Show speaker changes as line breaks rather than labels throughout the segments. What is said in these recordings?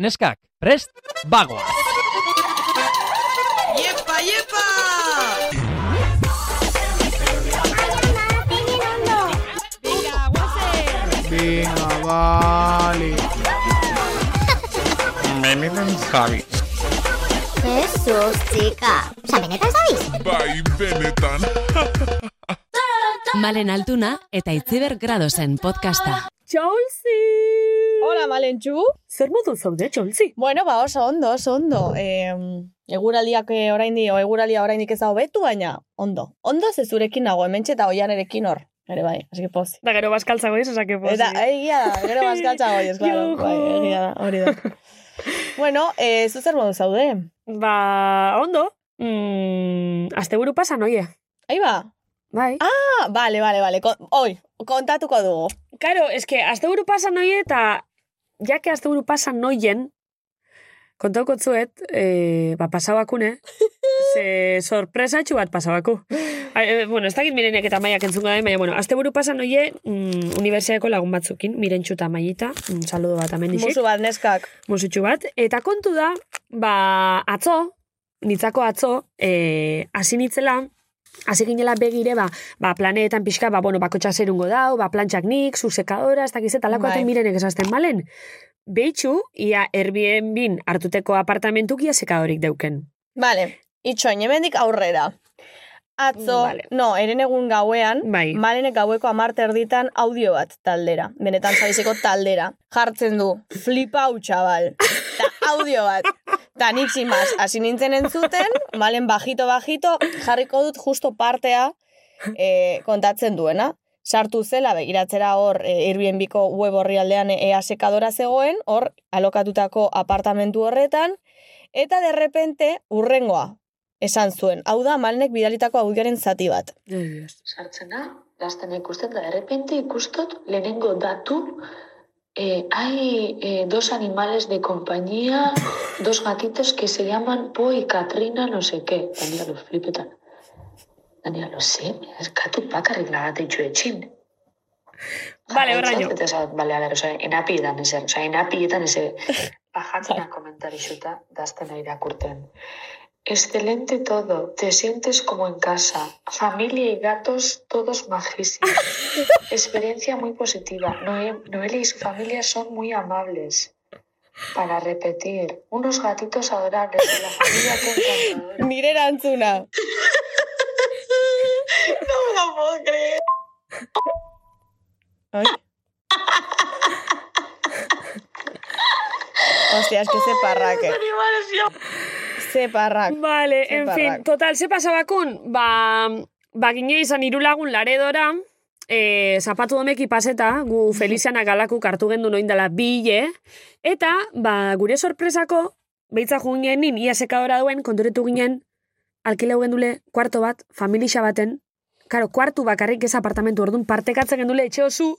neskak, prest, bagoa!
Iepa, iepa!
Venga, vale.
Javi.
Jesús, chica. O sea, benetan zabiz?
Bai, benetan.
Malen Altuna eta Itziber Gradosen podcasta.
Chelsea!
Hola, Malentxu.
Zer modu zaude, Chelsea?
Bueno, ba, oso ondo, oso ondo. Eh, eguraldiak eh, oraindi, o eguralia oraindik ez da hobetu, baina ondo. Ondo ze zurekin nago, hementxe eta oianerekin hor. Ere bai, así que poz.
Da gero bazkaltza goiz, osak epozi.
Eta egia da, gero bazkaltza goiz, claro.
Juhu.
Bai, egia da, hori da. bueno, eh, zu zer modu zaude?
Ba, ondo. Mm, asteburu pasa, noie.
Ahí ba.
Bai. Ah,
Ah, vale, vale, vale. Kon, oi, kontatuko dugu.
karo, eske, asteburu pasa noie eta ja que asteburu pasa noien, kontauko zuet, eh, ba, pasabakune, ze sorpresatxu bat pasabaku. A, eh, bueno, ez dakit mirenek eta maiak entzungo da, baina, bueno, asteburu pasa noie mm, universiadeko lagun batzukin, mirentxu eta maiita, mm, saludo bat amendixik.
Musu bat neskak.
musutxu bat. Eta kontu da, ba, atzo, nitzako atzo, e, hasi nitzela, hasi ginela begire, ba, ba planeetan pixka, ba, bueno, bakotxa zerungo dau, ba, plantxak nik, zusekadora, ez dakiz, eta lako
Bai.
aten mirenek esazten balen. Beitxu, ia Airbnb hartuteko apartamentuk ia sekadorik deuken.
Vale, itxoin, hemendik aurrera. Atzo,
Vale.
no, eren egun gauean,
Bai.
malenek gaueko amarte erditan audio bat taldera. Benetan zabizeko taldera. Jartzen du, flipau txabal. Ta audio bat. Ta nik sin más, hasi nintzen entzuten, malen bajito bajito, jarriko dut justo partea eh, kontatzen duena. Sartu zela, begiratzera hor, eh, Airbnb-ko web horri aldean ea sekadora zegoen, hor, alokatutako apartamentu horretan, Eta derrepente, urrengoa, esan zuen. Hau da, malenek bidalitako audioaren zati bat.
sartzen da, gaztena ikusten da, errepente ikustot lehenengo datu, eh, hay eh, dos animales de compañía, dos gatitos que se llaman Po y Katrina no sé qué. Daniela, los flipetan. Daniela, lo sé, eskatu bakarrik lagate itxuetxin.
Vale,
Jarraitzen
horraino.
dut, esan dut, Vale, a ver, oza, enapietan ezer, oza, enapietan ezer. Bajatzena komentarixuta, daztena irakurten. Excelente todo, te sientes como en casa. Familia y gatos, todos majísimos. Experiencia muy positiva. Noe- Noelia y su familia son muy amables. Para repetir, unos gatitos adorables de la familia que encantadora.
Nire erantzuna.
No me lo puedo creer.
Ai. Ostia, eske ze parrake. Ze parrak.
Vale,
Ze
en
parrak.
fin, total, ze pasabakun, ba, ba gine izan irulagun laredora, e, zapatu domeki paseta, gu Felizianak galakuk hartu gendu noindala bile, eta, ba, gure sorpresako, behitza jugun genin, ia sekadora duen, konturetu ginen, alkileu gendule, kuarto bat, familixa baten, Karo, kuartu bakarrik ez apartamentu, orduan partekatzen gendule etxe osu,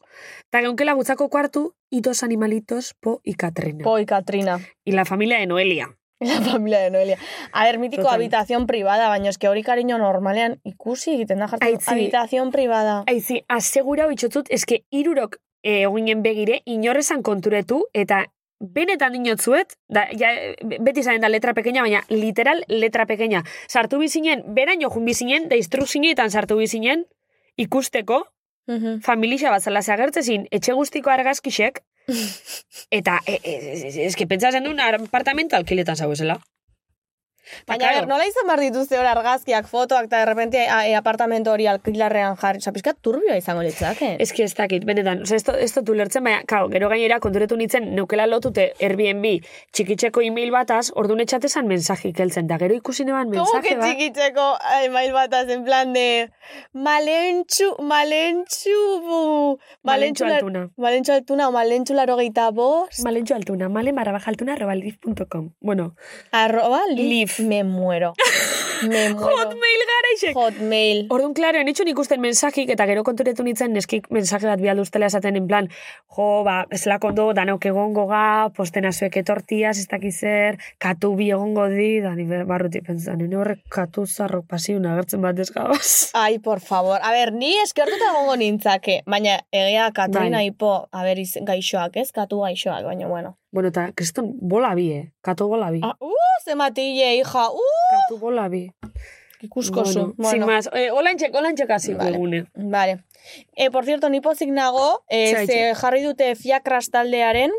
eta geunkela gutzako kuartu, itos animalitos po y Katrina.
Poi, Katrina.
Y la familia de Noelia.
La familia de Noelia. A ver, mitiko
Total.
habitación privada, baina eske hori cariño normalean ikusi egiten da jartzen.
Aitzi.
Habitación privada.
Aizi, asegura bitxotzut, eske irurok e, eginen begire, inorrezan konturetu, eta benetan dinotzuet, da, ja, beti zaren da letra pequeña, baina literal letra pequeña. Sartu bizinen, beraino jun bizinen, da instruzinetan sartu bizinen, ikusteko,
Mhm.
familixa bat zala zagertzezin, etxe guztiko argazkixek, eta e, e, e, eske pentsatzen duen apartamento alkiletan Ba, zauzela.
Baina, a ber, nola izan behar dituzte hor argazkiak, fotoak, eta derrepente a- e, apartamento hori alkilarrean jarri. Osa, pixkat turbioa izango litzake.
Ez ki ez dakit, benetan, oza, ez to- ez dut ulertzen, baina, kau, gero gainera konturetu nintzen, neukela lotute Airbnb txikitzeko email bataz, ordu netxatezan mensajik heltzen, da gero ikusi neban
Como que
mensaje bat.
txikitzeko email bataz en plan de malentxu, malentxu, bu,
Malentxu
malentxu, lar-
altuna.
malentxu altuna o malentxu laro gehieta bost,
Malentxo altuna, malen barra baja altuna, arroba liv.com. Bueno,
arroba, li,
Leaf.
me muero, me muero,
hotmail gara isek!
hotmail,
Orduan, klaro, enitxun ikusten mensajik, eta gero konturetu nintzen neskik mensaje bat bialduztela esaten, en plan, jo, ba, ez lakondo, danok egongo ga, posten azuek etortiaz, ez dakizer, katu bi egongo di, da, ni barruti pentsan, nene horrek katu zarrok pasiun agertzen bat eskabaz.
Ai, por favor. A ber, ni eskertuta egongo nintzake, baina egia Katrina
Bai.
Ipo, a ber, iz, gaixoak, ez? Katu gaixoak, baina, bueno.
Bueno, eta kriston bola bi, eh? Kato bola bi.
Ah, uh, zematile, hija, uh!
Katu bola bi.
Ikuskozu.
Bueno, sin más. Eh, olantxek, olantxek hasi
Vale.
egune.
Vale. E, por cierto, ni pozik nago, e,
Zaitxo.
ze jarri dute fiakras taldearen,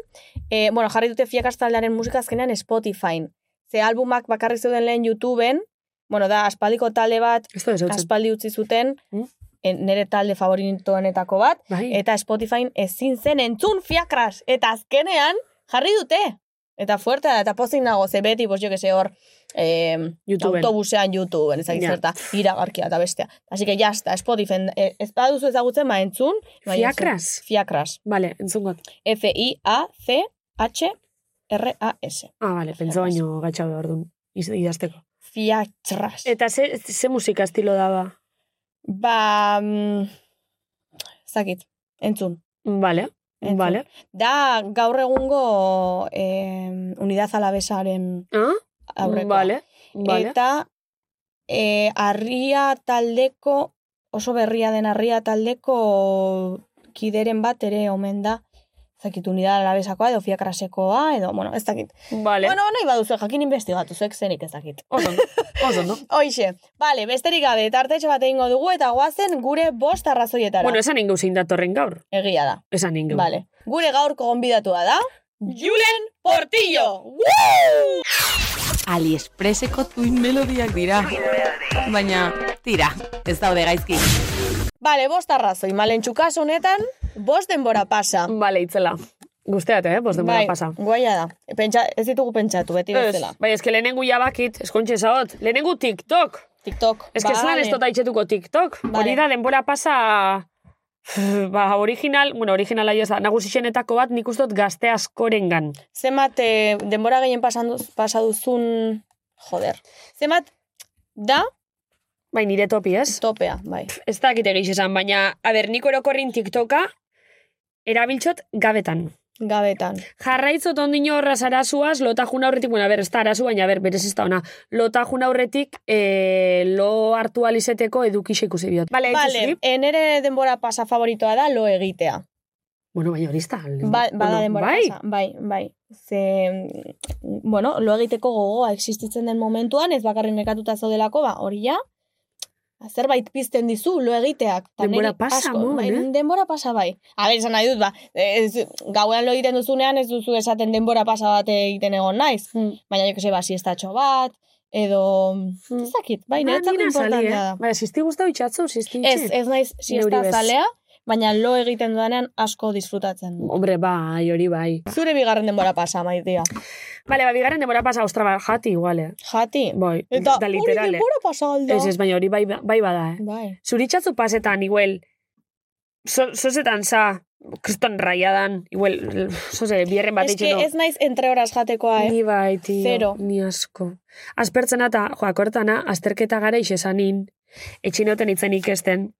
e, bueno, jarri dute fiakras taldearen musika azkenean Spotifyn. Ze albumak bakarrik zeuden lehen YouTubeen, bueno, da, aspaldiko talde bat,
Ez da esautzen.
aspaldi utzi zuten,
Mm.
en- nire talde favoritoenetako bat,
Bai.
eta Spotifyn ezin zen entzun fiakras, eta azkenean jarri dute. Eta fuerte da, eta pozik nago, ze beti, pues, jo que se hor, eh,
YouTubeen.
autobusean YouTube, ez dakit
Ja.
zerta, iragarkia eta bestea. Así que jazta, Spotify, eh, ez baduzu ezagutzen, ma entzun. bai, entzun.
Fiakras?
Fiakras.
Vale, entzungot.
F-I-A-C-H-R-A-S.
Ah, vale, pentsa baino gatxa behar duen. iz- Idazteko.
Fiakras.
Eta ze, ze musika estilo da ba?
Ba, mm, ez dakit, entzun.
Vale,
entzun.
vale.
Da gaur egungo eh, unidad alabesaren
Ah,
aurrekoa.
vale, vale.
Eta e, arria taldeko, oso berria den arria taldeko kideren bat ere omen da. Ez dakit unidad alabesakoa edo fiakrasekoa edo, bueno, ez dakit.
vale.
Bueno, nahi baduzu, jakin investigatu, zuek zenik ez dakit.
oso ondo, oso ondo.
Hoixe, bale, besterik gabe, tartetxo bat egingo dugu eta guazen gure bost arrazoietara.
Bueno, esan ingo zein datorren gaur.
Egia da,
Esan ingo.
bale. Gure gaurko gonbidatua da... Julen Portillo!
Aliexpreseko tuin melodiak dira. Baina, tira, ez daude gaizki.
Bale, bost arrazoi, malen txukas honetan, bost denbora pasa.
Vale, itzela. Guzteat, eh? Bost denbora pasa.
Bai, Guaia da. Pentsa, ez ditugu pentsatu, beti
Ez,
bezala.
bai, eske lehenengu jabakit, eskontxe zaot. Lehenengu TikTok.
TikTok.
Ez que zelan ez tota- dut aitzetuko TikTok.
Vale.
Hori da, denbora pasa... Ba, original, bueno, originala jo ez da, nagusixenetako bat nik ustot gazte askorengan.
Zemat, eh, denbora gehien pasan duz, pasa duzun... Joder. Zemat, da,
Bai, nire topi, ez?
topea, bai.
Ez da egite gehiago esan, baina, a ber, nik orokorrin TikToka erabiltzot gabetan.
Gabetan.
Jarraitzot ondino horraz arazuaz, lota jun aurretik, bueno, a ber, ez da arazu, baina, a ber, berez ez da ona. Lota jun aurretik, eh, lo hartu alizeteko edukixe ikusi biot. Bale,
Bale,
itzuzuki?
eh, nere denbora pasa favoritoa da lo egitea.
Bueno, baina hori ez da.
Ba, bada
Bueno,
denbora
bai.
pasa. Bai, bai. Ze, mm, bueno, lo egiteko gogoa existitzen den momentuan, ez bakarrik nekatuta zaudelako, ba, hori ja, zerbait pizten dizu lo egiteak. Ta
Denbora
niri
pasa,
asko,
mon,
bai,
eh?
Denbora pasa bai. A ber, esan nahi dut, ba, ez, gauean lo egiten duzunean, ez duzu esaten denbora pasa bat egiten egon naiz.
Mm.
Baina, jo que se, ba, siestatxo bat, edo,
Mm.
ez dakit, bai,
Ba,
niretzako
nina sali,
importantea da.
eh? Ba, zizti guztau itxatzu, zizti
Ez,
itxi.
ez naiz siesta
Neuri bez.
zalea, baina lo egiten dudanean asko disfrutatzen dut.
Hombre, bai, hori bai.
Zure bigarren denbora pasa, maitia.
Bale, ba, bigarren denbora pasa, ostra, ba, jati, igual, eh?
Jati.
Bai,
Eta
da
hori
literal, eh?
denbora pasa alda.
Ez, ez, baina hori bai, bai bada, eh?
Bai.
Zuritxatzu pasetan, igual, so, sozetan za, kriston raiadan, igual, soze, bierren bat
Ez que
eitxeno.
ez naiz entre horas jatekoa, eh?
Ni bai, tio,
Zero.
ni asko. Aspertzen eta, joa, kortana, azterketa gara isesanin, etxinoten itzen ikesten,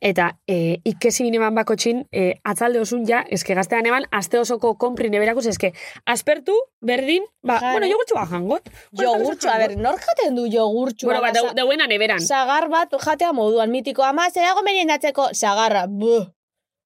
eta e, ikesin eman bako txin, e, atzalde osun ja, eske gaztean eman, aste osoko konprin eberakuz, eske aspertu, berdin, ba,
Jare.
bueno, jogurtxoa jangot. Bueno,
Jogurtxu, a ber, nor jaten du jogurtxu?
Bueno, ba, dau- dauena neberan.
Sagar bat jatea moduan mitiko. Ama, zerago meriendatzeko. Sagarra, buh.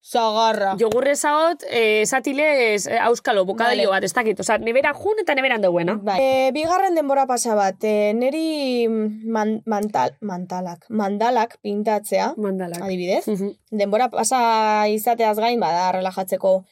Sagarra.
Jogurre zaot, eh, esatile, eh, auskalo, bokadillo
Vale.
bat, ez dakit. Osa, nebera jun eta neberan dauena.
Bai. E, bigarren denbora pasa bat, e, neri man, mantal, mantalak, mandalak pintatzea,
Mandalak.
adibidez,
Mhm.
denbora pasa izateaz gain bada relajatzeko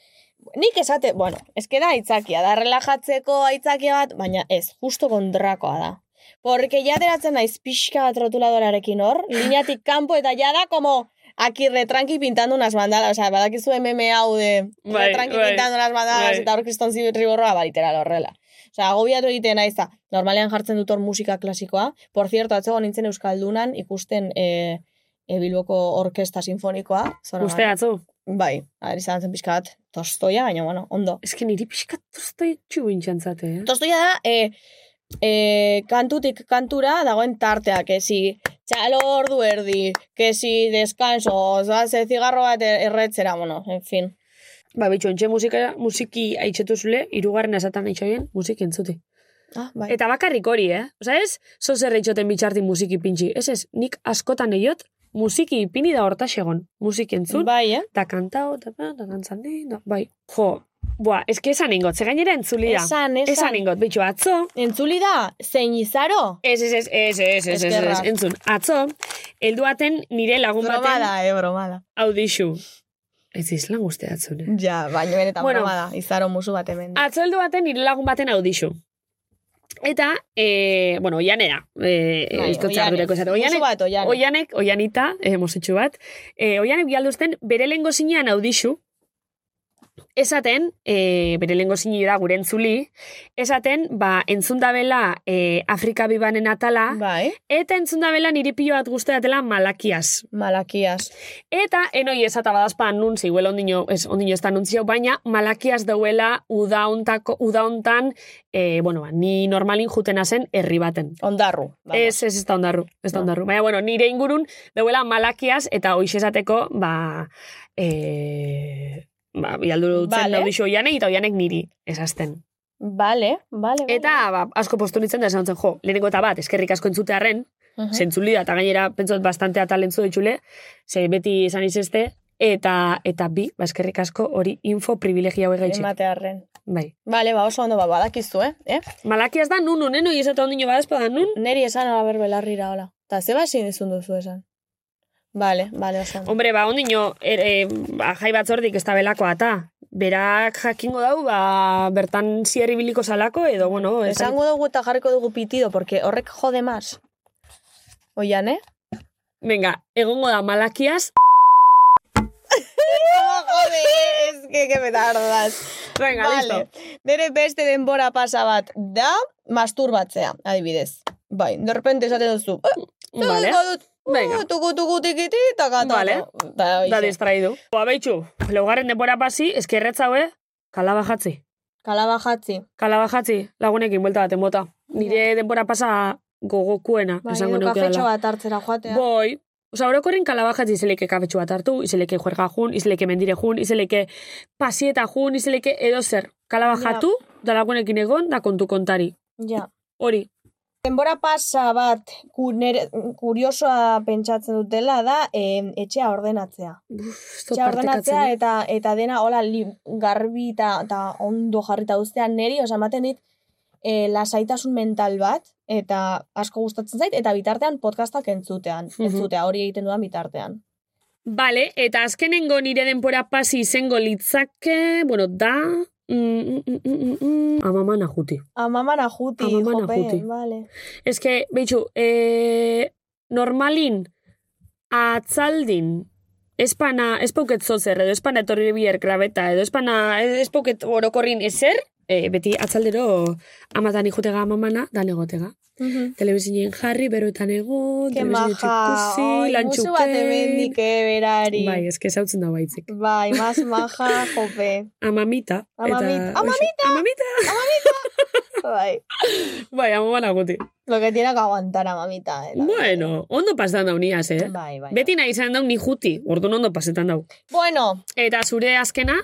Nik esate, bueno, eske da aitzakia, da relajatzeko aitzakia bat, baina ez, justo kontrakoa da. Porque ja deratzen naiz pixka bat rotuladorarekin hor, lineatik kanpo eta ja da como aquí retranqui pintando unas bandalas, o sea, badakizu meme hau de
Bai,
retranqui
bai,
pintando unas bandalas
bai.
eta hor kriston zibirriborroa, ba, literal horrela. O sea, agobiatu egiten naiz da, normalean jartzen dut hor musika klasikoa, por cierto, atzo nintzen Euskaldunan ikusten eh, e, Bilboko Orkesta Sinfonikoa. Zora
Uste atzu.
Bai, ari izan zen pixka bat tostoia, baina, bueno, ondo.
Ez que niri pixkat tostoi txu intxantzate, eh?
Tostoia da, e, e, kantutik kantura dagoen tartea, que si txalo ordu erdi, que si descanso, zaze zigarro bat er, erretzera, bueno, en fin.
Ba, bitxo, entxe musika, musiki haitxetu zule, irugarren esatan haitxoien, musiki entzuti.
Ah, bai.
Eta bakarrik hori, eh? Osa ez, zo zer haitxoten bitxartin musiki pintxi. Ez ez, nik askotan eiot, musiki ipini da hortax egon. Musiki entzun,
bai, eh?
eta kantao, eta pa, eta kantzan di, da, eh, bai. Jo, Boa, eski esan ingot, ze gainera entzulia.
Esan, esan.
Esan ingot, bitxo, atzo.
Entzuli da, zein izaro?
Ez, ez, ez, ez, ez, ez, ez, ez,
Eskerrak.
entzun. Atzo, heldu baten nire lagun baten
Bromada, eh, bromada.
audixu. Ez izlan guzti atzun, eh?
Ja, baina benetan
Bueno. Ah,
bromada. Izaro musu bat hemen.
Atzo heldu baten nire lagun baten audixu. Eta, e, bueno, oianera. E,
Bai,
Euskotza
Oihanek.
ardureko esaten.
Musu
Oihanek,
bat, oianek.
oianek, oianita, eh, mozitxu bat. E, oianek bialduzten bere lengo zinean audixu. Esaten, e, bere lengo zine da gure entzuli, esaten, ba, entzundabela e, Afrika bibanen atala,
Bai,
Eta entzun da bela niri pilo bat guzteatela malakiaz.
malakias.
Eta enoi esata badazpa nuntzi, huela ondino, ez, ondino ez da nuntzio, baina malakiaz dauela udaontako, udaontan, e, bueno, ba, ni normalin jutena zen herri baten.
Ondarru. vamos.
Ez, ez, ez da ondarru, ez da
No.
ondarru. Baina, bueno, nire ingurun dauela malakiaz eta hoiz esateko, ba, e, ba, bialdu dutzen
Vale.
vale. oianek, eta oianek niri, esazten.
Vale, vale. vale.
Eta, ba, asko postu nintzen da esan zen, jo, lehenengo eta bat, eskerrik asko entzutearen,
Mhm.
zentzuli da, eta gainera, pentsot, bastante atalentzu ditxule, ze beti esan izeste, eta, eta bi, ba, eskerrik asko hori info privilegia hori gaitxik.
Ematearren.
Bai.
Vale, ba oso ondo ba, badakizu, eh? eh?
Malakiaz da nun, unen, oi esatu ondino badazpa da nun.
Neri esan ala ber belarrira, hola. Ta ze basi dizun duzu esan. Vale, vale, oso ondo.
Hombre, ba, ondino, er, e, ba, jai batzordik ez da belakoa eta, berak jakingo dau, ba, bertan zierri biliko salako, edo, bueno, ez dakit.
Esango dugu eta jarriko dugu pitido, porque horrek jode más. Oian, eh?
Venga, egongo da malakiaz,
Oh, jode, ez que, que petardas.
venga,
Vale.
listo.
Nere beste denbora pasa bat da, masturbatzea, adibidez. Bai, de repente esaten duzu. eh,
Vale,
tuko dut, uh,
Venga.
Tuku, tuku, tikiti, taka, taka.
Vale.
Da,
da
hoxe.
distraidu. Ba, behitxu, laugarren denbora pasi, eskerretza hoe, kalabajatzi.
Kalabajatzi.
Kalabajatzi, lagunekin buelta baten bota. Nire denbora pasa gogokuena,
Bai,
esango
edo
nuke
kafetxo
dela.
bat hartzera joatea.
Boi, Osa, orokorren kalabajatzi izeleke kafetxu bat hartu, izeleke juerga jun, izeleke mendire jun, izeleke pasieta jun, izeleke edozer. Kalabajatu, da lagunekin egon, da kontu kontari.
Ja.
Hori,
Denbora pasa bat ku- nere- kuriosoa pentsatzen dutela da em, etxea ordenatzea.
esto
Etxea ordenatzea
partekatzen.
eta eta dena hola li, garbi eta, eta ondo jarrita uztean neri, osa ematen dit e, lasaitasun mental bat eta asko gustatzen zait eta bitartean podcastak entzutean,
Mhm.
entzutea hori egiten duan bitartean.
Bale, eta azkenengo nire denbora pasi izango litzake, bueno, da... Mm, mm, mm, mm, mm. Amamana juti.
Amamana juti,
Amamana
jope,
juti.
vale.
Ez que, behitxu, e, normalin, atzaldin, espana, espauket zozer, edo espana etorri bier grabeta, edo espana, espauket orokorrin ezer, e, beti atzaldero amatan ikutega amamana, dan egotega. Telebizinen jarri, beroetan egon,
Ke
telebizinen
maja,
txikusi,
oi, musu bat emendik,
lantxuken.
eh, berari.
Bai, ez que zautzen da baitzik.
Bai, mas maja, jope.
Amamita.
Amamita.
Eta, amamita! Amamita!
Bai.
Bai, amamana guti.
Lo que tiene que aguantar a mamita. eh, la
Bueno, ondo pasan dauniaz, eh?
verdad. Bai, bai.
Beti nahi izan dau ni juti, orduan ondo pasetan dau.
Bueno,
Eta zure azkena,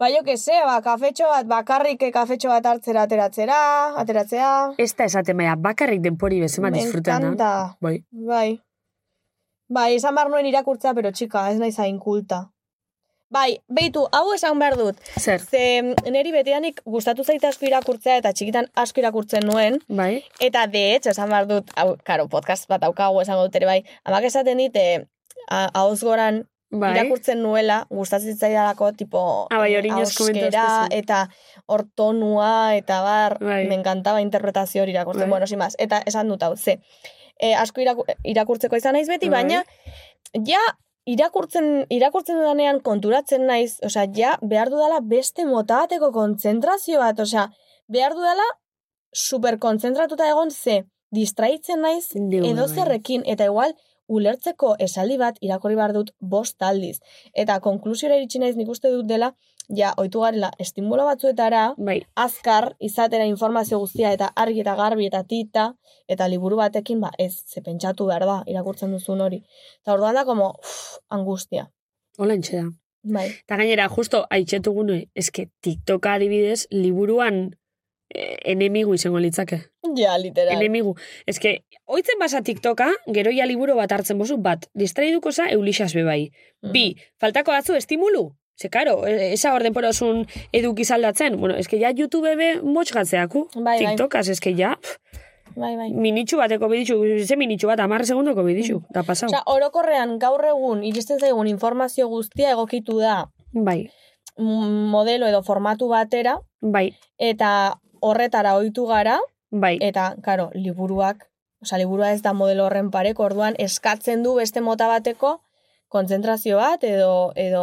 bai jo que se, ba, kafetxo bat, bakarrik eh, kafetxo bat hartzera, ateratzera, ateratzea.
ez da esaten baina bakarrik denpori bezema
Me
disfrutan. da.
encanta.
Bai.
Bai. Bai, esan behar nuen irakurtzea, pero txika, ez naiz hain kulta. Bai, beitu, hau esan behar dut.
Zer,
Ze, neri beteanik gustatu zait asko irakurtzea eta txikitan asko irakurtzen nuen.
bai.
Eta de hecho, esan behar dut, hau, karo, podcast bat daukagu esango dut ere bai, amak esaten dit, eh, a- ahoz goran
Bai.
irakurtzen nuela, gustatzen zitzaidalako, tipo,
Ah, bai, hori
eh,
inoiz komentatu
ahoskera,
duzu.
eta ortonua, eta bar,
Bai.
me encantaba interpretazio hori irakurtzen,
Bai.
bueno, sin más. Eta esan dut hau, ze, eh, asko iraku- irakurtzeko izan naiz beti,
Bai.
baina, ja, irakurtzen, irakurtzen dudanean konturatzen naiz, osea, ja, behar dudala beste mota bateko kontzentrazio bat, osea, behar dudala superkontzentratuta egon ze, distraitzen naiz
Neu,
edo
bai.
zerrekin, eta igual ulertzeko esaldi bat irakorri behar dut bost aldiz. Eta konklusiora iritsi naiz nik uste dut dela, ja, oitu garela estimulo batzuetara,
Bai.
azkar izatera informazio guztia eta argi eta garbi eta tita, eta liburu batekin, ba, ez, ze pentsatu behar da, irakurtzen duzun hori. Eta orduan da, como, uff, angustia.
Hola da.
Bai.
Eta gainera, justo, haitxetu gune, eske TikToka adibidez, liburuan eh, enemigu izango litzake.
Ja, literal.
Enemigu. Eske, oitzen basa TikToka, gero
Mm.
ja liburu bat hartzen bozu, bat, distraiduko za, eulixas bebai. Bi, faltako bai. batzu estimulu. Ze, karo, e- esa orden porozun eduki zaldatzen. Bueno, eske ja YouTube be motx gatzeaku.
Bai, bai.
TikTokaz, eske ja. pff,
Bai, bai.
Minitxu bateko biditxu, ze minitxu bat, amar segundoko
Mm.
biditxu. Da pasau.
Osa, orokorrean gaur egun iristen zaigun informazio guztia egokitu da
Bai,
mm, modelo edo formatu batera
bai,
eta horretara ohitu gara
bai.
eta, karo, liburuak, osa, liburua ez da modelo horren pareko, orduan eskatzen du beste mota bateko kontzentrazio bat edo, edo,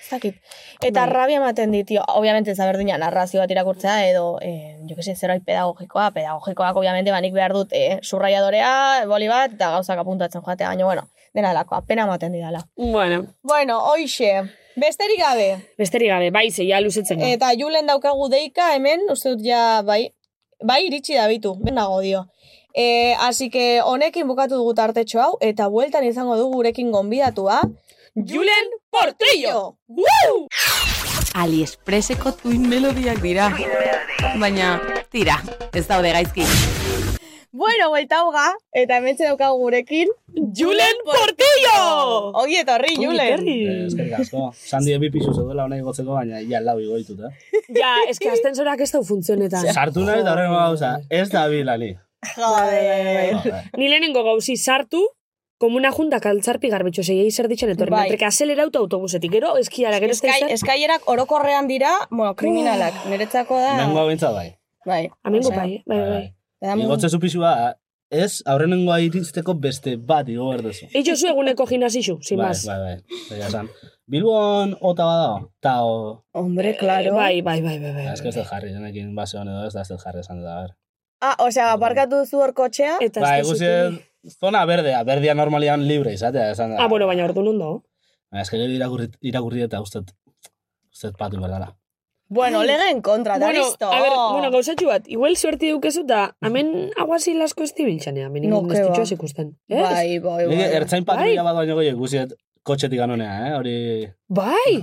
ez dakit. Eta
Bai.
rabia ematen ditio, obviamente ez da berdina narrazio bat irakurtzea edo, eh, jo que se, zerbait pedagogikoa, pedagogikoak obviamente banik behar dut eh, subraiadorea, boli bat, eta gauzak apuntatzen joatea, baina, bueno, dena lakoa, pena ematen didala.
Bueno,
Bueno, hoixe, besterik gabe,
besterik gabe, bai, ze ja luzetzen. da.
Eh, Eta julen daukagu deika hemen, uste dut ja, bai, bai iritsi da bitu, benago dio. E, así que honekin bukatu dugu tartetxo hau, eta bueltan izango dugu gurekin gonbidatua.
Julen Portillo!
Aliexpreseko tuin melodiak dira. Baina, tira, ez daude gaizki.
Bueno, buelta hoga, eta hemen daukagu gurekin.
Julen Portillo!
Ogi etorri, Julen!
Eh, Eskerrik asko. Sandi ebi pisu zeudela ona igotzeko, baina ia lau igoituta.
Ja, eske astensorak ez dau funtzionetan.
Sartu nahi eta horrengo gauza, ez da bilani.
Joder!
Ni lehenengo gauzi sartu, komuna junta kaltzarpi garbetxo zei zer ditxan etorri.
Bai.
Bai. autobusetik, autobusetik, gero eskiara, gero ez da
Eskai,
izan.
eskailerak orokorrean dira, bueno, kriminalak, niretzako da...
Nengo abentza bai.
Bai.
Amengo
osea,
bai, eh? bai, bai.
da mu-
Igotze zu pisua, ez aurrenengo iristeko beste bat igo berdezu.
Eitxo zu eguneko gimnasixu, sin
Bai,
más.
bai, bai. Baina esan, Bilbon ota badao, eta o...
Hombre, claro.
Bai, bai, bai, bai, bai.
Ba, Ez que ez dut jarri, denekin base hon edo ez da ez dut jarri esan dut, a ber.
Ah, osea, barkatu zu hor kotxea.
Eta
Ba,
ez da
ikusi
zuten-
dut zona berdea, berdea normalian libre izatea, esan da.
Ah, bueno, baina ordu nondo.
Baina ez que gero irakurri, irakurri eta ustet, ustet patu berdala.
Bueno, legeen kontra, da
Bueno,
listo.
a ver, bueno, gauzatxu bat, igual suerti dukezu da, hemen aguazi lasko ez dibiltxanea, hemen
No,
no,
que ba.
ikusten. Ez?
Bai, bai,
Nik
bai.
ertzain patrulla
Bai.
bat baino gehiago ikusiet kotxetik anonea, eh? Hori...
Bai!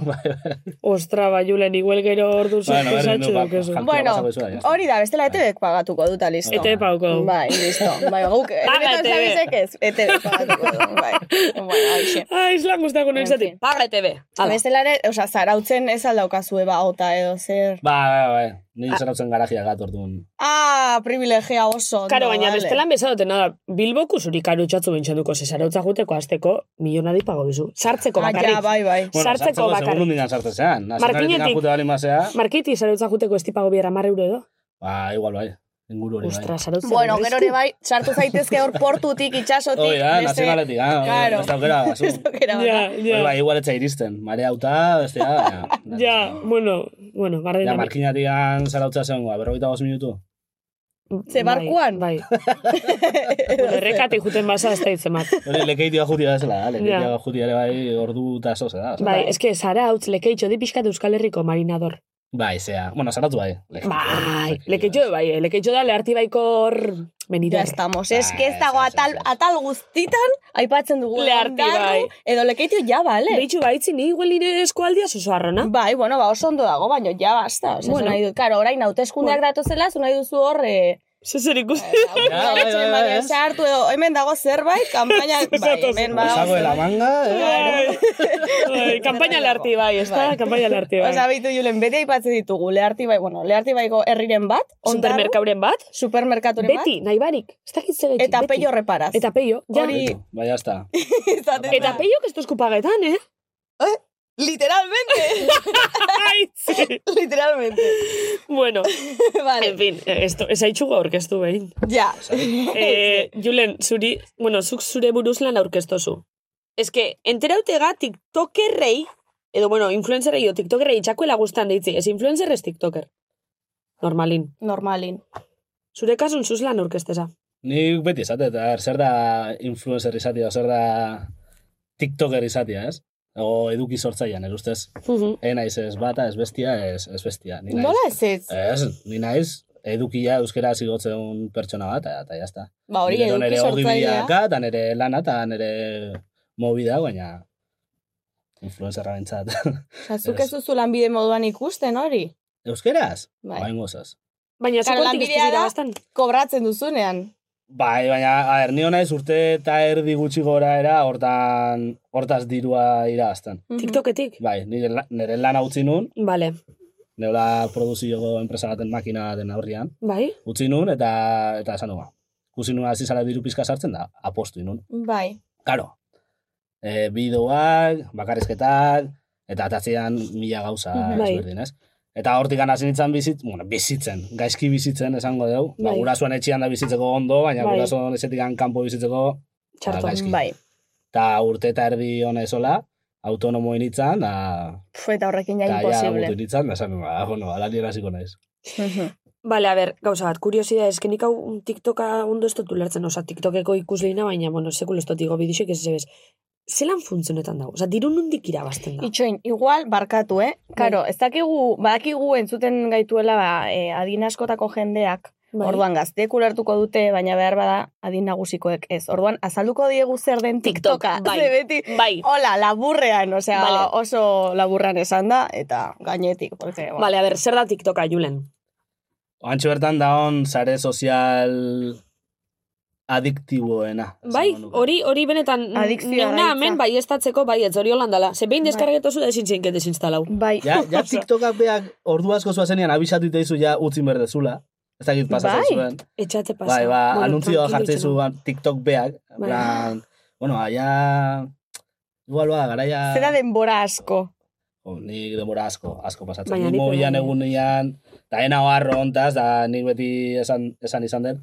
Ostra, ba, Julen, igual gero ordu
Bueno, berdin
sorpresatxu
du, ba,
dukezu.
jan-
Bueno,
pasako dizula, ya está.
hori da, bestela ETBek pagatuko dut, listo.
Ete-
Ete pauko. dugu.
Bai, listo. Bai, guk, benetan
ETB.
zabizek ez, ETBek pagatuko dut, bai. Bueno, hoxe.
Ah, islan guztako
En
noen zati.
fin.
Paga ETV. Ala.
Bestela ere, osea, zarautzen ez aldaukazue ba, ota edo zer.
Ba, ba, ba, ni
Ah.
zerautzen garajia gat orduan.
Ah, privilegia oso. ondo,
Karo, baina
vale. Ah,
bestelan bezadoten, nada, Bilboku zuri karutxatzu bentsenduko, ze zarautza juteko azteko milionadi pago bizu. Sartzeko
Ah, ja,
bakarrik.
bai, bai.
sartzeko
Segundu
bakarrik.
minan sartzen zean.
Markinetik.
Markinetik. Jute bali mazea,
Markiti zarautza juteko ez tipago bihar amarre euro edo?
ba, igual bai. Inguru hori bai.
Ostra, zarautza.
Bueno, gero ere bai, sartu zaitezke hor portutik, itxasotik.
Hori da,
beste-
nazionaletik, ah, claro.
Claro.
ez daukera, zu.
Ez daukera,
Ja,
baina.
Hori
ja.
Bai, igual etza iristen. Marea uta, bestea, baina...
Ja, bueno, bueno, barde
Ja, markinetik zarautza zegoen, berrogeita bost minutu.
Ze barkuan?
Bai. Bueno, Errekati juten basa ez da hitzemat.
Hori lekeitia jutia bezala, da, lekeitia
Ja.
jutia ere bai ordu eta zoze da.
Bai, eske zara hautz lekeitxo di pixkat Euskal Herriko marinador.
Bai, zea. Bueno, zaratu bai. Lekeitio.
Bai, lekeitxo bai, eh, lekeitxo da leharti baiko hor
Ya
benidor.
estamos. Es que ez
Ah,
dago
ez, ez,
atal,
ez.
atal guztitan aipatzen dugu.
Leharti, bai.
Edo lekeitio ja, bale.
Leitxu baitzi, bai, ni igual nire eskualdia oso arrona.
Bai, bueno, ba, oso ondo dago, baino ja basta. Osa,
Bueno.
bueno. nahi dut, karo, orain hauteskundeak bueno. datozela, zu nahi duzu hor, eh,
Zezer ikusten.
bai, bai, bai,
aukeratzen, baina
ez.
sartu edo, hemen dago zerbait, kanpaina, bai, hemen
Sago de la
badago.
manga, eh?
Bai, Kampaina larti bai, ez da?
Bai.
Kampaina larti bai.
Osa, bitu julen, beti aipatzen ditugu, leharti bai, bueno, leharti baiko herriren bat, ondarru,
Supermerkauren bat?
supermerkaturen bat,
Beti, nahi barik. Ez dakit zer gaitxik,
eta
beti.
peio reparaz.
Eta peio, ja.
Hori-
Beto, Bai, ya está.
Izaten da.
Eta peio ez duzku pagetan, eh?
Literalmente,
Aitzi.
literalmente.
bueno,
vale,
en fin, eh, esto, ez aitxugu aurkeztu behin.
ja.
Eh, Julen, zuri, bueno, zuk zure buruz lan aurkeztozu. Ez que, enterautega tiktokerrei, edo, bueno, influencerrei o tiktokerrei itxakuela guztan deitzi. Ez influencer ez tiktoker. Normalin.
Normalin.
Zure kasun zuz lan aurkezteza.
Nik beti esatet, a ber, zer da influencer izatea, zer da tiktoker izatea, ez? O eduki sortzaian, erustez.
Mhm.
E naiz ez bata, ez bestia, ez, ez bestia. Ni naiz,
Nola ez ez?
Ez, ni naiz edukia euskera zigotze un pertsona bat, eta- eta jazta.
Ba hori, eduki sortzailea.
sortzaia. Eta nire lana, eta nire movida, baina influencerra bentsat.
Osea, zuk ez duzu lanbide moduan ikusten hori.
Euskeraz?
Bai.
Bai. Bain gozaz.
Baina, zukontik
Claro,
ez Mhm.
lanbidea
dira
da-
bastan.
Kobratzen duzunean.
Bai, baina, a ber, ni naiz urte eta erdi gutxi gora era hortan, hortaz dirua irabazten.
Mhm,
TikToketik?
Bai, nire, la- nire lan utzi nun,
Vale.
neola produzioko enpresa baten makina den aurrian,
Bai?
utzi nun eta, eta esan nua. Kusi nun hasi zara diru pizka sartzen da, apostu inun.
Bai.
Karo, e, bideoak, bakarrizketak, eta atatzean mila gauza
Mhm. Bai.
ezberdin, ez? Eta hortik hasi nintzen bizit, bueno, bizitzen, gaizki bizitzen esango dugu. Ba,
Bai.
gurasoan etxean da bizitzeko ondo, baina
Bai.
gurasoan etxetik kanpo bizitzeko
Txarto.
Ba, gaizki.
Bai.
eta urte eta erdi hona ezola, autonomo initzan, da,
Pf, eta horrekin ja
da ja
imposible.
butu initzan, da esan, ba, bueno, ala nien hasiko naiz.
Mhm.
Bale, a ber, gauza bat, kuriosidad, eskenik hau TikToka ondo ez dut ulertzen, oza, TikTokeko ikusleina, baina, bueno, sekulo ez dut igo bidixek ez zebez. Zelan funtzionetan dago? Oza, diru nundik irabazten da?
Itxoin, igual barkatu, eh? Karo, ez dakigu, badakigu entzuten gaituela ba, eh, adin askotako jendeak,
Bai.
orduan gazteek ulertuko dute, baina behar bada adin nagusikoek ez. Orduan, azalduko diegu zer den
TikTok,
TikToka.
bai.
Ze beti,
Bai,
hola, laburrean, osea,
Vale.
oso laburrean esan da, eta gainetik, porque,
Ba.
bueno,
bale, a ber, zer da TikToka, Julen?
Oantxe bertan daon sare sozial adiktiboena. esango
Bai,
nuke.
hori hori benetan mm,
Adikzioa
neuna
da
hemen
hitza.
bai estatzeko bai ez hori holandala. Ze behin
Bai.
deskargetozu da ezin zeinket desinstalau.
bai,
Ja, ja TikTokak beak ordu asko zuazenean abisatu iteizu ja utzin berdezula. Ez dakit pasa
Bai.
zaizuen.
Etxate pasa.
Bai, ba, anuntzio
tranquilo
jartzeizu
itxaron.
TikTok beak.
Bai.
Plan, bueno, aia... Igual ba, garaia...
zera denbora asko.
Oh, nik denbora asko, asko pasatzen.
Baina
Baina,
nik
nik mobilan
ere bai.
egun nian, da ena oharro ontaz, da nik beti esan, esan izan den,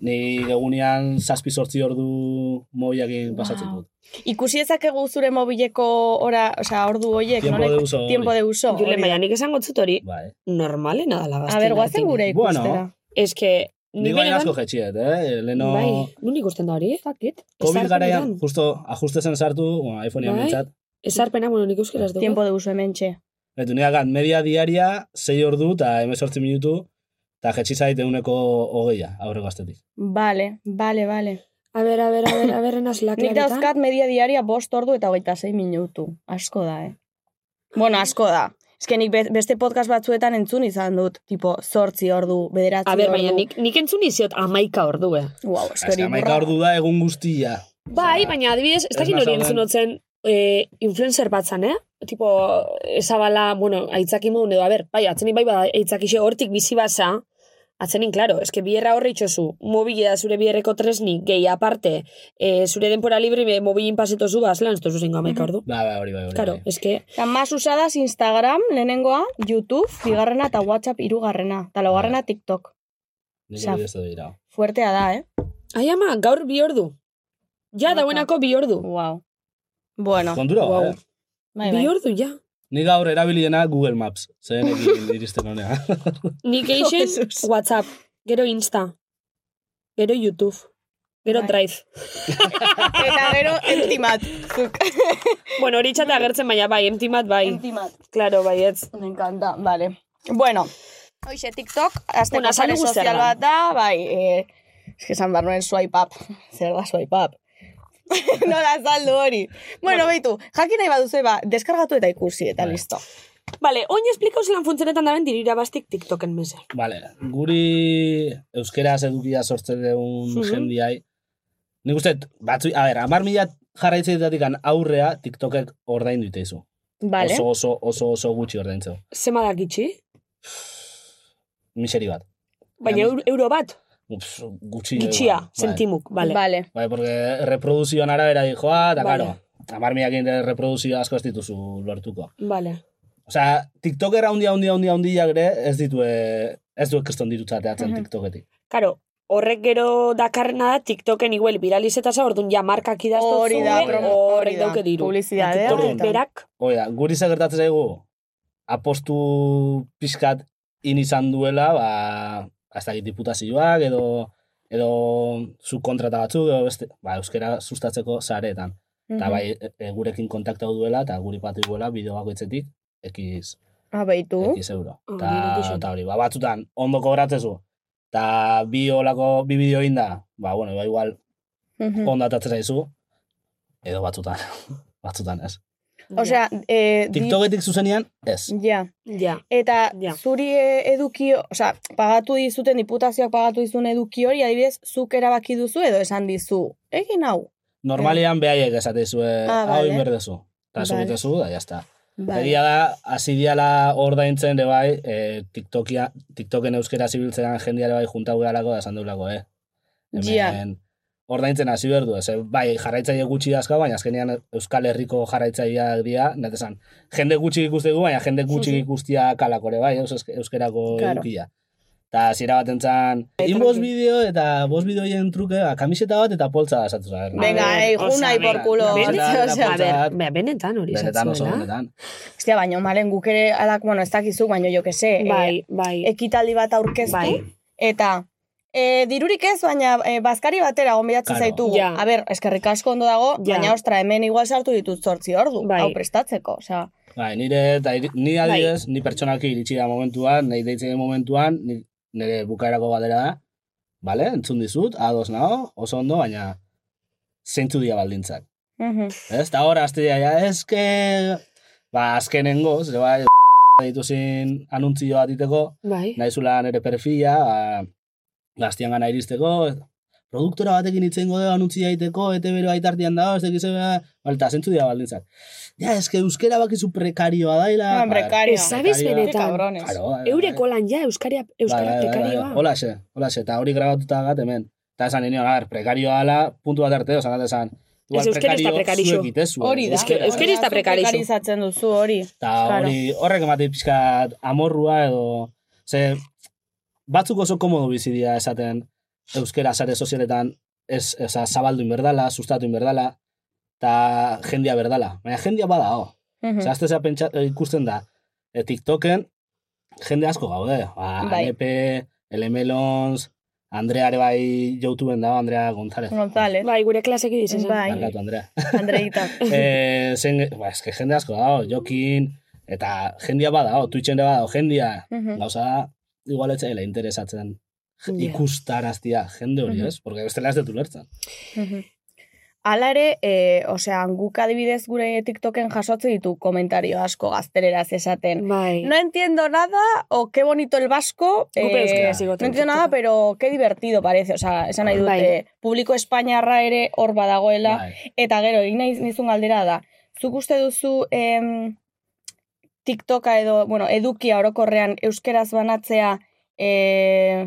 nik egunean zazpi sortzi ordu mobilakin pasatzen
Wow.
dut.
Ikusi ezakegu zure mobileko ora, osea, ordu
Ah,
hoiek,
Tiempo
nola-
de uso hori.
tiempo de uso.
Julen,
hori da.
baina nik esango zut hori
Bai.
normalena dala
A
gaztena.
ber, guazen gure
Bueno.
ikustera.
Ez que
Nik baina asko jetxiet, eh? Leheno,
Bai, nun ikusten da hori? Zakit.
COVID garaian, justo ajuste zen sartu, bueno, iPhonean
Bai.
bintzat,
Ezarpena, bueno, nik euskera ez dugu.
Tiempo de uso hementxe.
Betu nire akat, media diaria, 6 ordu eta 18 minutu, eta jetxi zait eguneko hogeia, aurreko astetik.
Vale, vale, vale.
A ber, a ber, a ber, a ber, enaz
Nik
laklaretan.
dauzkat media diaria bost ordu eta hogeita zei minutu. Asko da, eh? Bueno, asko da. Ez que nik be- beste podcast batzuetan entzun izan dut, tipo, zortzi ordu, bederatzi
A ber,
ordu.
baina nik, nik entzun iziot amaika ordu, eh.
Wow, ez que
Azka,
hori
maika
burra.
ordu da egun guztia.
Bai,
Osea,
baina adibidez, ez
ez
dakit hori
nazaudan.
entzun otzen e, influencer bat zan, eh? Tipo, ezabala, bueno, aitzaki modun edo, a ber, bai, atzenin bai, bai, aitzakixe hortik bizi baza, atzenin, claro, eske bierra horre itxozu, mobile da zure bierreko tresni, gehi aparte, e, zure denpora libre be, mobilin pasetozu, ba, zelan, ez tozu zingo amaika ordu.
Ba, ba, hori bai, hori.
Claro,
bai.
eske,
Eta más usadas Instagram, lehenengoa, YouTube, bigarrena eta WhatsApp irugarrena. Eta laugarrena TikTok.
Nik
Sa-
hori ez dut dira.
Fuertea da, eh?
ai ama, gaur bi ordu. Ja,
Bata.
dauenako bi ordu.
Wow. Bueno,
Kontura,
Wow.
wow. eh?
bai,
Bi
bai.
ordu, ja.
Ni gaur erabiliena Google Maps, zen egin iristen honea.
Nik eixen
Jesus.
WhatsApp, gero Insta, gero YouTube, gero
Bai.
Drive.
Eta gero, entimat. Zuk.
Bueno, hori txata agertzen baina bai, emptimat bai.
Entimat.
Claro, baietz.
Me encanta, vale. Bueno, hoxe TikTok, azte
Bueno,
bueno,
azaldu
sare sozial
guztiarra.
bat da, bai, eh, es que esan behar nuen swipe up. Zer da swipe up? Nola azaldu hori. Bueno, beitu, jakin nahi baduzu, ba, deskargatu eta ikusi, eta
Bai.
listo.
Vale, oin esplikau zelan funtzionetan daben diru irabaztik TikToken meze.
Vale, guri euskeraz edukia sortzen dugun
Mhm.
jendiai. Nik uste, batzu, a ber, amar mila jarraitzeetatik aurrea TikTokek ordaindu iteizu.
Vale.
Oso, oso, oso, oso gutxi ordaintzeu.
Zema dakitxi?
Miseri bat.
Baina euro, euro bat,
Ups, gutxi.
gitxia,
bai.
sentimuk, vale.
Vale.
Bai, porque reproduzioan arabera dijoa, eta
Bai.
claro, amar milakin reproduzio asko ez dituzu lortuko.
Vale.
Osea, TikToker handia, handia, handia, handia ere ez ditue, ez duek keston dirutza teatzen
Mhm.
TikToketik.
Karo, horrek gero dakarrena da TikToken iguel viralizetasa, orduan ja markak idaztu
Hori da, promo, hori
horrek
da.
dauke diru.
Publizidadea
Eta
eta-
TikTokek berak,
Oia, guri zer gertatzen zaigu, apostu pixkat in izan duela, ba, hasta git diputazioak, edo edo subkontrata batzuk, edo beste, ba, euskera sustatzeko zareetan. Eta bai, e, e, gurekin kontaktau duela, eta guri patu duela bideo bakoitzetik, ekiz,
Ah, beitu.
ekiz euro.
Hori
Ta,
dut esan.
ta hori, ba, batzutan, ondo kobratzezu, eta bi olako, bi bideo inda, ba, bueno, ba, igual,
Mhm.
ondo atatzen zaizu, edo batzutan, batzutan ez.
Osea, eh, di- Eh.
TikToketik zuzenean, ez.
Ja.
Ja.
Eta
Ja.
zuri eh, eduki, osea, pagatu dizuten diputazioak pagatu dizun eduki hori, adibidez, zuk erabaki duzu edo esan dizu. Egin hau.
Normalian behaiek esatezue,
Ah,
hau
bale.
inberdezu. Eta
Bale.
subitezu, da, jazta.
Bai.
Egia da, hasi diala ordaintzen ere bai, eh, TikTokia, TikToken euskera zibiltzean jendia ere bai juntau gehalako da esan dulako, eh? Hemen, ordaintzen hasi behar du, ez, eh? bai, jarraitzaile gutxi dazka, baina azkenean Euskal Herriko jarraitzaileak dira, net esan, jende gutxi ikustegu, baina jende gutxi ikustia kalakore, bai, eus- eus- euskerako
Claro.
edukia. Eta zira bat entzan, in bost bideo eta bost bideoien truke, ba, kamiseta bat eta poltza esatu zaren.
Venga,
A ver,
ei,
osea,
juna
venga.
por culo.
Benetan,
Osea,
A ber,
Benetan.
be- benetan hori
Benetan oso,
zatzuela.
benetan.
Ostia, baina malen guk ere alak, bueno, ez dakizu, baina jo que se,
Bai, bai,
ekitaldi bat aurkeztu,
bai.
eta e, dirurik ez, baina e, bazkari batera gonbidatzen
Claro.
zaitugu.
Ja.
A ber, eskerrik asko ondo dago,
Ja.
baina ostra, hemen igual sartu ditut zortzi ordu,
Bai.
hau prestatzeko, osea.
Bai, nire, eta iri- ni adibidez, ni pertsonalki iritsi da momentuan, nahi deitzen den momentuan, ni- nire bukaerako badera da, bale, entzun dizut, ados nao, oso ondo, baina zeintzu dira baldintzak.
Mhm.
Ez, eta hor, azte dira, ja, eske, ba, azkenengo, zera bai, deitu zin anuntzio bat iteko,
Bai.
naizula nire perfila, ba, gaztian gana iristeko, produktora batekin itzengo dugu anuntzia egiteko, E ete bero aitartian dago, ez dakiz, balta, zentzu dira baldintzak. Ja, eske euskera bakizu prekarioa daila.
Ah,
ba,
prekario.
Ez zabiz
Prekarioa.
Qué
Eh, benetan.
cabrones.
Claro, bai, bai,
Eureko lan ja, euskaria, euskara prekarioa.
Hola, xe, hola, xe, eta hori grabatuta gat hemen. Eta esan nion, a ber, prekarioa ala, puntu bat arte, osan, esan,
Ez, euskera ez da prekarixo.
zuek itezu.
Hori da.
euskera.
euskera ez da
Hori zu
prekarizu.
prekarizatzen duzu hori.
Eta
Claro.
hori, horrek emate pixkat amorrua edo, ze, batzuk oso komodo bizi dira esaten euskera sare sozialetan ez, oza, zabaldu inberdala, sustatu inberdala, eta jendia berdala. Baina jendia bada, oh.
Mhm.
Osea, azte zea pentsa, e, ikusten da, e, TikToken jende asko gaude. Ba,
Bai.
Anepe, Elemelons, Andreare bai youtuben dago, Andrea González.
González,
Bai, gure klaseki dizen.
Eh? bai,
Barkatu, Andrea.
Andreita.
e, zen, ba, eske jende asko dago, jokin, eta jendia badao, Twitchen ere badao, jendia.
Mhm.
Gauza da, igual ez zaila interesatzen
Ja.
ikustaraztia jende hori,
Mhm.
ez? Porque bestela ez dut ulertzen.
Mhm. Hala ere, e, osea, guk adibidez gure TikToken jasotze ditu komentario asko gazteleraz esaten.
Bai.
No entiendo nada, o qué bonito el vasco.
Gupe
eh,
euskara
no
zigoten.
entiendo nada, pero qué divertido parece. Osea, esan nahi dute,
Bai.
publiko espainiarra ere hor badagoela.
Bai.
Eta gero, egin nahi nizun galdera da, zuk uste duzu em, TikToka edo, bueno, edukia orokorrean euskeraz banatzea eh,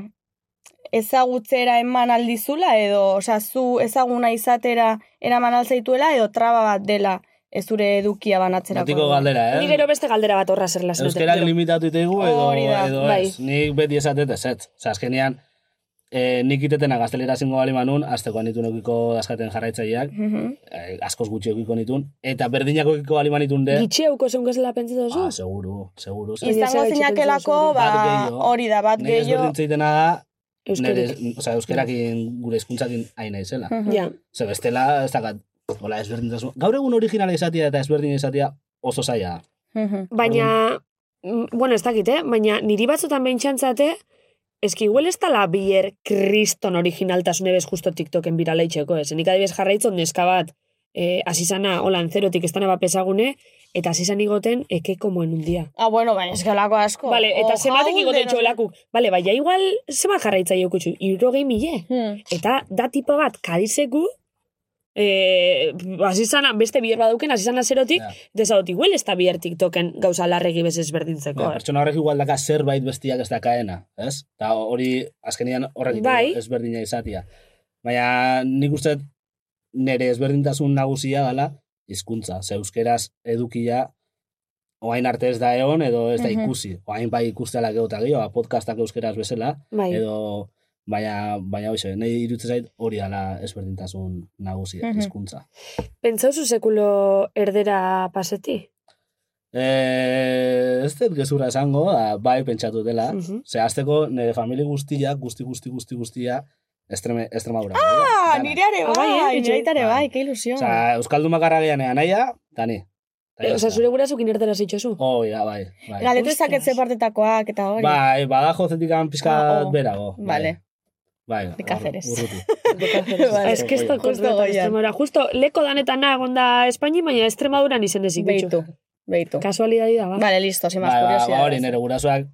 ezagutzera eman aldizula edo, osea, zu ezaguna izatera eraman alzaituela edo traba bat dela ez zure edukia banatzerako.
Betiko galdera, eh?
Ni gero beste galdera bat horra zer lasen.
Euskera limitatu itegu edo,
Hori da,
edo ez. Nik beti esatet ez ez. Osa, azkenean, eh, nik itetena gaztelera zingo bali manun, azteko nituen eukiko daskaten jarraitzaileak,
Mhm.
eh, askoz gutxi eukiko nitun, eta berdinako eukiko bali manitun de,
Gitxe hauko zeunkazela pentsatu
ah,
duzu?
seguru, seguru.
Baina
Izango
zera
zinakelako,
etxeko zentzun
ba,
bat gehiago.
hori da, bat
Nei ez
gehiago.
berdintzeitena da, nere,
Euskarik.
oza, euskerakin gure hizkuntzakin aina izela.
Mhm.
Ja,
Zer, bestela, ez dakat, hola, ezberdintasun. Gaur egun originala izatea eta ezberdin izatea oso zaila. da.
Mhm.
Baina, mm, bueno, ez dakit, eh? Baina niri batzutan behintxantzate, eski igual ez tala bier kriston originaltasune bez justo TikToken birala itxeko, ez? Nik adibidez jarraitzon neska bat, eh, azizana, hola, enzerotik ez dana bapesagune, eta azizan igoten, eke como en un día.
Ah, bueno, baina eskalako asko.
Vale, eta
O
zematek
jaun
igoten
dena-
txolakuk. Vale, baina igual, zema jarraitza jokutxu, irrogei mile.
Mhm.
Eta da tipa bat, kadizeku, eh, azizana, beste bier baduken, azizana zerotik,
Ja.
Eta ez dut, igual ez da bihar TikToken gauza larregi bez ezberdintzeko.
Ja,
eh?
pertsona horrek igual daka zerbait bestiak ez dakaena, ez? Eta hori, azkenean horrek
Bai.
bai. ezberdina izatia. Baina nik uste dut nire ezberdintasun nagusia dala hizkuntza. Ze euskeraz edukia oain arte ez da egon edo ez da
Mhm.
ikusi. Oain bai ikusteala gero eta gehiago, ba, podcastak euskeraz bezala,
Bai.
edo baina, baina hoxe, nahi irutzen zait hori dala ezberdintasun nagusia,
Mhm.
hizkuntza.
Pentsauzu sekulo erdera paseti?
Eh, ez dut gezurra esango, da, bai pentsatu dela.
Mhm.
Ze, azteko nire familia guztia, guzti, guzti, guzti, guztia, estreme, extremadura.
Ah, nireare
Ah, bai,
bai,
eh,
bai,
bitxo.
nireitare
Bai.
bai, que ilusión.
Osa, Euskaldun bakarra gehan ean aia, eta ni. Eta
Eh,
jazta.
Osa, zure gurasukin erdera zitxozu?
Hoi, da, bai. bai.
Galdetu ezaket ze partetakoak eta hori.
Bai, badajo zetik pizka
Ah,
ah,
oh.
berago. bai.
Vale.
Bai,
De Cáceres.
ur- urruti.
Vale.
Ba, Ez que ez da
Justo
kontra
goian.
Extremadura. Justo, leko danetan nagon da Espaini, baina Extremaduran izen ezik
Beitu,
bitxu.
beitu.
Kasualidadi da, ba.
Vale, listo, sin más
Bai, ba, ba,
curiosidades.
hori nire gurasoak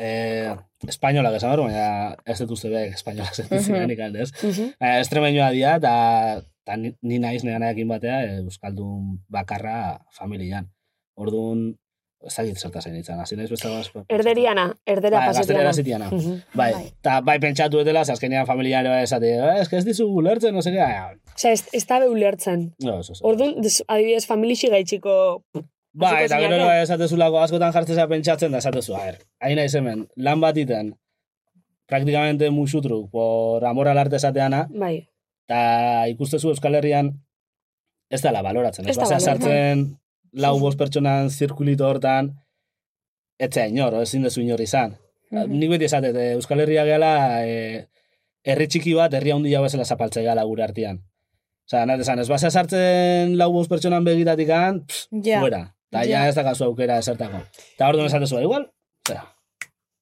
eh, espainolak esan hori, baina ez dut uste behar espainolak zen
Mhm.
zirenik alde, ez?
Mhm.
Eh, Estremeñoa dira, eta ta ni, ni naiz nire naekin batea eh, Euskaldun bakarra familian. Orduan, ez dakit zerta zen itzan, hasi naiz beste gaz.
Erderiana, erdera
Bai, gaztelera
pasetiana.
zitiana.
Mhm.
Bai,
Bai.
eta bai pentsatu etela, azkenean familia ere bai esate, "Eh, ez que ez dizu gulertzen, no seke,
Osea, ez, ez da beulertzen.
no, eso, eso.
Orduan, des- adibidez, familixi gaitxiko...
Ba,
Hasiko
eta
zinate.
gero ere esatezulako askotan jartzea pentsatzen da esatezu, a ber, hain naiz hemen, lan batiten, praktikamente musutruk, por amor al arte esateana,
Bai,
eta ikustezu Euskal Herrian, ez dela baloratzen, ez,
Ez da
Bazea
baloratzen.
sartzen lau bost pertsonan zirkulito hortan, etxe inor, ezin dezu inor izan. Nik beti esatet, eh, Euskal Herria gela, eh, herri txiki bat, herri handia bezala zapaltze gala gure artean. Osea, nahi esan, ez bazea sartzen lau bost pertsonan begitatik an,
Ja.
fuera. Eta ja
Ja.
ez da gazu aukera esertako. Eta orduan esatezu, igual, zera.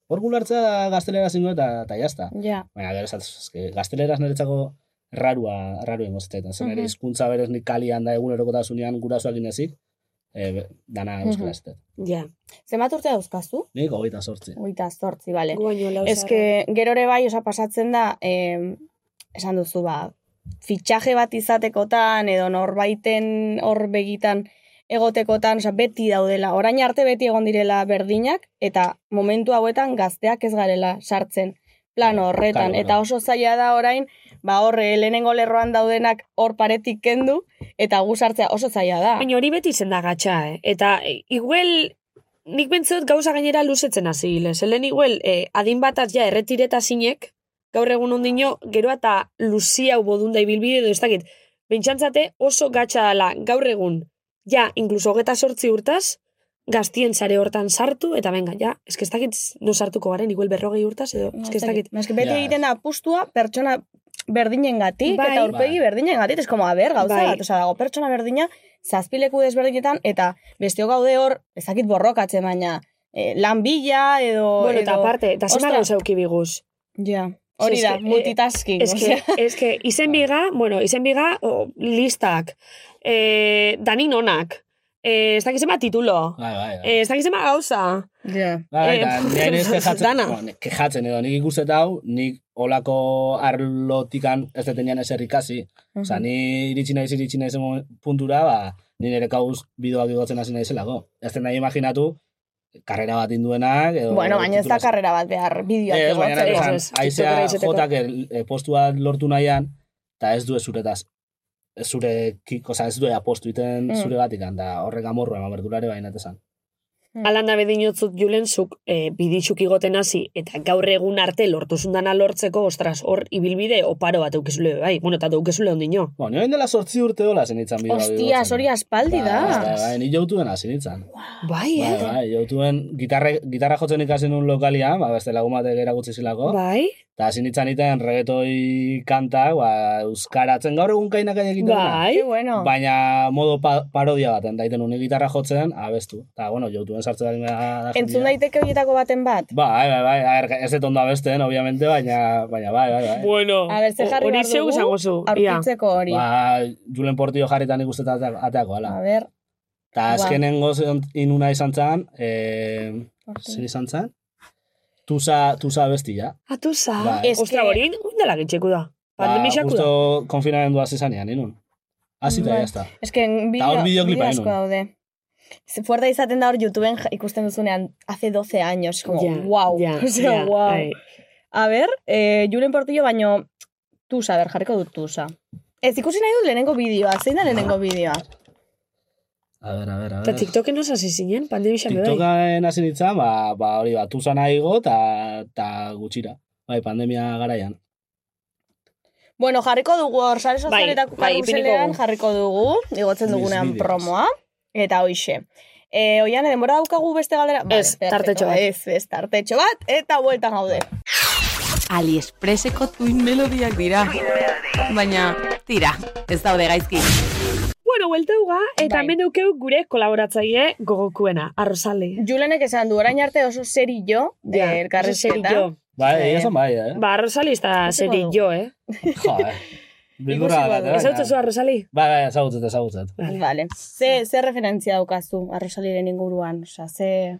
Hor gulartza gaztelera zingo eta, eta jazta.
Ja.
Baina gero esatezu, eske, gazteleraz niretzako rarua, raru egon zitzaitan. Zer nire
Mhm.
hizkuntza berez nik kalian da egunerokotasunean gurasoak inezik, e, be- dana euskara
Mhm.
ez dut.
ja.
Zenbat urte dauzkazu?
Nik hogeita sortzi.
Oita zortzi, bale.
Gu baino lau
Ez que gero ere bai, osa pasatzen da, eh, esan duzu, ba, fitxaje bat izatekotan, edo norbaiten hor begitan egotekotan, osa, beti daudela. Orain arte beti egon direla berdinak, eta momentu hauetan gazteak ez garela sartzen plano horretan.
Claro,
Eta
claro.
oso zaila da orain, ba horre, lehenengo lerroan daudenak hor paretik kendu, eta gu sartzea oso zaila da.
Baina hori beti izen da gatxa, eh? Eta e, igual, nik bentzeot gauza gainera luzetzen hasi gile. Zelen igual, eh, adin bataz ja erretireta zinek, gaur egun ondino, gero eta luzi hau bodunda ibilbide edo ez dakit. Bentsantzate oso gatxa dela gaur egun, ja, inkluso hogeta sortzi urtaz, gaztien sare hortan sartu, eta benga, ja, eske ez dakit no sartuko garen, igual berrogei urtaz, edo,
No,
eske ez dakit.
Baina, eske beti
Ja.
egiten da apustua pertsona berdinengatik
Bai.
eta aurpegi
Bai.
berdinengatik, es como a ber, gauza
Bai.
bat, osea, dago pertsona berdina zazpileku desberdinetan eta bestio gaude hor, ezakit borrokatzen baina eh, lan bila edo
Bueno, eta
edo
aparte, eta zema
Ostra.
gauza euki biguz.
Ja. Hori
Ze
da,
eske, eh,
multitasking.
Es que,
osea.
es que izen biga, bueno, izen biga o, listak, eh, danin onak, eh, ez dakizema titulo,
Bai, bai, bai.
eh, ez dakizema gauza.
Ja.
Eh,
Bai, eta nire nire kejatzen,
dana.
no, ni- kejatzen edo, nik ikustet hau, nik olako arlotikan ez detenian ezer ikasi. Osa, ni iritsi naiz, iritsi naiz emo- puntura, ba, ni nire kauz bidoak igotzen hasi naizelako. Ez den nahi imaginatu, karrera bat induenak, edo...
Bueno, baina ez da
titulaz-
karrera bat behar bideoak
Ez, Eh, baina
egotzen.
nahi
egotzen,
esan,
ez, ez,
aizea
tiktokera izateko.
jotak el- eh, postua lortu nahian, eta ez du ez zuretaz. Ez zure, kik, oza, ez du apostu iten
Mm.
zure gatik, da horrek amorru eman berdurare baina esan.
Alanda bedinotzut julentzuk eh, biditxuk igoten hasi eta gaur egun arte lortuzun dana lortzeko, ostras, hor ibilbide oparo bat eukezule, bai, bueno, eta eukezule ondino.
Bueno, nioen dela sortzi urte hola zenitzan bidoak
Ostias, hori aspaldi
Bai,
da.
bai, ni joutuen hasi nintzen.
Bai,
Bai,
eh?
bai, joutuen gitarra, gitarra jotzen ikasi nun lokalian, ba, beste lagun batek erakutsi zilako.
Bai,
Eta hasi nintzen iten regetoi kanta, ba, euskaratzen gaur egun kainak kainak egiten dena.
bai.
Ke bueno.
Baina modo pa parodia baten, daiten une gitarra jotzen, abestu. Eta, bueno, joutuen sartzen ari da
Entzun daiteke horietako baten bat.
Bai, bai, bai, a ver, ez dut ondo abesten, obviamente, baina, baina, bai, bai, bai.
Bueno,
A ber, ze jarri
hori
behar
zeu
dugu?
zango zu, ia.
Aurkitzeko hori.
Ba, Julen Portillo jarritan ikusten ateako, ateako,
A
ala.
ber.
Eta
Ba.
azkenengo zen- inuna izan zen, eh, zer izan zen? Tusa, tusa bestia.
Atuza.
Bai. Ba,
Ez
Ah, Ostra,
que-
hori indela gitxeku da. Pandemixaku da.
Justo konfinamendu hasi zanean, inun. Hasi eta
Bai.
jazta.
Ez que
Ta
bideo,
hor bideoklipa
bideo asko
inun.
daude. Ze Fuerte izaten da hor YouTubeen ja- ikusten duzunean hace 12 años, como
Ja,
wow.
ja,
o sea,
ja,
wow.
bai.
A ber, eh, Julen Portillo baino tusa, a ber, jarriko dut tusa. Ez ikusi nahi dut lehenengo bideoa, zein da lehenengo bideoa?
A ber, a ber, a
Eta
ber.
TikToken osa zizinen, pandemixan bebai.
TikTokan hasi nintzen, ba, ba hori bat, tusa nahi go, eta ta gutxira. Bai, pandemia garaian.
Bueno, jarriko dugu hor, sare sozialetako
bai, ipiniko
karruselean
dugu.
jarriko dugu, igotzen dugunean
Bizbideos.
promoa, eta hoixe. E, oian, denbora daukagu beste galdera? Vale,
Ez,
perfecto,
tartetxo bat.
Ez, ez, tartetxo bat, eta bueltan gaude.
Aliexpreseko tuin melodiak dira. Baina, tira, ez daude gaizki.
Bueno, huelteuga, eta
Bai.
hemen daukeu gure kolaboratzaile gogokuena, arrozale.
Julenek esan du, orain arte oso serio, jo, elkarrizketa.
Bai,
Eh,
egia esan bai, eh?
Ba, Rosalista
Ikusiko
seri
dugu.
jo, eh?
Jo, eh? Bildurra
Ikusi
bat,
badu.
eh?
Ez hau zua, Rosali?
Bai, bai, ezagutzen, ezagutzen.
Vale. Ze, ze referentzia daukazu arrosaliren inguruan? Osa, ze...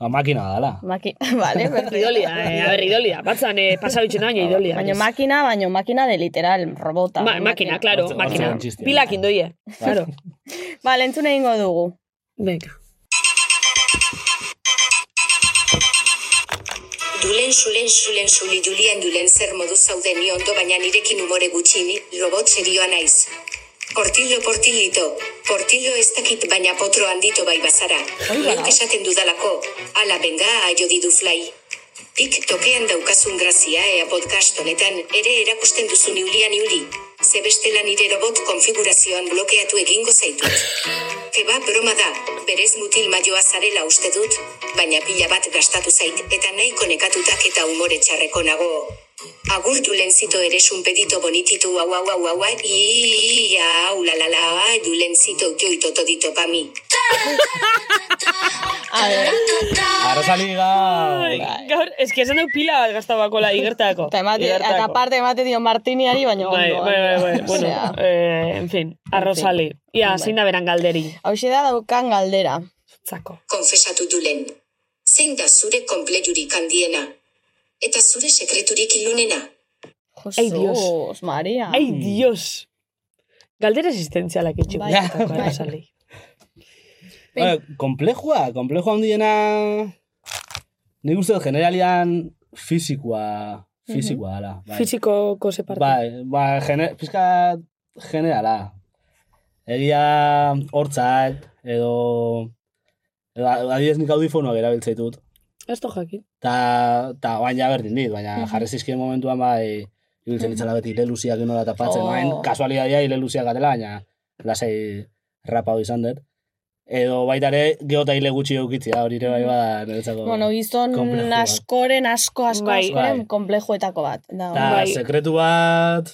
Ba, makina dala.
Maki... Vale,
Idolia, eh, a ber, idolia. Batzan, eh, pasabitzen baina idolia.
Baina makina, baino makina de literal, robota.
Ma, makina, claro,
Hortze-
makina.
hortzean txistia.
Pilak indoie, claro.
Vale, entzun egingo dugu.
Venga.
Dulen sulen sulen suli julian dulen zer modu zauden ni ondo baina nirekin umore gutxini, robot serioa naiz. Portillo portilito, portillo ez dakit baina potro handito bai bazara. Nik esaten dudalako, ala benga aio didu fly. TikTokean daukazun grazia ea podcast honetan ere erakusten duzu niulian niuli. Ze bestela nire robot konfigurazioan blokeatu egingo zaitut. Keba broma da, berez mutil maioa zarela uste dut, baina pila bat gastatu zait eta nahiko nekatutak eta umore txarreko nago. Agur dulencito eres un pedito bonitito guau guau guau guau guau ia la la la dulencito yo y totodito pa mí.
A ver,
Arrozali gau!
Gaur, eski esan deu pila bat gazta bakola igertako.
Bai. eta emate, eta parte emate dio Martiniari, baino
Bai,
ondo.
bai, bai, bai. Bueno,
Osea,
eh, en fin, a Rosali.
Bai.
Ia, zein da beran galderi.
hauxe da daukan galdera.
Zako.
Konfesatu dulen. Zein da zure komplejurik handiena? Eta zure sekreturik ilunena?
Jesus,
Ei, Dios.
Maria.
Ai, dios! Galdera existentzialak itxik
Bai,
gustatuko,
bai.
Rosali.
Ba, komplejua, komplejua handiena... Nik uste dut generalian fisikoa, fisikoa dala. Bai.
Fizikoko ze parte.
Bai, ba, gene, pizka generala. Egia hortzak, edo... edo adidez nik audifonoak erabiltzen ditut.
Ez du jakin.
Ta, ta guain ja berdin dit, baina jarri zizkien momentuan bai, ibiltzen itzala beti ileluziak inola tapatzen,
Oh.
oh. bain, kasualidadia ileluziak atela, baina lasai rapau izan dut. Edo baita ere, geota hile gutxi eukitzia, hori ere bai bada niretzako.
Bueno, gizon
Komplejo bat.
askoren, asko, asko,
Bai.
askoren
Bai.
komplejoetako bat. Da,
Ta
bai.
sekretu bat...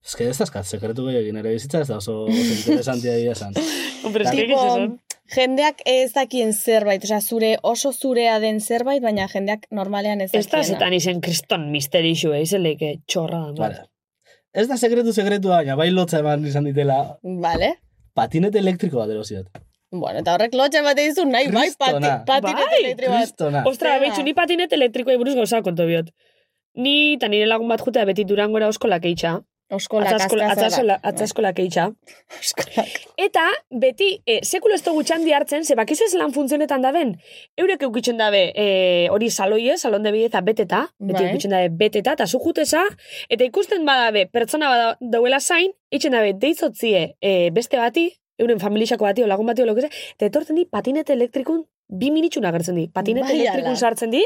Ez que ez dazkat, sekretu gehiagin ere bizitza ez da oso, oso interesantia dira esan.
Hombre,
Claro.
eski
tipo,
egiz esan.
jendeak ez dakien zerbait, osea, zure oso zurea den zerbait, baina jendeak normalean ez
Ez da
dakiena.
zetan izen kriston misterixu, eh? Izelek eh, txorra da.
Vale. Ez da sekretu sekretua, baina bai lotza eman izan ditela
Vale.
patinete elektriko bat erosiot.
Bueno, eta horrek lotxa bat dizu nahi, bai, pati,
Kristona.
patinete
Bai,
elektri bat.
Kristona.
Ostra,
Zera.
behitxu, ni patinet elektrikoa buruz gauza konto biot. Ni eta nire lagun bat jutea beti durangora oskolak eitxa.
Oskola,
Atzaskola, atzaskola, atzaskolak eitxa. Eta beti, e, sekulo ez dugu txandi hartzen, ze bakizu ez lan funtzionetan daben. Eurek eukitzen dabe e, hori saloie, salon de bideza beteta, beti
Bai.
eukitzen dabe beteta, eta zu jutesa, eta ikusten badabe pertsona bada dauela zain, itxen dabe deizotzie e, beste bati, euren familixako bati, o lagun bati, o lo que sea, eta etortzen di patinete elektrikun, bi minitxun agertzen di, patinete
Bai, ala.
elektrikun sartzen di,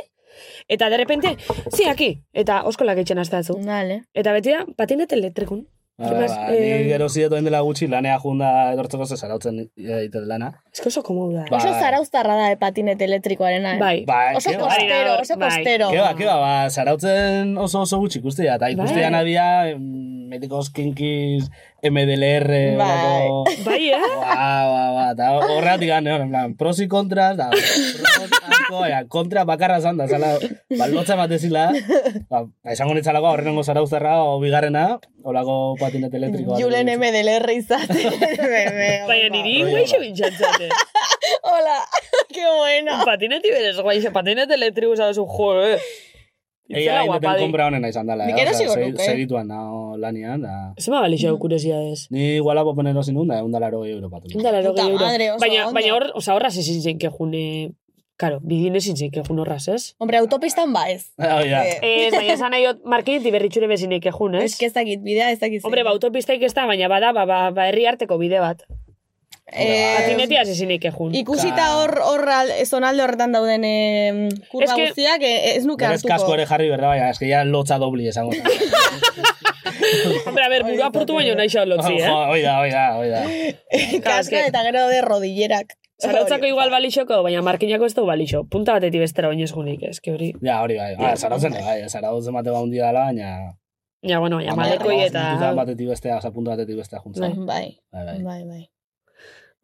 eta derrepente, zi, aquí, eta oskolak itxen astatzu.
Dale.
Eta beti da, patinete elektrikun.
Ba,
Beraz,
ba,
eh,
Ni gero zidetu dela gutxi, lanea junda edortzeko ze zarautzen egiten lana.
Ez que oso komodu da. eh?
Ba,
Oso
Bai.
zarauztarra da eh, patinete elektrikoarena. eh?
Bai.
Ba,
Oso
ke ba.
kostero, oso
Bai.
kostero.
Ke ba, ke ba, ba, zarautzen oso oso gutxi ikustea, eta ikustea
Bai.
nabia, em, metikos kinkiz, MDLR,
Bai.
horako...
Bai, eh?
Ba, ba, ba, eta horretik gane, en plan, pros y contras, da, pros, asko, baina, kontra bakarra zan da, zala, ba, lotza bat ezila, ba, esango nitzalako horrengo zarauztarra, o bigarrena, olako patinete elektriko. bat.
Julen M del R izate.
Baina
Baina
niri
Bai,
guaixo
bai.
bintxantzate.
Hola, qué bueno.
Patineti berez guaixo, patinete elektriku zabezu, jo, eh.
Egia
Itzela
da, indeten
guapadi.
kompra honena izan dela.
Nik eh. erosiko nuke.
Segituan nao lanian, da...
Zema balixo kuriosidades.
Ni iguala popen erosin duen, da, egun dala erogei euro patu.
Indala laro
Puta
gehi euro.
madre, oso
Baina,
ondo.
baina hor, oza, horraz ezin zein kejune... Karo, bidin ezin zein kejun horraz, ez?
Hombre, autopistan ba ez.
Hori da.
Eh,
Ez, baina esan nahi hot markinetik berritxure bezinek kejun, ez?
Ez que ez dakit, bidea ez dakit.
Hombre, ba, autopistaik ez da, baina bada, ba, ba, ba herri arteko bide bat.
Eh,
Patinetia zizinik ejun.
Ikusita hor hor al- zonalde horretan dauden eh, kurba
Es que-
guztiak eh, ez nuke
Berez kasko
hartuko.
ere jarri berda, baina, eske ja lotza dobli esango. zen.
Hombre, a ber, burua portu baino nahi xao lotzi, eh?
Ah, Jo, Hoi da, hoi da, hoi da.
Kaska eta gero daude rodillerak.
Zarautzako igual balixoko, baina markinako ez du balixo. Punta batetik bestera baino ez gunik, ez que hori.
Ja, hori bai. Ah, zarautzen, bai, zarautzen bate ba hundi dala, baina...
Ja, bueno, ja, malekoi
Hamalau
eta...
puntutan batetik bestea, oza, puntu batetik bestea juntzen.
Bai,
Bai, bai.
bai, bai.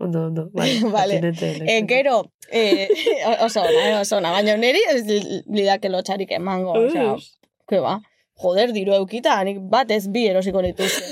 Ondo, ondo. Bai,
Vale.
pertinente, lekua.
Eh, gero, eh, oso ona, oso ona, baina niri ez li- lidake lotxarik emango, osea,
Uy.
que ba, joder, diru eukita, nik bat ez bi erosiko nituzke.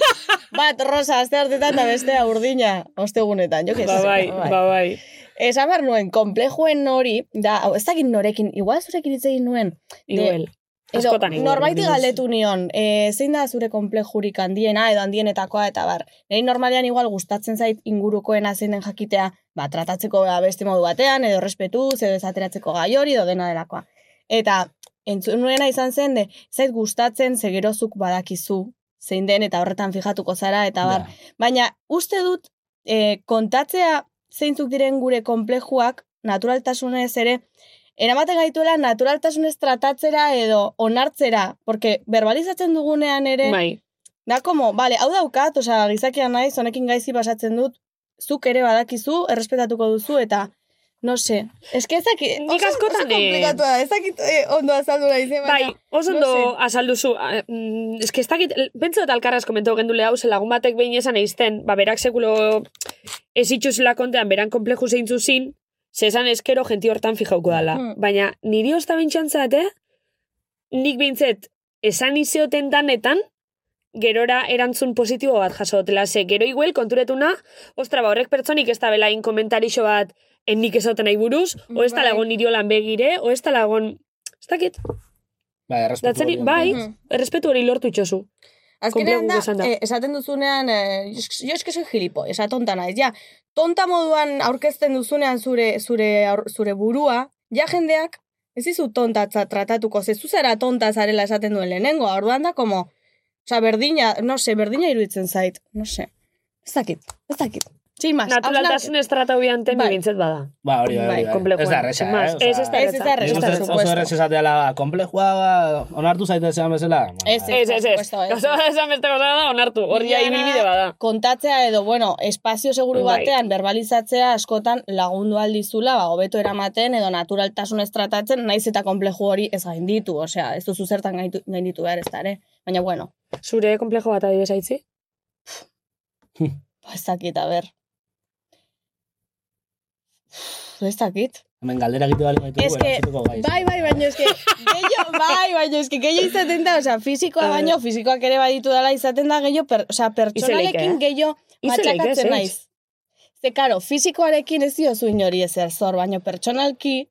bat rosa azte hartetan eta bestea urdina, ostegunetan, jo que
Ba, bai, ba, bai.
Esan behar nuen, komplejuen hori, da, hau, ez dakit norekin, igual zurekin hitz egin nuen,
Igual.
Edo,
Askotan igual.
norbaiti
berdin duzu.
galdetu nion, e, zein da zure komplejurik handiena edo handienetakoa eta bar. Nei normalean igual gustatzen zait ingurukoena zein den jakitea, ba, tratatzeko ba, beste modu batean, edo respetuz, edo ezateratzeko gai hori, edo dena delakoa. Eta entzun nuena izan zen, de, zait gustatzen ze gerozuk badakizu, zein den eta horretan fijatuko zara, eta bar.
Ja.
Baina uste dut e, kontatzea zeintzuk diren gure komplejuak naturaltasunez ere eramaten gaituela naturaltasunez tratatzera edo onartzera, porque verbalizatzen dugunean ere
Bai,
da como, vale, hau daukat, osea, gizakia naiz, honekin gaizki pasatzen dut, zuk ere badakizu, errespetatuko duzu eta no se. Eske ez dakit,
Nik
oso, oso
askotan, eh,
komplikatu da, ez dakit eh, ondo azaldu nahi zen,
bai,
baina-
oso ondo
no
azaldu zu. Ah, mm, Ez que ez dakit, pentsa dut alkarraz komentau gendule hau, ze lagun batek behin esan eizten, ba, berak sekulo ez itxuzela kontean, beran kompleju zeintzu zin, ze esan eskero jenti hortan fijauko dala.
Mm.
Baina, niri osta bintxan zate, nik bintzet, esan izeoten danetan, gerora erantzun positibo bat jaso dutela. Ze, gero iguel konturetuna, ostra, ba, horrek pertsonik ez da belain komentarixo bat, en nik esaten nahi buruz, o ez da
Bai.
lagon niriolan begire, o ez da lagon... Ez dakit,
Bai, errespetu
Datzari,
hori.
bai,
Mhm.
errespetu hori lortu itxosu.
Azkenean
Konplexu
da,
esan da.
eh, esaten duzunean, eh, jo eske soy gilipo, esa tonta naiz, ja. Tonta moduan aurkezten duzunean zure, zure, aur- zure burua, ja jendeak ez dizu tontatza tratatuko, ze zu zara tonta zarela esaten duen lehenengo, orduan da, como, osa, berdina, no se, berdina iruditzen zait, no se. Ez dakit, ez dakit. Txin mas,
Naturaltasun ez trata hobian temi
Bai.
bintzet bada.
Ba, hori, hori,
Bai,
hori.
komplexua,
Ez da erresa,
sin más.
eh? Osea,
Ez, ez da
Ez, ez da
nik
erresa,
uste dut Oso
supuesto.
errez esateala, ba, komplejua, ba, onartu zaiten zean bezala. Bueno,
Ez,
bai.
Ez, ez, ez.
supuesto, ez.
Gauza bat esan beste gauza bat da onartu. Hori ja
Bilana-
ibilbide bada.
kontatzea edo, bueno, espazio seguru
Bai.
batean verbalizatzea askotan lagundu aldizula, ba, hobeto eramaten edo naturaltasun tratatzen, naiz eta kompleju hori ez gainditu, osea, ez duzu zertan gaitu- gainditu behar ez da, ere. Baina, bueno,
Zure komplejo bat adibidez aitzi?
ba, ez dakit, a ber. Uf, Ez dakit.
Hemen galdera egite bali gaitu,
Ez que- Bai, bai, baina eske, gehiago, bai, baina eske, gehiago izaten da, osea, fisikoa
Bai.
baino, fisikoak ere baditu dela izaten da gehiago, per, osea, pertsonalekin
eh?
gehiago
Izelik, ez,
matxakatzen
ez?
naiz. Ze, karo, fisikoarekin ez diozu inori ezer zor, baino pertsonalki, eh,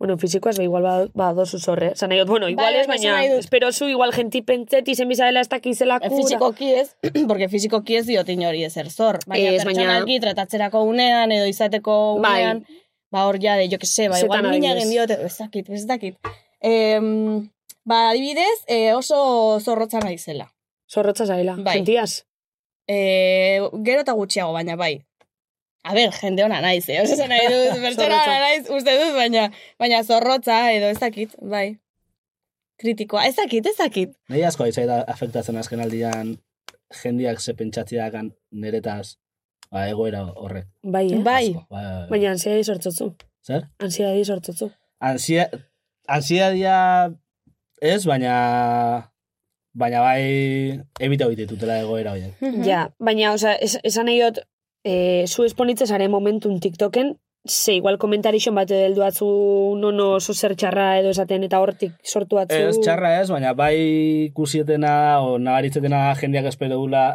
Bueno, fisikoaz ba igual ba- badozu zorre. Zan nahi dut, bueno, igual
Bai,
ez,
baina esan
baina
nahi dut.
espero zu igual genti pentset izen bizadela ez dakizela
eh,
kura.
fisikoki ez, porque fisikoki ez diot inori ezer zor, baina
Ez, baina-
pertsonalki tratatzerako unean, edo izateko
Bai.
unean, ba, hor ja, de, jo que se, ba,
Zetan
igual mina
adibidez.
egin diote, ez dakit, ez dakit. Em, ba, adibidez, eh, oso zorrotza naizela.
Zorrotza zaila.
Bai.
Gentiaz.
E, gero eta gutxiago, baina bai. A ber, jende ona naiz, eh? Oso nahi dut, pertsona
Zorrotza.
ona naiz, uste dut, baina, baina zorrotza edo ez dakit, bai. Kritikoa, ez dakit, ez dakit.
Nei asko aizai da afektatzen azken aldian jendiak ze pentsatziakan neretaz ba, egoera horrek.
Bai, eh?
Bai,
Asko, bai, bai, bai.
Baina ansiadi sortzotzu.
Zer?
Ansiadi sortzotzu.
Ansia, ansiadia ez, baina baina bai ebita hori ditutela egoera horiek.
Ja, baina, oza, es, esan nahi dut, e, zu esponitzen zare momentun TikToken, ze igual komentarixon bat edo atzu nono oso zer txarra edo esaten eta hortik sortu atzu.
Ez txarra ez, baina bai ikusietena o nabaritzetena da jendeak espero dula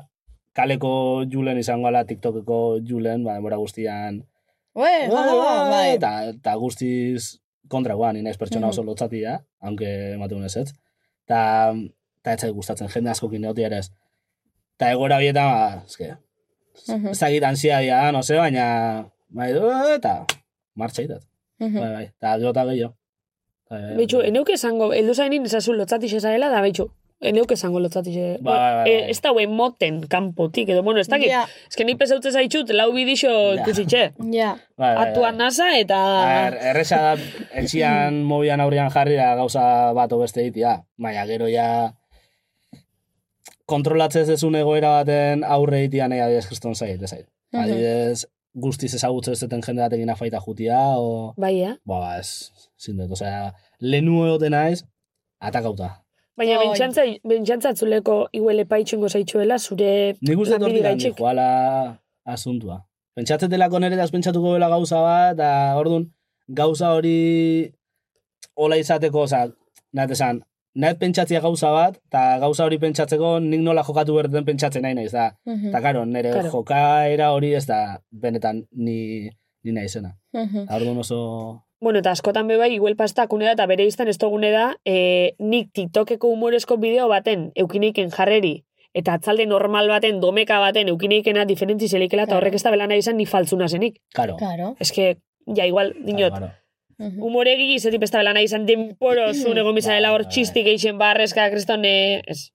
kaleko julen izango ala TikTokeko julen, ba, denbora guztian
Ue, bai,
Eta, eta guztiz kontra guan, inaiz pertsona
Mhm.
oso lotzati da, haunke ematen ez ez. Ta, ta etzai gustatzen, jende askokin neotia ere ez. Ta egora horietan, ba, eske,
Mhm.
ez dakit ansia dia da, no se, baina, bai, eta martxa itat.
Mhm. Mm.
Bai, bai, eta gero eta gehiago. Bai, bai,
Betxu,
bai.
eneuk esango, eldu zainin esazu lotzatixe zarela, da betxu, eneuk esango lotzatixe.
Bai, bai, bai.
E, ez da hue moten kanpotik, edo, bueno, ez dakit.
Ja,
Ez que ni pesautze zaitxut, lau bidixo
Ja.
ikusitxe.
ja.
Bai, bai, bai.
Atua nasa eta...
A ber, Erresa da, etxian mobian aurrean jarri da gauza bat beste ditia. Baina gero ja kontrolatzez dezun egoera baten aurre ditia nahi adibidez kriston zait, ez zait.
Mhm.
Adibidez, guztiz ezagutzen ez duten jende batekin afaita jutia, o...
Bai, eh?
Ba, ez, zindet, osea, lehenu egoten naiz, atakauta.
Baina
Oi.
bentsantza, bentsantza atzuleko iguele paitxungo zaitxuela, zure
Nik uste
lanbide
tortik handi
gaitxik.
joala asuntua. Pentsatzen delako neretaz pentsatuko bela gauza bat, da ordun gauza hori hola izateko, oza, nahet esan, nahet pentsatzea gauza bat, eta gauza hori pentsatzeko nik nola jokatu behar den pentsatzen nahi naiz, da.
Mhm.
Eta karo, nire
Claro.
jokaera hori ez da benetan ni, ni naizena.
Mhm.
Ta Orduan oso...
Bueno, eta askotan bebai, igual pasta kuneda eta bere izten ez dugune da, eh, nik TikTokeko humorezko bideo baten eukineiken jarreri, eta atzalde normal baten, domeka baten, eukineikena diferentzi zelikela, eta
Claro.
horrek ez da belana izan ni faltzuna zenik.
Karo.
Claro.
Ez que, ja, igual, dinot,
Claro,
Mhm.
humoregi izetip ez da belana izan denporo zuen egon bizarela hor
Bai, bai.
txistik eixen barrezka, kriston, eh, ez.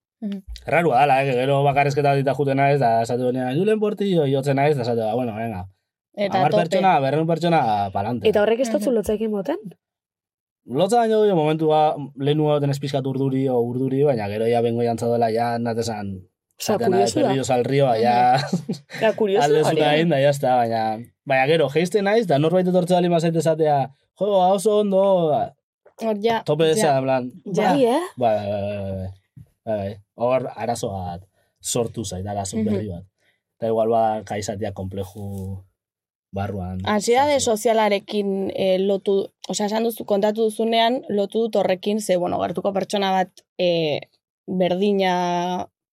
Rarua dala, eh? gero bakarrezketa dita juten naiz, da esatu denean, Julen Portillo jotzen naiz, da esatu da, bueno, venga.
Eta
Amar
tope.
pertsona, berren pertsona, palante.
Eta horrek ez dutzu
Mhm.
lotzaekin boten?
Lotza baino gehiago momentua mm, lehenua den espizkat urduri o urduri, baina gero ja bengo jantza dela, ja natezan,
Osa,
zatean naiz
kuriosu da.
berrioz al río, ja
Ja, kuriosu da.
alde
hori,
zuta
eh?
egin, da, ja está, baina, baina gero, geizte naiz, da norbait etortze bali mazait esatea, jo, ba, oso ondo,
Hor ja.
tope
ja.
desa, en plan,
Ja.
Bai, eh?
bai, bai, bai, bai, bai, bai, bai, hor arazo bat sortu zait, arazo
Mhm.
berri bat. Eta igual ba, kaizatia kompleju barruan.
Ansiedade
sartu.
sozialarekin eh, lotu, osea, esan duzu, kontatu duzunean, lotu dut horrekin, ze, bueno, gertuko pertsona bat eh, berdina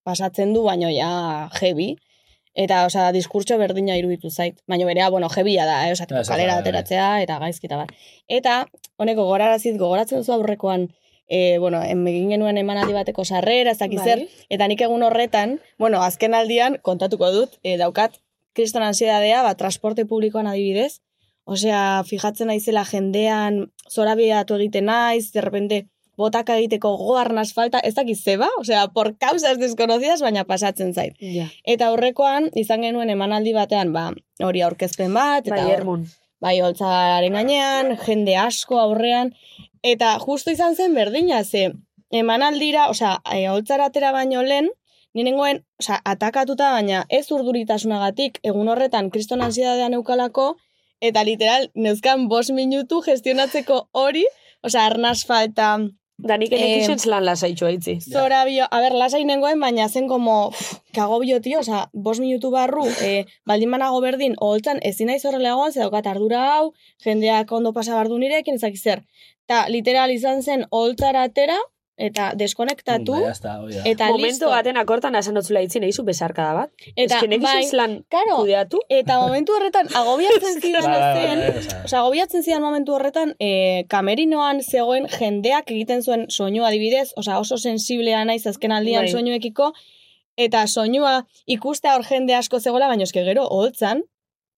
pasatzen du, baino ja heavy, eta, osea, diskurtso berdina iruditu zait, baino berea, bueno, heavya da, eh? osea,
Ja, ez da,
kalera
bai, bai.
ateratzea, eta gaizkita bat. Eta, honeko, goraraziz, gogoratzen duzu aurrekoan, eh, bueno, emegin genuen emanaldi bateko sarrera, ez dakit zer,
Bai.
Eta nik egun horretan, bueno, azken aldian, kontatuko dut, e, daukat, kriston ansiedadea, ba, transporte publikoan adibidez, osea, fijatzen naizela jendean, zora egiten naiz, de repente, botaka egiteko goarn asfalta, ez dakit zeba, osea, por causas desconocidas, baina pasatzen zait.
Ja.
Eta horrekoan, izan genuen emanaldi batean, ba, hori aurkezpen bat, eta
Bai,
hor-
ermon.
bai, holtzaren gainean, jende asko aurrean, eta justu izan zen berdina, ze emanaldira, osea, e, holtzara atera baino lehen, ninengoen, osea, atakatuta baina ez urduritasunagatik, egun horretan kriston ansiedadea neukalako, eta literal, neuzkan bost minutu gestionatzeko hori, osea, arnaz falta,
Danik
Eh,
enekixen zelan lasaitxo haitzi.
zora bio, a ber, lasai nengoen, baina zen como, pff, kago bio, tio, osea, bost minutu barru, e, baldin banago berdin, oholtzan, ezin naiz horrela egon, ze daukat ardura hau, jendeak ondo pasa bardu nirekin, ezak zer. Ta, literal izan zen, oholtzara atera, eta deskonektatu,
Mm, Ja, está, hoi da.
eta
Momento
listo.
baten akortan asen dutzula itzin eizu besarkada bat.
eta,
Ezken
bai,
egizuz lan
karo,
kudeatu.
eta momentu horretan, agobiatzen
Bai,
zidan
bai, bai,
zen,
bai, osea.
Osa, gobiatzen zidan momentu horretan, e, kamerinoan zegoen jendeak egiten zuen soinu adibidez, osa oso sensiblea naiz azken aldian
Bai.
soinuekiko, eta soinua ikustea hor jende asko zegoela, baina eske gero, holtzan,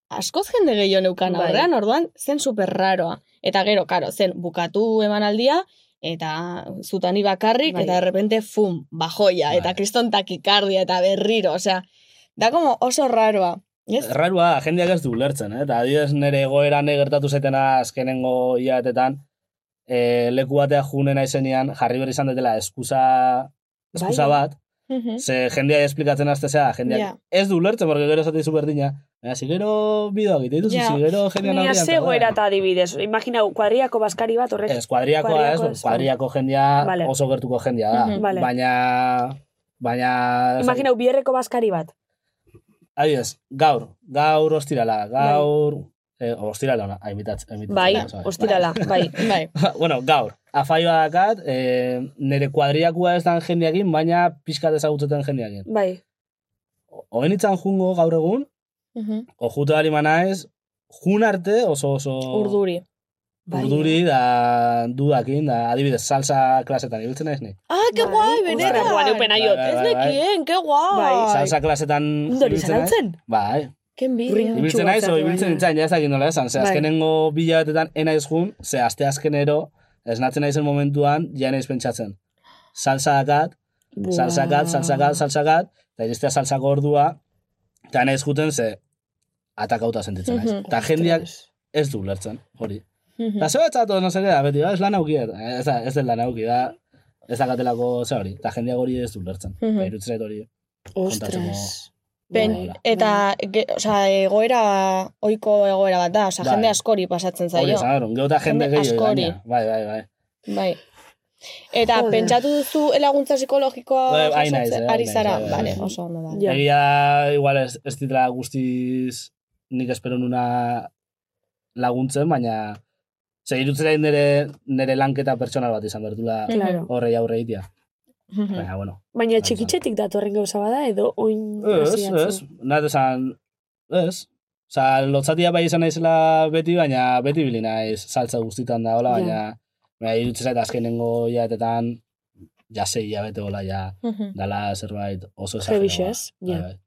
askoz jende gehiago neukan
Bai.
aurrean, orduan, zen superraroa. Eta gero, karo, zen bukatu emanaldia, eta zutani bakarrik,
Bai.
eta errepente fum, bajoia, eta
Bai.
kriston takikardia, eta berriro, osea, da como oso raroa. Ez?
Rarua da, jendeak ez du ulertzen, eh? eta adibidez nire egoeran gertatu zaitena azkenengo hilabetetan, e, leku batea june naizenean, jarri behar izan dutela eskusa, eskusa
Bai.
bat, ze jendea esplikatzen azte zea, jendeak
Ja.
ez du ulertzen, porque gero esate izu berdina, baina zigero bidoak egite dituzu,
Ja.
zigero jendean
Ni
aurrean,
azego
eta-
eta adibidez. Imagina, kuadriako baskari bat horrek.
eh. Ez, kuadriakoa ez,
Kuadriakoa ez, bai.
kuadriako jendea
Vale.
oso gertuko jendea da,
Mhm.
Vale.
baina... Baina...
Imagina, bierreko baskari bat.
Adibidez, gaur, gaur ostirala, gaur... Eh, ostirala ona, aimitaz, aimitaz.
Bai, ostirala, bai.
Bai.
bueno, gaur, afaioa dakat, eh, nire kuadriakua ez dan jendeakin, baina pixka dezagutzeten jendeakin.
Bai,
Oen itzan jungo gaur egun,
Mhm.
ojuto alima naiz, jun arte oso oso...
Urduri.
bai.
Oh. Urduri da dudakin, da adibidez, salsa klasetan ibiltzen naiz ni.
Ah, qué
Bai.
guai,
Ostras,
benetan.
buah, neupen aiot.
Bai,
Ez
bai, bai.
nekien, qué eh, guai.
Bai.
Salsa klasetan
Indori
ibiltzen naiz.
zarautzen?
Bai,
Qué envidia.
Ring.
Ibiltzen naiz, o ibiltzen nintzen, ja ez dakit nola esan. Ze
Bai.
azkenengo bilabetetan ena izgun, ze azte azkenero, esnatzen naizen momentuan, ja naiz pentsatzen. Salsa dakat, salsa dakat, salsa dakat, salsa dakat, eta iristea salsako ordua, eta naiz juten, ze atakauta sentitzen naiz.
Mhm.
Eta jendeak ez du ulertzen, hori.
Mhm.
Eta zeo etzato, no zeke da, beti, "Ah, ez lan auki, ez da, ez den lan auki, da, ez dakatelako ze hori. Eta jendeak hori ez du ulertzen.
Mhm.
Eta irutzen zait hori.
Ostras.
Ben,
Bai.
eta, ge, osea, egoera, oiko egoera bat da, osea,
Bai.
jende askori pasatzen
Hori
zaio.
esan, gero, gero eta jende
Jende
gehiago.
askori.
gainera. Bai, bai, bai.
Bai. Eta
Joder.
pentsatu duzu laguntza psikologikoa
Bai, bai,
jasotzen?
naiz, eh, bai,
ari
naiz,
zara,
bai, bai.
bale, oso ondo da.
Ja.
Egia da, igual ez, ez ditela guztiz nik espero nuna laguntzen, baina ze irutzen zait nire, nire lanketa pertsonal bat izan bertula
Mhm.
Claro.
horrei aurre egitea.
Hmm.
Baina, bueno.
Baina txikitxetik datorren gauza bada edo oin
bai. Ez,
hasi atzo?
ez, nahi esan, ez. Osa, lotzatia bai izan naizela beti, baina beti bili naiz saltza guztitan da, hola,
Ja.
baina baina irutzen zait azkenengo jatetan jasei jabete hola, ja,
Mhm.
dala zerbait oso
Heavy
esageroa.
shit, ja.
Bai, bai.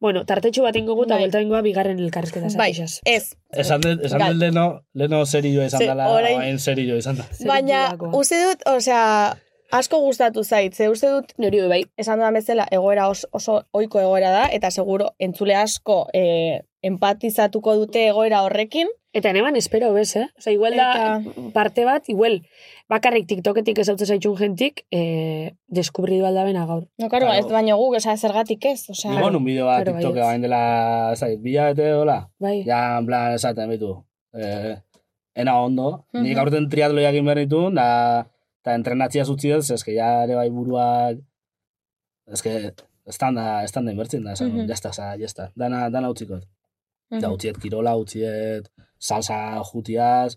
Bueno, tartetxo bat ingo eta
Bai.
buelta ingoa bigarren elkarrezketa
Bai,
zatixaz.
ez.
Esan dut, esan
Gal.
dut leheno, leheno serioa izan
Ze-
dela,
orain-
orain serioa izan da.
Zer
Baina,
inguruakoa.
uste dut, osea, asko gustatu zait, ze uste dut,
Nori bai.
esan dudan bezala, egoera oso, oso oiko egoera da, eta seguro entzule asko eh, empatizatuko dute egoera horrekin.
Eta neban espero bez, eh? Osa, igual da parte bat, igual, bakarrik tiktoketik ezautze zaitxun jentik, eh, deskubridu aldabena gaur.
No, karo,
Claro.
ez baino guk, osea, zergatik ez, osea,
Nigo nun bideo bat
Pero
TikTok
baietz.
bain dela, zait, bila bete, hola,
Bai,
ja, en plan, esaten bitu. Eh, ena ondo,
Mhm.
nik aurten triatloia egin behar nituen, da, eta entrenatzia zutzi dut, ze eske ja ere bai buruak, eske, estan da, estan da inbertzen da, esan,
Mhm.
jazta, za, jazta, dana, dana utzikot.
Mhm.
Da utziet kirola, utziet salsa jutiaz,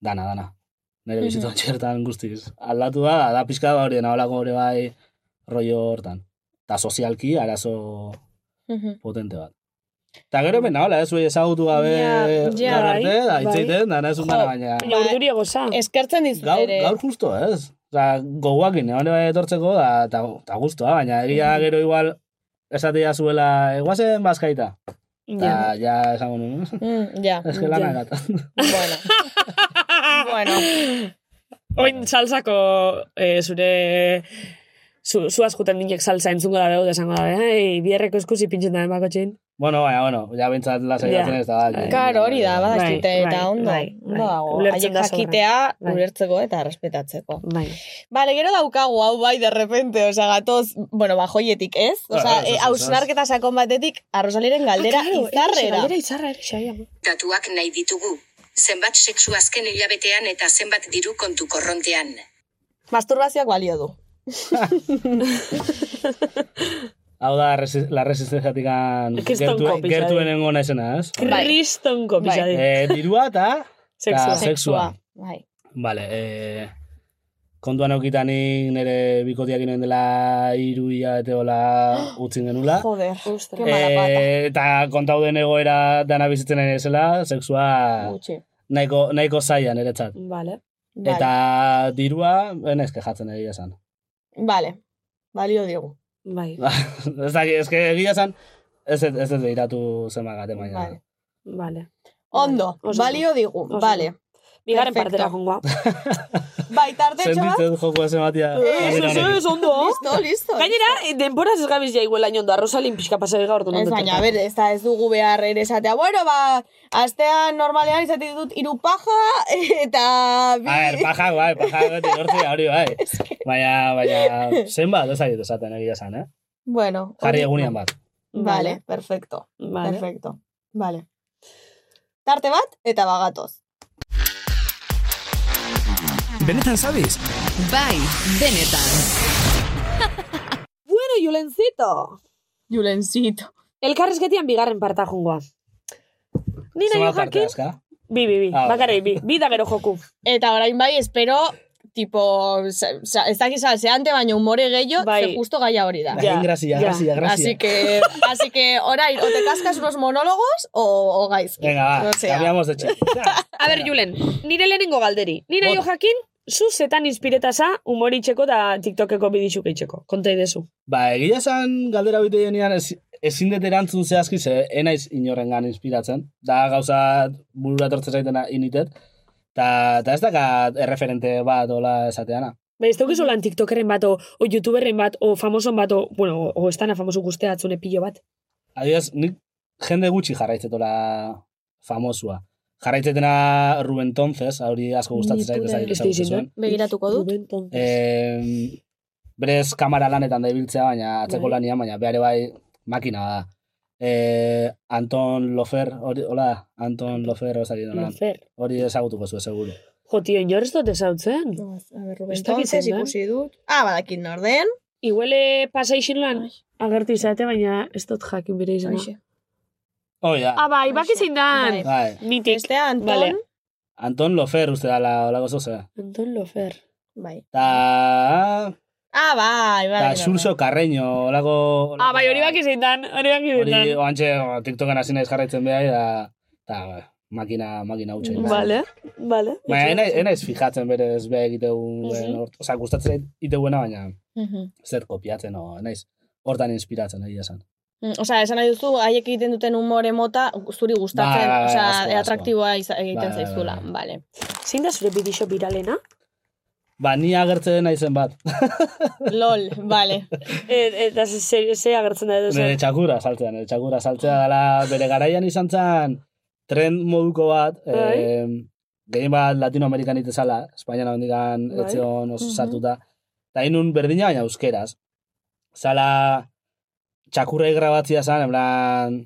dana, dana. Nire
Mhm.
bizitzen txertan guztiz. Aldatu da, da pixka da hori, naholako hori bai rollo hortan. Eta sozialki, arazo
Mhm.
potente bat. Eta gero bena, hola, ez zuei ezagutu gabe
Ja, ja,
gaur arte, da,
bai.
itzaiten, da, nahez
Jo,
baina...
baina urduria goza.
Eskertzen dizut
Gaur,
ere.
gaur justo, ez? Osa, goguak ine, hone bai etortzeko, da, eta, eta guztua, baina egia gero igual esatea zuela, eguazen bazkaita. Eta,
Ja.
ja, esango nuen,
Mm, ja,
ez que
Ja.
lan agat.
bueno. bueno,
Oin salsako eh, zure... Zu, zu askuten dinek salsa entzungo da behu, desango da, eh? ei, bierreko eskusi pintzen da eh, emako txin.
Bueno, baina, bueno, ja bintzat lasai
Ja.
batzen ez da. ja.
karo hori da, badakite
Bai,
eta
bai,
ondo.
bai,
ondo
bai.
dago,
Ulertzen
haiek
da sobra.
jakitea,
Bai.
ulertzeko eta respetatzeko.
Bai.
Bale, gero daukagu, hau bai, de repente, osea, gatoz, bueno, bajoietik, ez?
Ah, ez,
Osea,
ez,
e,
ez.
hausnarketa sakon batetik, arrosaliren galdera
Ah,
izarrera.
eh, Galdera izarra, ere, xaia.
Datuak nahi ditugu. Zenbat sexu azken hilabetean eta zenbat diru kontu korrontean.
Masturbazioak balio du.
Hau da, resi- la resistenziatik an
Kriston
gertu,
kopisa,
gertuen
eh.
nengo naizena, ez?
Bai.
Kriston kopisa. dit.
Eh, dirua eta...
Sexua.
eta Ah, Sexua.
Bai.
Vale, eh, kontuan eukitanik nire bikotiak inoen dela iru hilabete hola utzin genula.
Joder. Qué mala pata.
Eh, eta kontauden egoera dana bizitzen ari zela, sexua
Gutxi.
nahiko, nahiko zaila niretzat.
Vale.
Vale.
Eta dirua, enez kejatzen egia esan.
Vale. Balio digu.
Bai.
ez da, ez que egia esan, ez ez ez dut behiratu zemagate baina.
Vale.
Vale.
Ondo,
Oso ondo.
balio digu.
Oso
vale.
Bigarren
Perfecto.
partera jongoa.
Bai, tartetxo bat.
Sentitzen joko ematia.
Eso, eso, eso, ondo.
Listo, listo.
Gainera, eh, denboraz ez gabiz jaiguel laino da, Rosalin pixka pasari gaur
Ez baina, a ber, ez, da, ez dugu behar ere esatea. Bueno, ba, astean normalean izaten ditut hiru paja eta bi...
A ver, paja, bai, paja, beti gortzea hori, bai. Baina, baina, zenbat, ez ari esaten egia esan, eh?
Bueno,
Jarri
hori-
egunean bat.
Vale, perfecto.
Vale.
Perfecto. Vale. Tarte bat eta bagatoz.
Benetan zabiz?
Bai, benetan.
Bueno, Julencito.
Julencito.
Elkarrezketian bigarren parta jongoa. Ni nahi
Zenbat parte
jakin.
azka?
Bi, bi, bi.
Ah,
Bakarrik, bi. Bi da gero joku.
Eta orain bai, espero, tipo, sa- sa- ez dakiz salseante, baina humore gehiago,
Bai.
ze justo gaia hori da.
Ja,
Egin grazia,
ja.
grazia,
Así
grazia.
que, así que, orain, o te cascas unos monólogos o, o gaizki.
Venga, va,
Osea.
cambiamos de chip.
A ber, Julen, nire lehenengo galderi. Ni nahi
Bota.
jakin, zu zetan inspiretaza umoritzeko da TikTokeko bidixuk eitzeko. Konta idezu.
Ba, egia esan galdera bite denean ez, ezin dut erantzun zehazki ze enaiz inorrengan inspiratzen. Da gauza burura tortzen zaitena initet. Ta, ta ez dakat erreferente bat hola esateana.
Bai, ez daukizu lan TikTokeren bat, o, o YouTuberen bat, o famoson bat, o, bueno, o, o estana famoso guztea atzune pilo bat.
Adibidez, nik jende gutxi jarraitzetola famosua. Jarraitzetena Ruben Tonces, hori asko gustatzen zait, ez
Ez
dakit
da
ezagutzen
izin da?
zuen.
Begiratuko dut.
Rubén Pontes.
Eh, berez kamara lanetan da ibiltzea, baina atzeko
Bai.
lanian, baina behar bai makina da. Eh, Anton Lofer, hori, hola, Anton Lofer, hori,
No,
hori,
fer.
hori ezagutuko zu, seguru.
Jo, tio, inor ez dut ezautzen.
No, a ver,
Ez
Rubén
dakit
Tonces
zenbat.
ikusi dut. Ah, badakit norden.
e, Iguele pasai lan agertu izate, baina ez dut jakin bere izena.
Hoxe.
Hoi da.
Ah, bai, baki zein dan.
Bai.
Bai.
Mitik.
Beste Anton.
Vale.
Anton Lofer uste dala olako zoza.
Anton Lofer.
Bai.
Ta...
Ah, bai, bai.
Ta
bai,
Xurxo Carreño olako...
Ah, bai, hori baki zein dan. Hori baki zein
Hori,
dan.
oantxe, o, TikToken hasi naiz jarraitzen behar, da... Ta, makina, makina hutxe.
Vale, vale.
Baina, ena, ena ez fijatzen berez beha egiteun,
Mhm.
mm oza, gustatzen zait iteuena, baina
bai. Mhm.
zer kopiatzen, o, naiz, hortan inspiratzen, egia esan.
Mm, Osea, esan nahi duzu, haiek egiten duten umore mota zuri
Bai,
gustatzen,
bai, bai,
osea,
asko, asko.
atraktiboa iza- egiten
Bai, bai,
zaizula.
bai.
Vale.
Zein da zure bidixo biralena?
Ba, ni agertzen naizen bat,
Lol, vale.
Eh, Eta ze- ze ze agertzen da edo
nire
zer.
txakura saltzea, nire txakura saltzea dela, bere garaian izan zen, tren moduko bat,
Bai.
eh, gehien bat Latinoamerikan itezala, Espainian hondikan
Bai.
etzion oso
Mhm.
sartuta, eta inun berdina, baina euskeraz. Zala, txakurra grabatzia zen, en plan,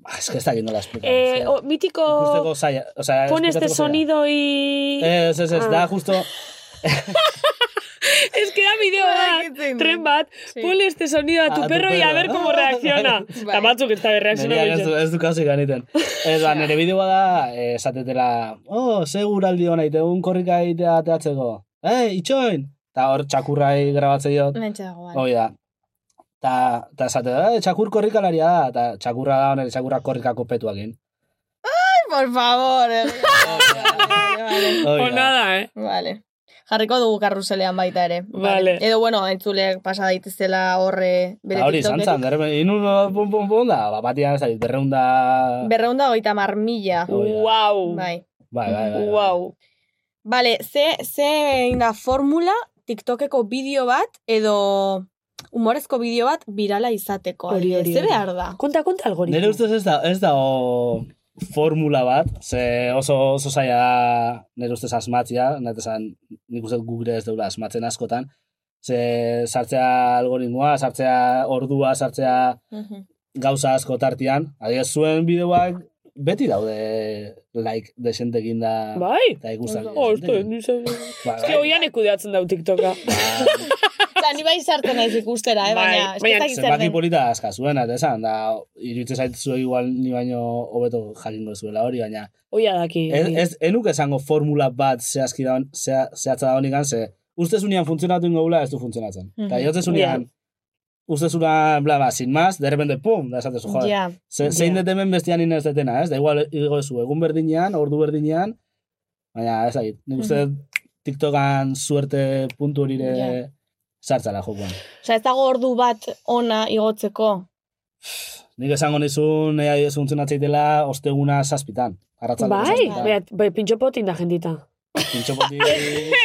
Ba, ez que ez dakit nola esplika.
Eh, o, mitiko
Ikusteko Eh. zaila. O sea,
pon este
esplikatzeko zaila.
sonido y...
Ez, ez, ez,
Ah.
da justo...
Es que da bideo bat. Tren bat, ponle este sonido a tu
A tu
perro y a
perro.
ver cómo reacciona. Eta batzuk ez da berreakziona
Nerea ez du,
bitxo.
ez du kasu ganiten. Ez, ba, nire bideoa da, eh, esatetela, oh, ze guraldi hona, itegun korrika egitea ateatzeko. Eh, itxoin! Eta hor txakurrai grabatze diot,
Mentxe dago, vale.
hoi da. Ta, ta esate, eh, txakur korrikalaria da, eta txakurra da, nire txakurra korrikako petuakin.
Por favor. eh. Vale, vale.
Hoi
O
da.
nada, eh.
Vale. Jarriko dugu karruselean baita ere.
Vale. Ah,
Edo, bueno, entzuleak pasa daitezela horre bere
Eta hori izan
TikToketik.
zen, derbe, inun, pum, pum, pum, da, ba, batian, ez dakit, berreunda...
Berreunda hogeita mar mila.
Hoi da.
Wow.
Bai.
Bai, bai, bai. bai.
Wow.
Vale, ze, ze egin da formula TikTokeko bideo bat edo humorezko bideo bat birala izateko.
Hori, hori,
Ze
hori.
behar da?
Konta, konta algoritmo.
Nire ustez ez da, ez da o formula bat, ze oso, oso zaila da nire ustez asmatzia, nire esan nik uste dut gure ez deula asmatzen askotan, ze sartzea algoritmoa, sartzea ordua, sartzea gauza asko tartian, adibidez zuen bideoak beti daude like desentekin da,
Bai.
eta ikustak.
Oh, esto, nizu.
Ba,
Ez que hoian ekudeatzen dau TikToka.
Eta ni bai sartu naiz ikustera, eh?
Bai,
baina ez
baina
dakit zer
Zenbaki
den.
polita aska zuen, eta esan, da, iruditzen zaitzue igual ni baino hobeto jakingo zuela hori, baina
Oia daki.
Ez, ez, enuk esango formula bat zehazki da, zea, zehatza da honik ze, ustez unian funtzionatu ingo gula, ez du funtzionatzen. Eta
Mhm.
jotzez unian, ustez unian, bla, bla, sin más, de repente, pum, da esatezu, joder.
Ja,
Ze, Zein
Ja.
dut hemen bestean inez detena, ez? Da igual, igo ezu, egun berdinean, ordu berdinean, baina ez dakit. Nik uste dut TikTokan suerte puntu hori
Ja.
yeah. sartzala jokoan.
Osea, ez dago ordu bat ona igotzeko.
Nik esango nizun, ea ez funtzionatzeitela, osteguna zazpitan. Arratzalde
Bai,
zazpitan.
bai, bai, pintxo potin da jendita.
Pintxopotik...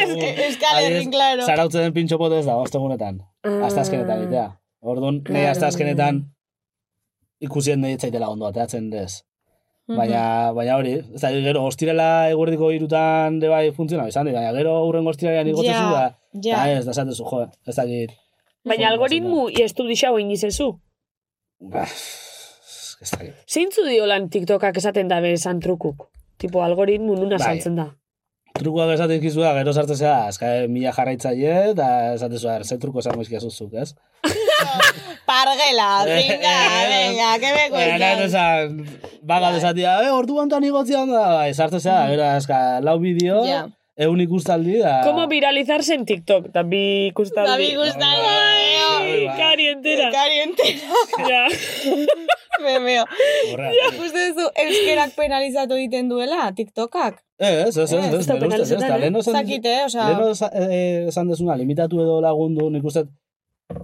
Euskal Herrin, claro.
Zarautzen pintxopot ez da, ostegunetan.
Ah.
Hasta
Ah.
azkenetan egitea. Orduan, nire hasta azkenetan ikusien nahi etzaitela ondo ateatzen dez.
Mhm.
Baina, baina hori, ez da, gero, ostirela eguerdiko irutan de bai funtziona, izan, baina gero urren ostirelean igotezu da,
ja.
eta ez, da esatezu, jo, ez dakit,
Baina algoritmu estu dixau inizezu.
bah, Ba, ez dakit.
Zeintzu dio lan TikTokak esaten da bezan trukuk? Tipo, algoritmu nuna
Bai.
saltzen da.
Ah.
Trukuak esaten kizu da, gero sartzea, eskae mila jarraitzaile, eta esatezu, "A ber, ze truko esango izkiazuzuk, ez?
Pargela, venga, venga, que me
Baina, nahi
cuentas.
esan, baga desatia, eh, orduan tan igotzean da, bai, sartu zea, gero, eska, lau bideo,
Mhm. Ja.
egun ikustaldi da...
Como viralizarse en TikTok? Da bi ikustaldi.
Da bi gustan.
Ai, Kari entera.
Kariente,
Ja.
memeo.
Horra,
Uste duzu, euskerak penalizatu egiten duela, TikTokak?
Eh, ez, ez, ez,
Eh,
ez,
ez da
nire ustez, ez,
penalizetan,
da,
eh?
lehen esan
Zakite, eh? Osea,
lehen osa- eh, esan dezuna, limitatu edo lagundu, nik uste,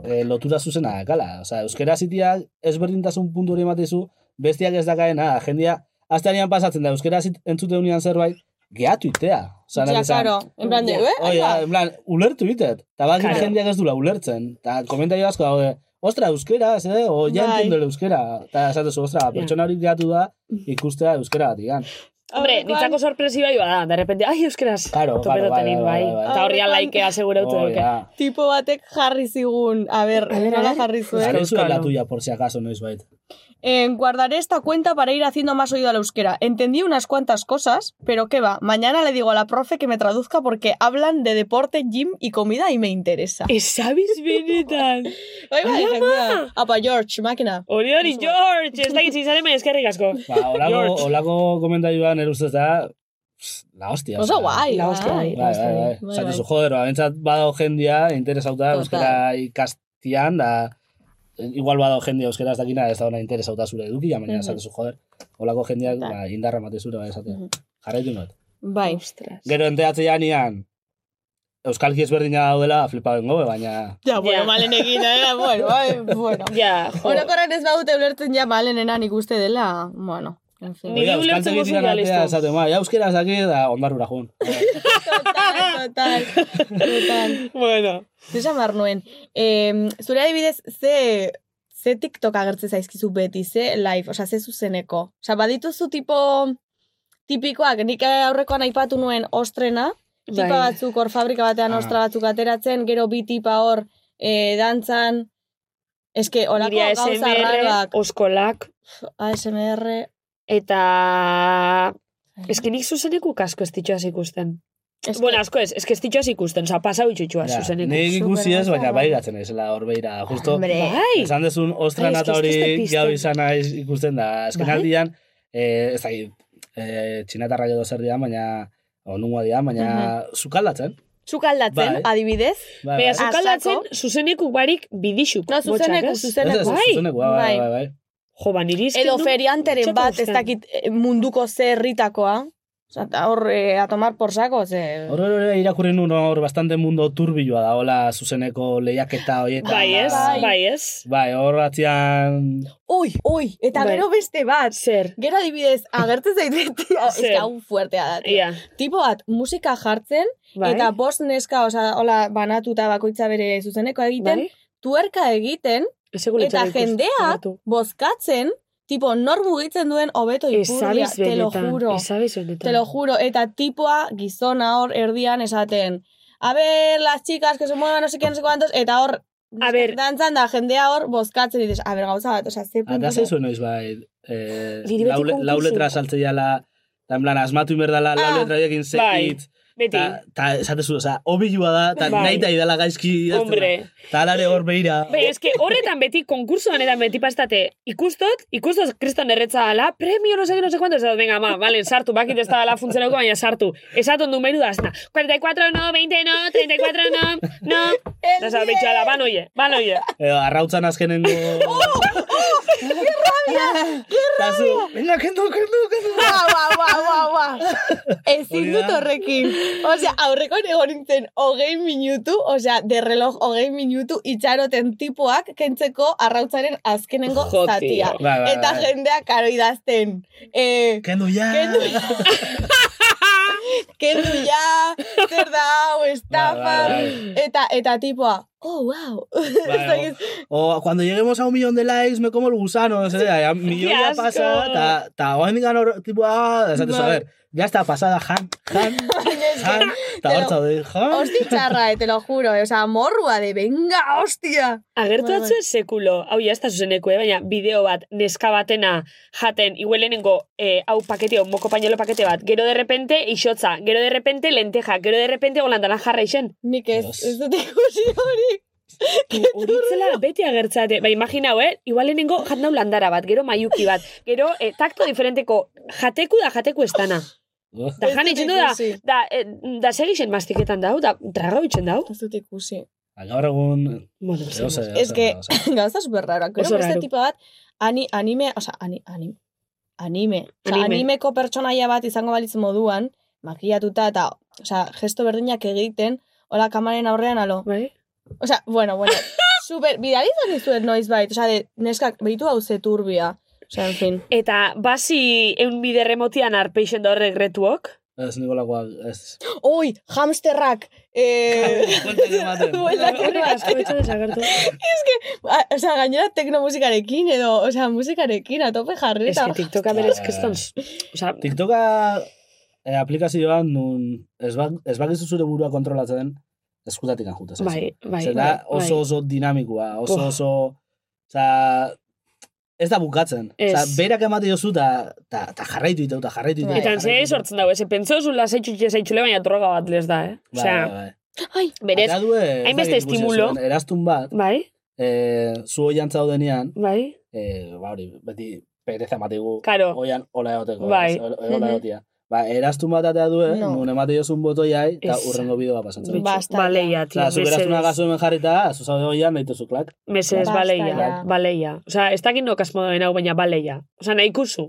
eh, lotura zuzena dakala. Osa, euskera zitiak ezberdintasun puntu hori ematizu, bestiak ez dakaena, jendia, aztean pasatzen da, euskera zit entzute unian zerbait, gehatu itea. Osa, nahi
ja,
esan,
claro, en plan de, eh?
Hoi, da, en plan, ulertu itet. Eta bakit
bai. Claro.
jendeak ez dula ulertzen. Eta komentario asko daude, ostra, euskera, eh? O, ja
Bai.
entiendo el euskera. Eta esatezu, ostra, pertsona hori gehatu da,
Mm.
ikustea euskera batikan.
Hombre,
Aurrekoan-
nitzako sorpresiba iba da. De repente, ai, euskeraz.
Claro, claro, bai,
Toperoten in, bai.
bai, bai, bai.
Eta horria
Aurrekoan-
laikea segurautu
Hoi
duke.
da.
tipo batek jarri zigun, a ber,
A ber, a
nola
ber.
jarri zuen?
Jarri zuen
Euskara.
la tuya, por si acaso, noiz bait.
Eh, guardaré esta cuenta para ir haciendo más oído al euskera. Entendí unas cuantas cosas, pero qué va. Mañana le digo a la profe que me traduzca porque hablan de deporte, gym y comida y me interesa.
Eh, Esabiz benetan.
Bai, bai,
Ama!
jendea. Apa, George, makina.
Hori hori, George, ez da gitzi izan hemen eskerrik asko.
Ba, olago,
George.
olago komentarioa nire ustez da, pss, la hostia.
Oso
osea.
guai,
La
bai.
hostia, bai.
Bai, bai, bai.
Bai,
Zatu
bai.
zu, joder, ba, bentsat badao jendia, interesauta
Total.
euskara ikastian, da, igual badao jendia euskara ez dakina, ez da ona interesauta zure edukia, baina
Mhm.
zatu zu, joder, holako jendiak
Total.
ba, indarra mate zure, bai, esatea.
Mhm.
Jarraitu not.
Bai.
Ostras.
Gero enteatzean ian, euskalki ezberdina daudela, flipa bengo, baina...
Ja, bueno,
Ja.
malen egina, eh? bueno, bai, bueno.
Ja, jo.
Orokorren ez badute ulertzen ja malenena nik uste dela, bueno, en fin.
Niri
Oiga,
ulertzen
euskaltegitik
duzu ja,
anantea
listo.
esaten, ba, ja, euskera ez dakit, da, ondarrura joan.
Total, total, total.
Bueno.
Zesan behar nuen. Eh, zure adibidez, ze, ze TikTok agertze zaizkizu beti, ze live, osea, ze zuzeneko. Osea, badituzu tipo tipikoak, nik aurrekoan aipatu nuen ostrena, tipa
Bai.
batzuk hor fabrika batean
Ah.
ostra batzuk ateratzen, gero bi tipa hor eh, dantzan, eske olako
Niria
gauza
SMR,
raroak.
oskolak,
ASMR,
eta... Ez que nik zuzeneku kasko ez ditxoaz ikusten.
eske-
Bueno, asko ez, ez que ez ditxoaz ikusten, oza, pasau itxoaz
Ja,
zuzeneku.
Nik ikusi ez,
Supergoza,
baina
bai.
bai gatzen ezela hor beira, justo...
Ah, Bai!
Esan dezun, ostra
Ai,
nata
eske ez dute
hori
pizten.
jau izan naiz ikusten da. Azken
Bai.
aldian, eh, ez dakit, eh, txinatarra edo zer dian, baina, o nungoa dian, baina zukaldatzen.
Sukaldatzen,
Bai.
adibidez.
Bai,
Baina
bai.
zukaldatzen zuzeneku barik bidixuk.
No,
botxak,
zuzeneku,
ez?
Ez,
zuzeneku.
ez,
Bai.
zuzenekoa, bai,
Bai.
bai, bai.
Jo, ba, niri
Edo
du-
ferianteren
txoko
bat, ez
gusten.
dakit eh, munduko ze herritakoa. Osa, ta hor eh, a tomar por saco, ze...
Hor hor hor irakurri nun hor bastante mundo turbiloa da, hola zuzeneko lehiaketa horietan.
Bai ez,
da.
Bai.
bai ez.
Bai, hor atzian...
Ui, ui, eta
Bai.
gero beste bat.
Zer,
Gero adibidez, agertzen zaitez, ez
Zer?
que hau fuertea da. tio.
ia,
Tipo bat, musika jartzen,
bai.
eta bost neska, osa, hola, banatuta bakoitza bere zuzeneko egiten,
bai.
tuerka egiten, eta jendeak bozkatzen, tipo, nor mugitzen duen hobeto ipurdia,
Ezabiz
te lo
benetan,
juro.
ezabiz benetan.
Te lo juro, eta tipoa gizona hor erdian esaten. A ver, las chicas que se muevan, no sé qué, no sé cuántos, eta hor,
A ver.
dantzan da jendea hor bozkatzen, dices, a ver, gauza bat, oza, ze
Ata
puntu.
Ah, zaizu noiz, bai, eh,
Niri beti
lau, le- lau
konkurtso.
letra saltzeiala, eta en plan, asmatu inberdala, lau
Ah,
letra egin ze
bai.
hitz,
Beti,
Ta, ta esatezu, oza, obilua da, ta
Bai.
nahi da idala gaizki. idaztena.
hombre.
Ta alare hor behira.
Be, eske horretan beti, konkurso honetan beti pastate, ikustot, ikustot kriston erretza ala, premio, no seke, no se cuánto, ez da, venga, ma, vale, sartu, bakit ez da ala funtzionauko, baina sartu. Esatun du meru da, azna, 44 no, 20 no, 34 no, no. Nasa, betxo ala, ban oie, ban oie.
Edo, eh, arrautzan azkenen du...
Oh,
Ta zu, Venga, kendu, kendu, kendu.
Ba, ba, ba, ba, ba. Ezin
Hori
dut
da.
horrekin. Osea, aurreko egon nintzen hogei minutu, osea, de reloj hogei minutu itxaroten tipoak kentzeko arrautzaren azkenengo
Jo, tio.
zatia.
Bai, bai,
Eta
bai.
jendea karo idazten. Eh,
Kendu ja.
Kendu. kendu ja, zer da hau, estafa,
Bai, bai,
eta, eta tipoa, oh, wow.
Bai,
Bai,
o, o, cuando lleguemos a un millón de likes, me como el gusano, no sé, ya,
Qué
milloia
asco.
pasa, ta, ta, oain digan hor, tipo, ah, esatezu,
Bai.
a ver, ya está pasada, jan, jan, jan, ta hor
pero-
zaude, jan.
Hosti txarra, eh, te lo juro, eh, osea, morrua de, venga, hostia.
Agertu
Bai,
atzu sekulo, hau ja, ez da zuzeneko, eh? baina bideo bat, neska batena jaten, iguelenengo, eh, hau paketeo, moko pañuelo pakete bat, gero de repente isotza, gero de repente lenteja, gero de repente holandalan jarra isen.
Nik ez,
Dios.
ez dut ikusi hori.
Horitzela beti agertzate, ba, imaginau, eh? Igualenengo jaten hau landara bat, gero maiuki bat, gero eh, takto diferenteko, jateku da jateku estana. Da
Ez
jan
dut
itxen du da,
ikusi.
da, eh, da segixen mastiketan dau, da trago itxen dau.
Ez dut ikusi.
Ba, Gaur egun,
Bueno,
edo zer, edo
Ez
zer,
que-
edo zer.
Gauza super raro. Gero
Oso
beste
raro.
tipo bat, ani, anime, osea, ani, anime, anime. Osea,
Anime.
animeko pertsonaia bat izango balitz moduan, makiatuta eta, osea, gesto berdinak egiten, hola kamaren aurrean alo.
Bai?
Osea, bueno, bueno, super, bidalizan dizuet noiz bait, osea, de, neskak, behitu hau zeturbia. Osea, en fin.
Eta basi eun bide remotian arpeixen da horrek retuok?
Ez nikolakoa, ez.
Oi, hamsterrak! Eh...
Bueltan ematen.
Bueltan
bai,
ematen. Ah, Osea, gainera teknomusikarekin edo, osea, musikarekin atope jarri
Ez
eta...
que TikToka berez keston. Osa,
TikToka eh, aplikazioan nun ez, bak, ez bakizu zure burua kontrolatzen eskutatik anjute.
bai, bai.
Zer
bai,
da oso
bai.
oso dinamikoa, oso
Uf.
oso... Oza, ez da bukatzen.
Ez.
Osa, berak emate jozu eta ta, ta jarraitu ditu, eta jarraitu ditu.
Eta ze sortzen dago, ez pentso zu lasaitxutxe zaitxule, baina droga bat lez da, eh?
Bai,
Osea, ai, berez,
Eta du, eh, ez
hainbeste
dakit ikusi
estimulo.
zuen, Eraztun bat,
Bai,
eh, zu oian zaudenean,
bai,
eh, ba hori, beti pereza mategu
karo.
oian hola egoteko.
Bai.
ez? Ola- Hola egotia. Ba, eraztun bat atea du, eh,
No.
nun emate jozun botoiai, eta
Ez.
urrengo bideoa pasatzen.
Bitxu,
Basta ya.
Baleia, tio,
Osa, zu eraztuna
mesedez.
gazu hemen jarrita, zu zaude oian, nahi zuklak.
Mesedez,
Basta
baleia,
ya.
baleia. Osa, ez dakin nok asmo duen hau, baina baleia. Osa, nahi kuzu.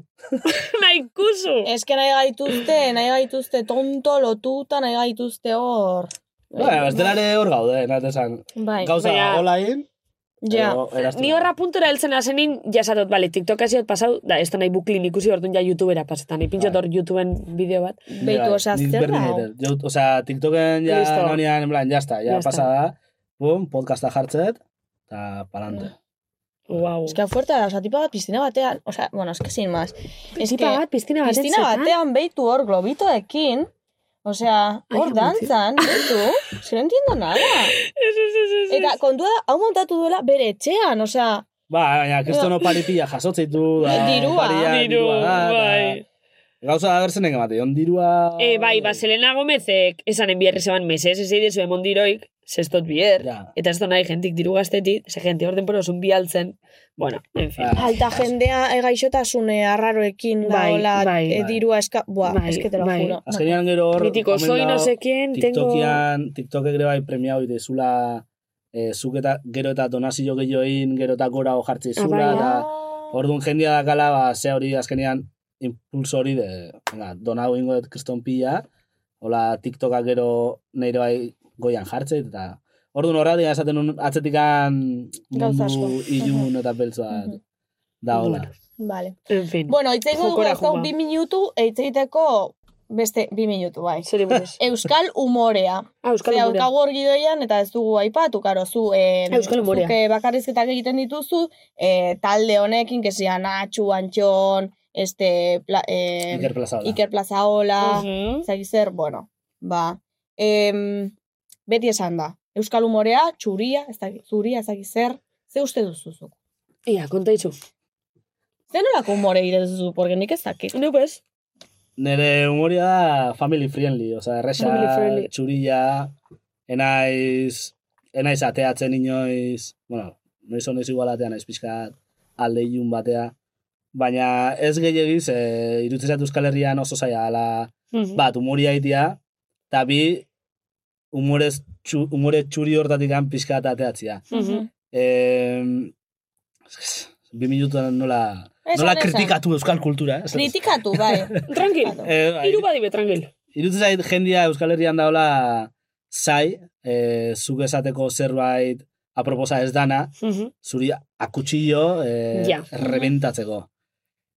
nahi kuzu.
Ez que nahi gaituzte, nahi gaituzte tonto, lotuta, nahi gaituzte hor.
Bai,
Bueno, Bai, ba, ez dela ere hor gaude, nahi esan.
Bai,
Gauza
baina-
hola egin,
ja.
edo eraztun.
Ni horra puntera heltzen azenin, jasatot, bale, TikTok hasiot pasau, da, ez da nahi buklin ikusi, orduan ja YouTubera pasetan, ipintxot hor YouTubeen bideo bat.
Beitu, osea,
nik
zer
bai, berdin
da hau?
egiten. Jo, osea, TikToken ja
Listo.
nonean, en plan, jazta, ja
Ya está. Mm.
pasa da, bum, podcasta jartzet, eta palante.
Wow.
Ez que fuerte, oza, tipa bat piztina batean, oza, bueno, ez que sin más. Ez que eh.
Piztina bat, piztina bat, eh,
piztina batean beitu hor globitoekin, osea,
Ai,
hor
amontzio.
dantzan, beitu, si no entiendo nada.
Ez, ez, ez, ez, ez.
Eta kontua da, hau montatu duela bere etxean, osea,
Ba, baina, kristono paripilla jasotzen ditu, da,
Dirua.
paria,
Diru,
dirua da, eta-
bai.
Gauza da berzen egin bate, on dirua...
E, bai, ba, Selena Gomezek esan enbierri zeban meses, ez eidezu emon diroik, sestot bier,
Ja.
eta ez da nahi jentik diru gaztetik, ze jente orden poro zun bialtzen, bueno, en fin.
Ah.
alta jendea egaixotasune arraroekin da,
Bai,
hola,
bai.
eh, dirua eska, buah,
Bai,
es que te lo
bai.
juro.
Azkenean gero hor...
Mitiko,
omen
soy no
dago
sé quién, tengo...
TikTokian, TikTokek ere bai premia hori dezula, eh, zuk eta gero eta donazio gehioin, gero eta gora jartzi
Ah, bai,
zula, eta...
Ah.
Orduan jendia dakala, ba, ze hori azkenean impulso hori de, venga, donau ingo dut kriston pila, hola TikToka gero neire bai goian jartze, eta orduan horra dira esaten un, atzetikan
Gauza asko.
mundu ilun eta beltzoa
Mhm.
da hola.
Bueno,
Vale.
en fin.
Bueno, itzeiko dugu
Jokora
dauzkagu
joan.
bi minutu, eitzeiteko beste bi minutu, bai.
Zeri buruz.
Euskal humorea.
Ah, Euskal
Ze
Humorea.
daukagu hor gidoian, eta ez dugu aipatu, karo, zu, eh,
Euskal Humorea.
zuke bakarrizketak egiten dituzu, eh, talde honekin, que sea Nacho, Antxon, este, pla, eh,
Iker plaza
Iker Plazaola,
Mhm.
zaki zer, bueno, ba, em, beti esan da, Euskal Humorea, txuria, ez dakit, zuria, ez dakit zer, ze uste duzuzuk?
Ia, konta itxu.
Ze nolako humore ire duzu, porque nik ez dakit.
Neu bez?
Nere humoria da family friendly,
Family
oza, erresa,
friendly.
txurilla, enaiz, enaiz ateatzen inoiz, bueno, noiz honez igual atea naiz pixkat, alde ilun batea, baina ez gehiagiz, e, irutzen zait Euskal Herrian oso zaila ala,
Mhm.
bat, humoria itia, eta bi, humorez, txu, humore txuri hortatik an pixkat ateatzia.
Mhm.
E, bi minutuan nola,
Esan,
nola
esan.
kritikatu euskal kultura. eh?
Kritikatu, bai.
Tranquil.
Eh, bai
Iru badibe, tranquil.
irutzen zait jendia Euskal Herrian daola zai, e, zuk esateko zerbait aproposa ez dana,
Mhm.
zuri akutsillo e,
Ja.
rebentatzeko.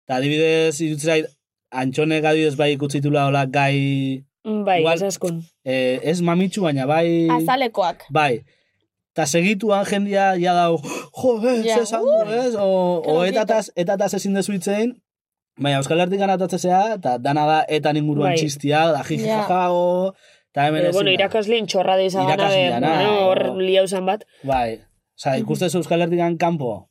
Eta adibidez, irutzen zait, antxonek adibidez bai ikutzitula hola gai,
Bai,
Igual-
esaskun.
e, ez mamitsu baina bai...
Azalekoak.
Bai. Eta segituan jendia ja dau, jo, ez,
Ja,
esan du, ez, o, o
Claro,
etataz, etataz ezin dezu itzein, baina Euskal Hertik anatatzea, eta dana da etan inguruan
Bai.
txistia, da jiji
Ja.
jajago, eta hemen
Pero, bueno,
ezin da.
irakasleen txorra de izan gana, de,
Irakasleana,
bueno, hor
o-
liauzan bat.
Bai, oza, ikusten zu Euskal Hertik kanpo,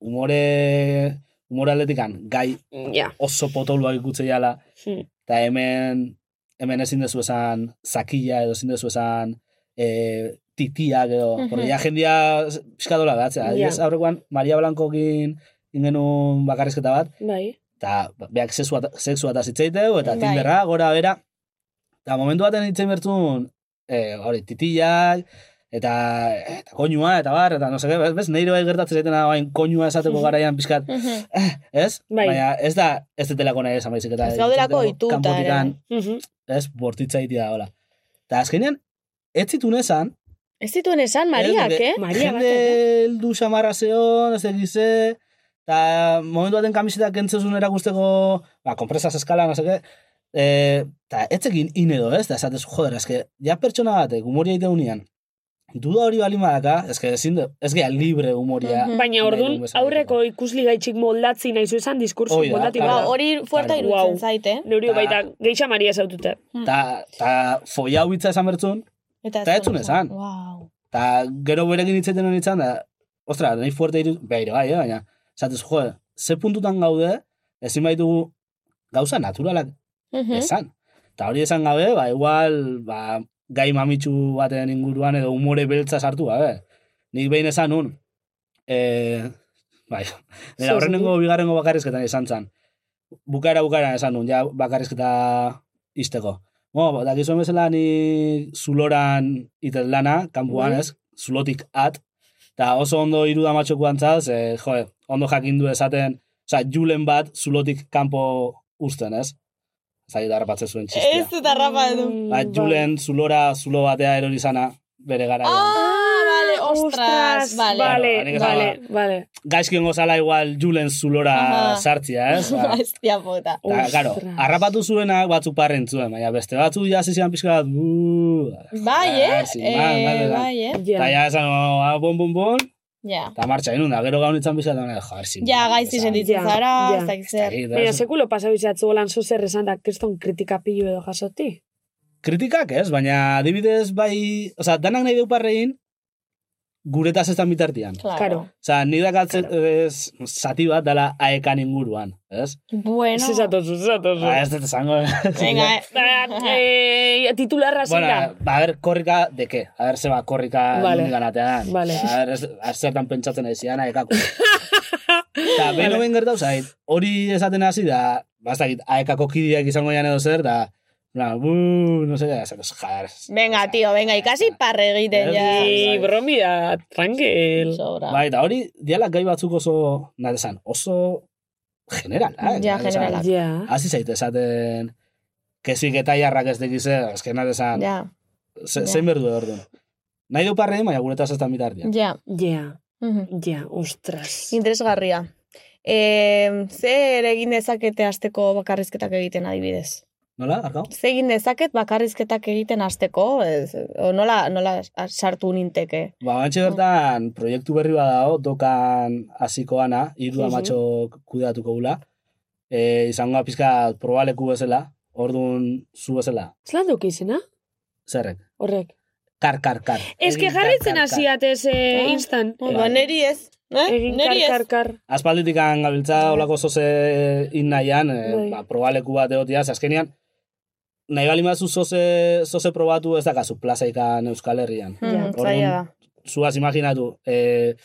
humore, humore atletikan, gai
Ja.
oso potoluak ikutze jala,
Mhm.
eta hemen, hemen ezin dezu esan zakila, edo ezin dezu esan e, titiak, edo,
Mhm.
porque ja jendia piskadola datzea.
Ja.
Adibidez, aurrekoan, Maria Blancokin ingenun bakarrizketa bat,
Bai.
eta beak sexua, sexua eta zitzeiteu, eta
Bai.
tinderra, gora, bera. Eta momentu baten hitzen bertun, e, hori, titiak, eta, eta koinua, eta bar, eta no seke, bez, bez neire bai gertatzen zaitena, bain, koinua esateko garaian pixkat,
Mhm.
ez?
Bai.
Baina ez da, ez detelako nahi esan baizik, eta
Ez gaudelako
itzateko
ohituta,
kanpotikan,
Mhm.
Mm.
ez, bortitza itia da, hola. Eta azkenean, ez zitun esan,
Ez zituen esan, Mariak, eh?
Maria
Maria jende
batek,
heldu samarra zeon, ez egize, eta momentu baten kamisetak entzuzun erakusteko, ba, kompresas eskala, no seke, eh, eta etzekin inedo, ez, da esatez, joder, eske, ja pertsona batek, humoria ite unian, duda hori bali madaka, eske, ezin du, ez gea libre humoria.
Mhm.
Baina
Nahi
ordun
dugun bezala
aurreko ikusli gaitxik moldatzi nahi zuen diskurs
Hoi da,
moldatu
claro.
Ba,
da.
hori fuerta
Claro.
irutzen
Wow.
zait, eh?
Neurio
Ta-
baita geixa maria zaututa.
Ta, ta foia hitza esan bertzun, Eta ez zuen esan. bai,
Wow.
eh, Ta gero berekin hitz egiten honi da, ostra, nahi fuerte iru, behiro, bai, eh, baina, zatez, jo, ze puntutan gaude, ezin baitugu gauza naturalak
Mhm.
esan. Eta hori esan gabe, ba, igual, ba, gai mamitsu baten inguruan edo umore beltza sartu gabe. Nik behin esan un, e, bai, nera
Zer
horrenengo bigarrengo bakarrizketan izan zen. Bukaera bukaeran esan nun, ja bakarrizketa izteko. Bo, dakizu bezala ni zuloran iten lana, kanpuan
Mhm.
ez, zulotik at, eta oso ondo iruda matxokuan zaz, e, jo, ondo jakin du esaten, oza, julen bat zulotik kanpo usten, ez? Zagit harrapatzen zuen txistia.
Ez bai. dut arrapa edu.
Mm, bai.
Ba, Julen zulora zulo batea erori zana bere gara. Ah,
Ah, vale, ostras, vale.
Vale,
Claro, nik esan
vale,
dut.
vale.
Gaizki gongo zala igual Julen zulora
Ah! Aha.
sartzia, ez? Ba,
Hostia puta.
Ta, claro,
Ostras.
harrapatu zuenak batzuk parren zuen, baina beste batzu jaz izan pixka bat, buuu,
Bai, eh?
Ah, sí, bai, bai, bai.
Eh, bai, eh?
Ja.
eta ja esan, oh, ah, bon, bon, bon,
Ja.
eta martxa inunda, gero gaun itzan pixka, eta jarzi.
Ja,
bai.
gaizti
Ja,
sentitzen zara,
ja.
ez dakit zer.
Baina sekulo pasa bizatzu golan zuzer esan da kriston kritika pilo edo jasoti.
Kritikak ez, baina adibidez bai, oza, danak nahi deuparrein, guretaz ez dan bitartian.
Karo.
Oza, ni dakatzen, ez, zati bat dala aekan inguruan, ez?
Bueno.
Zezatozu, zezatozu.
Ba, ez dut esango.
Venga, eh.
Ba, Eh, titularra zein
Bueno,
da.
ba, a ber, korrika de qué? A ber, zeba korrika
Vale.
vale. ganatean.
Vale.
A ber, ez, a zertan pentsatzen ez zian, aekako. Eta, behin oben gertau zait, hori esaten hasi da, bastakit, aekako kideak izango jan edo zer, da, na, bu, no se queda, zekos, jar.
Venga, tío, venga, ikasi parre egiten, ja.
Ei, Bai, bromida, tranquil.
Sobra.
Bai, eta hori, diala gai batzuk oso, nahi esan, oso generalak.
Ja,
nahi esan.
generalak.
Ja.
Hasi zaite esaten, kezik eta jarrak ez dekize, azken nahi esan,
Ja,
ze-
ja.
zein berdu da orduan. Nahi du parrein, baina guretaz ez da mitartian.
ja.
Ja,
Mhm.
ja, ostras.
Interesgarria. Eh, zer egin dezakete asteko bakarrizketak egiten adibidez?
Nola, arkau?
Zer egin dezaket bakarrizketak egiten asteko? Ez, o nola, nola sartu ninteke?
Ba, bantxe bertan, proiektu berri bat dago, dokan hasikoana, hiru
Mhm.
amatxok kudeatuko gula. E, izango da pizka probaleku bezala, ordun zu bezala,
Zelan duk izena?
zerrek.
Horrek.
Kar, kar, kar.
Ez que
Egin kar,
jarritzen
kar, kar.
hasiatez eh, instan.
Bai.
Ba, neri ez. Eh?
Egin kar,
Neri ez.
kar, kar.
Aspalditik gabiltza olako zoze innaian,
Bai.
e, ba, probaleku bat egotia, ze azkenean, nahi bali mazu zoze, zoze probatu ez dakazu plazaikan Euskal Herrian.
Mhm,
Orduan,
zaila da.
zuaz imaginatu, e,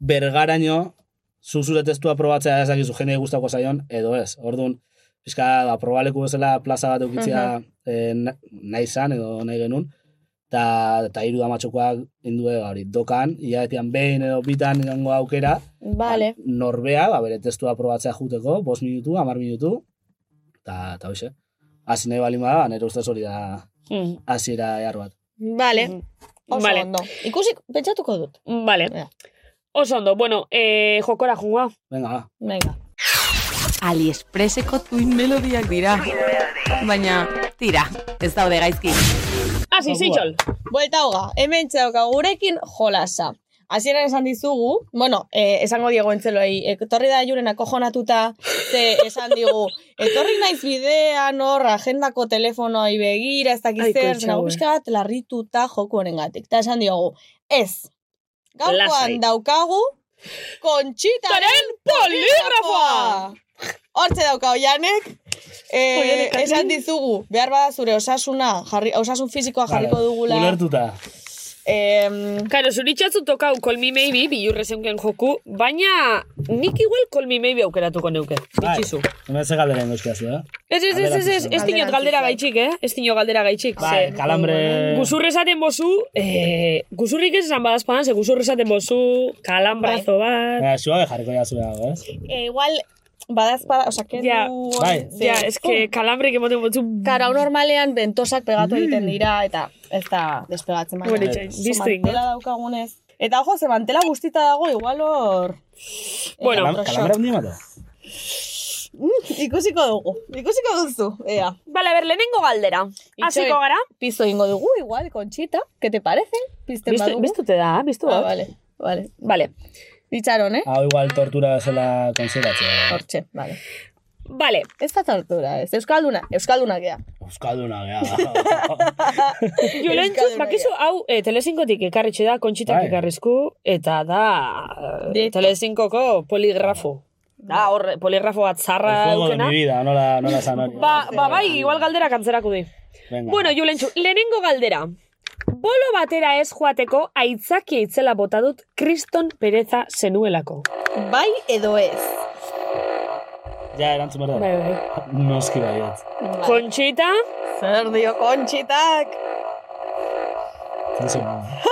bergaraino, zu zure testua probatzea ez dakizu jende gustako zaion, edo ez. Orduan, pixka, ba, probaleku bezala plaza bat eukitzea eh, na- nahi izan, edo nahi genuen, eta ta hiru damatxokoak indue ba, hori dokan, iaetian behin edo bitan egongo aukera,
Vale.
ba, norbea, ba, bere testua probatzea juteko, bost minutu, amar minutu, eta ta hoxe. Hasi nahi balin bada, nire ustez hori da
Mm.
hasiera behar bat.
Vale. Oso
Vale.
ondo. Ikusik, pentsatuko dut.
Mm. Vale.
Ja.
Oso ondo, bueno, eh, jokora jungoa.
Venga, ba.
Venga.
Aliexpreseko tuin melodiak dira. Baina, tira, ez daude gaizki.
Asi,
Jokua.
zeitxol.
Buelta hoga, hemen txauka gurekin jolasa. Hasieran esan dizugu, bueno, eh, esango diego entzeloi, etorri da juren akojonatuta, ze esan digu, etorri naiz bidean hor, agendako telefonoi begira, ez
Ai,
dakiz zer,
kontxa,
nago
ue.
pixka bat larrituta joku honengatik. Eta esan diogu, ez,
Lasai.
gaurkoan daukagu, kontxitaren poligrafoa! Hortze dauka oianek, eh,
Oianek,
esan dizugu, behar bada zure osasuna, jarri, osasun fisikoa jarriko
Vale,
dugula.
Ulertuta.
Em,
Karo, zuritxatzu tokau kolmi maybe, bilurre zeunken joku, baina nik igual kolmi maybe aukeratuko neuke.
Bai.
Bitxizu.
Hemen ze galdera ingo eskiazu, eh?
Ez, ez, ez, ez, ez, ez
Galdera
dinot galdera gaitxik, eh? Ez dinot galdera gaitxik.
Bai,
ze-
kalambre...
Guzurre esaten bozu, eh, guzurrik ez esan badazpadan, ze guzurre esaten bozu, kalambrazo
Bai.
bat...
Baina, suabe jarriko jazu dago, eh? ez?
e, igual, badazpada, osea, kendu...
Ja,
bai.
ze- Oh. uh,
Ja, ez que kalambrik emoten botzu...
Karo, hau normalean bentosak pegatu
Mm.
egiten dira, eta ez da despegatzen baina.
Bueno, itxain,
Zu
biztu ingo.
Mantela daukagunez. Eta ojo, ze mantela guztita dago, igual hor... eh,
Bueno,
Kalam-
Elektroxok.
Kalambra hundi emato?
Ikusiko dugu, ikusiko duzu, ea.
Bale, ber, lehenengo galdera. Hasiko Ah, gara.
Pizo ingo dugu, igual, kontxita, que te parece? Pizten
Biztu,
badugu.
biztute da, biztu
eh.
Ah,
da.
vale, vale.
Vale.
Itxaron, eh?
Hau igual tortura bezala konsideratzea.
Hortxe, vale.
Vale.
Ez da tortura, ez. Euskalduna, Euskalduna gea.
Euskalduna, gea.
Julen,
Euskalduna
bakizu, hau, e, telezinkotik ekarritxe da, kontxitak
Bai.
ekarrizku, eta da, e,
Directo.
telecinkoko poligrafo.
Da, hor, poligrafo bat
Ba,
zarra
El juego de
daukena.
mi vida, Bai. nola, nola zan hori.
Ba, ba, bai, igual galderak antzerako di.
Venga.
Bueno, Julentxu, lehenengo galdera. Bolo batera ez joateko aitzaki itzela bota dut kriston pereza zenuelako.
Bai edo ez.
Ja, erantzun behar
Bai,
da.
bai.
Noski eh. baiet.
Kontxita,
Zer dio kontxitak?
Zentzun baiet.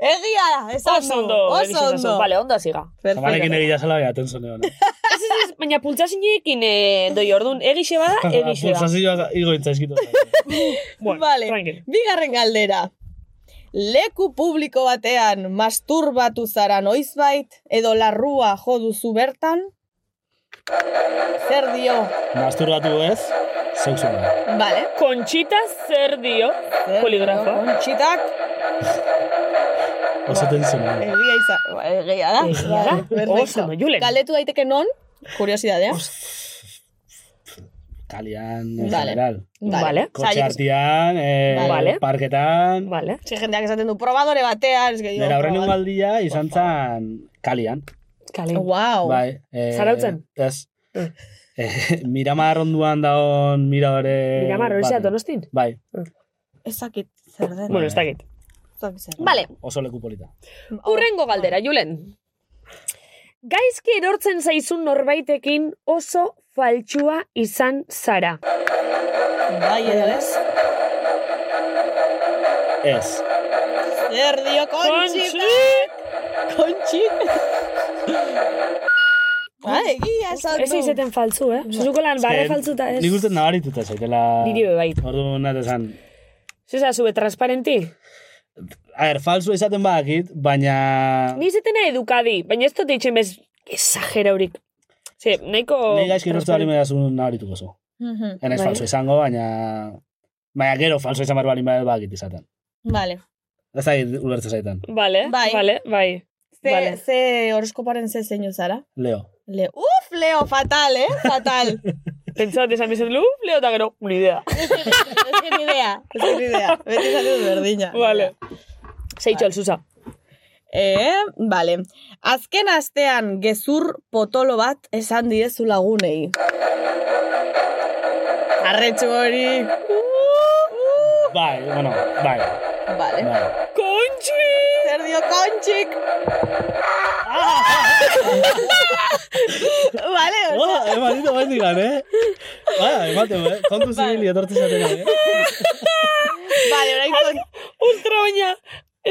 Egia da, ez
oso ondo.
oso
Elixir oso.
ondo.
Vale, ondo hasi ga.
Zamanekin egia zela baina, eh. tenso neon.
Ez, ez, ez, baina pultsasinekin eh, doi orduan egixe bada, egixe da.
Pulsazioa igo intzaizkitu.
Bueno,
Vale.
tranquil.
Bigarren galdera. Leku publiko batean masturbatu zara noizbait edo larrua jo duzu bertan? Zer dio?
Masturbatu ez, sexua da.
Vale.
Kontxita zer dio
Zer
poligrafa.
dio Kontxitak
Ba,
Oso tenso
eh.
neon.
egia izan. Egia da.
Egia da.
Perfecto.
Oso ondo, Julen.
Galdetu daiteke non? Kuriosidadea.
Kalian, en
Vale.
general.
Vale.
Kotxe
Zaila-
hartian, eh,
Vale.
parketan.
Vale.
Ze jendeak esaten du, probadore batean, ez gehiago.
Nera horren galdia izan zen kalian.
Kale.
Wow.
Bai. Eh,
Oh. Zarautzen?
Ez.
Mm.
Eh, Miramar onduan daon miradore...
Miramar, hori zea,
baten.
donostin?
Bai,
Ezakit zer den.
Bueno, ez dakit.
ezakit zer den.
Vale,
oso leku polita.
Urrengo galdera, Julen. Gaizki erortzen zaizun norbaitekin oso faltsua izan zara.
Bai, edo ez.
Ez.
Zer dio kontxita? Kontxi. Ba, egia esan
Ez
du.
izeten faltzu, eh? Zuzuko lan, barre faltzuta ez.
Nik uste nabarituta zaitela...
Niri be bai.
Ordu nahi esan...
Zuza, zube transparenti.
A ver, falsua izaten badakit, baina...
Ni izetena edukadi, baina ez dut itxen bez exagera horik. Ze, nahiko...
Ni gaizki nortu bali
transparente.
medazun nabarituko zu.
Mhm.
Enaiz
Oh, Bai.
falso izango, baina... Baina gero falso izan barbalin badakit badakit ba, izaten.
Vale.
Ez da ulertzen zaitan.
Vale,
Bai.
vale, bai.
Ze,
Vale.
ze horoskoparen ze zeinu zara?
Leo.
Le, uf, Leo, fatal, eh? Fatal.
Pentsa bat esan bizen, luf, leo eta gero, ni idea.
ez que ni idea. Ez que ni idea. Beti esaten dut berdina.
Vale. Zeitxo, el Susa.
Eh, vale. Azken astean gezur potolo bat esan diezu lagunei. Arretxu hori.
Bai, bueno, bai.
Vale.
bai.
Kontxi!
Zer dio kontxik. Ah. vale, oso.
Hola, emanito bat digan, eh? Ba, emateu, eh? Kontu zibili etortu zatena, eh?
Vale, orain kon...
Ostra, baina,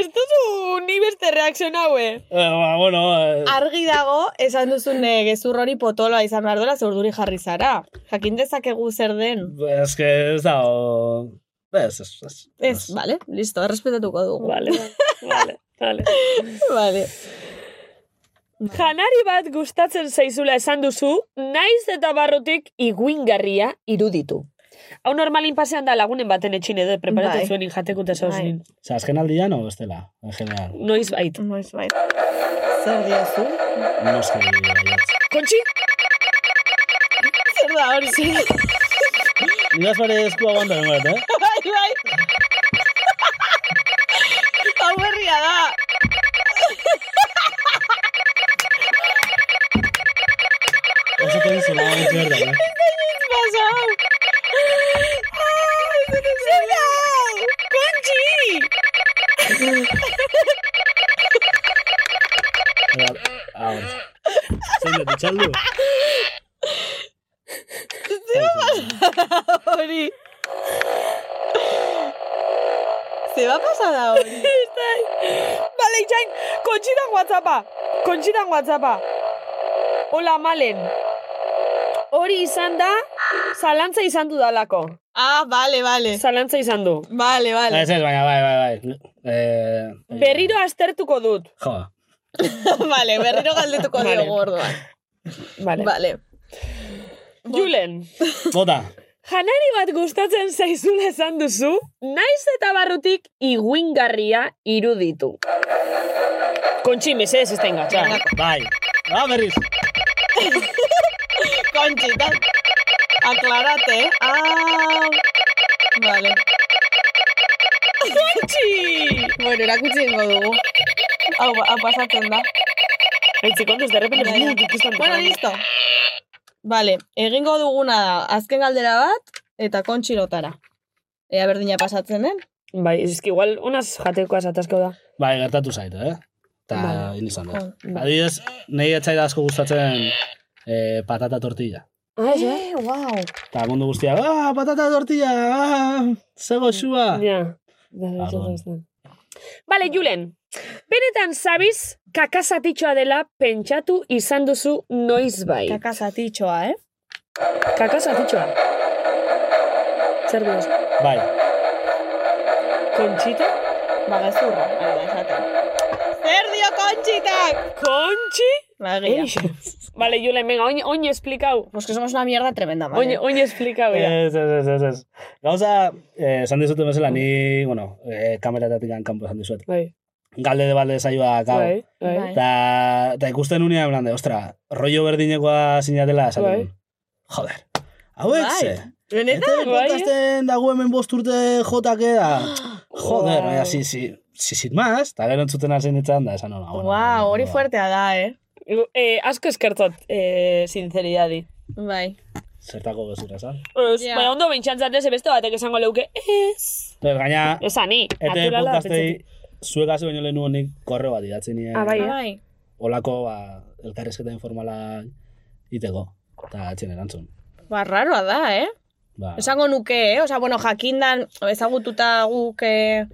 ez duzu ni beste reakzion haue.
Eh, ba, bueno, eh,
Argi dago, esan duzun eh, gezur hori potoloa izan behar duela, zeurduri jarri zara. Jakin dezakegu zer den.
es que ez da, o... Ez, ez, ez.
Ez, vale, listo, errespetatuko dugu.
Vale, vale, vale.
vale.
Janari bat gustatzen zaizula esan duzu, naiz eta barrotik iguingarria iruditu. Hau normalin pasean da lagunen baten etxin edo preparatu
Bai.
zuen injateko eta zauzin.
Osa, azken aldian o bestela, en general.
Noiz bait.
Noiz bai. Zer diozu?
Noski.
Kontxi?
Zer da hori?
Nigaz bare esku aguanta dengoet, eh?
bai, bai. Hau berria da.
Oso tenzu, nago entzu berda, eh?
Ez pasa hau. Ah, ez dut esan hau. Kontxi!
Ega, hau. Ba, ah, Zein dut, itxaldu?
Hori. Ze va pasada hori?
Bale, itxain, kontxitan whatsappa. Kontxitan whatsappa. Hola, malen. Hori izan da, zalantza izan du dalako.
Ah, vale, vale.
Zalantza izan du.
Vale, vale.
Ez, ez, baina, bai, bai, bai. Eh,
Berriro aztertuko dut.
Jo,
vale, berriro galdetuko
Vale.
diogu orduan.
Vale.
Vale.
Julen,
bota.
janari bat gustatzen zaizula esan duzu, naiz eta barrutik iguingarria iruditu. Kontxi, mesez, ez da ingatxa.
Bai. Ah, berriz.
Conchita, aclárate. Ah, vale.
Kontxi!
Bueno, erakutsi ingo dugu. Hau, hau pasatzen da.
Etxekonduz, derrepen ez dut ikustan.
Bueno, listo. Vale, egingo duguna da, azken galdera bat, eta kontxirotara. Ea berdina pasatzen den.
Bai, ez que igual unaz jatekoa esatazko da.
Bai, gertatu zait, eh? Eta
Vale.
hil izan da.
Jo,
bai.
Adibidez, nahi etzaida asko gustatzen eh, patata tortilla.
Ah, ez, eh?
Eh, wow.
Eta mundu guztia, ah, patata tortilla, ah, zego xua.
Ja. Da, da, da, da. Bale, Julen. Benetan zabiz, kakazatitxoa dela pentsatu izan duzu noiz bai.
Kakazatitxoa, eh?
Kakazatitxoa. Zer duz?
Bai,
Kontxita?
Bagazurra, ari Ba, da, esaten. Zer dio kontxitak!
Kontxi?
Bagia.
Eixe. Vale, Julen, venga, oin, oin esplikau.
Pues que somos una mierda tremenda,
Bai.
Oin,
vale.
oin esplikau, ja.
ez, ez, ez, ez, ez. Gauza, eh, esan dizuten bezala, ni, bueno, eh, kameratatik kanpo esan dizuet.
Bai,
Galde de balde zaioa gau.
bai, bai.
Bai.
Eta eta ikusten unean, en plan de, ostra, rollo berdinekoa sinatela, esaten.
Bai.
Joder, hauek
Bai.
ze.
Benetan?
Eta
Bai, eh?
kontasten dago hemen bost urte jotak eda. Joder,
Wow.
wow. si, si, si, sit más, eta gero entzuten hasi nintzen da, esan "Oh, hola.
Wow, hori fuertea da, eh?
Eh, asko eskertot, eh, sinceridadi.
Bai.
Zertako gezura, esan.
Ez,
Ja.
Baina ondo bentsantzatez, beste batek esango leuke, ez.
Eta gaina,
Esani,
ete
naturala.
podcastei,
pentsatik.
zuek hasi baino lehenu honik korreo bat idatzi nien.
Ah, bai, eh?
Bai.
Olako, ba, elkarrezketa informala iteko. Eta etxen erantzun.
Ba, raroa da, eh?
Ba,
Esango nuke, eh? Osa, bueno, jakindan, ezagututa guk... Eh...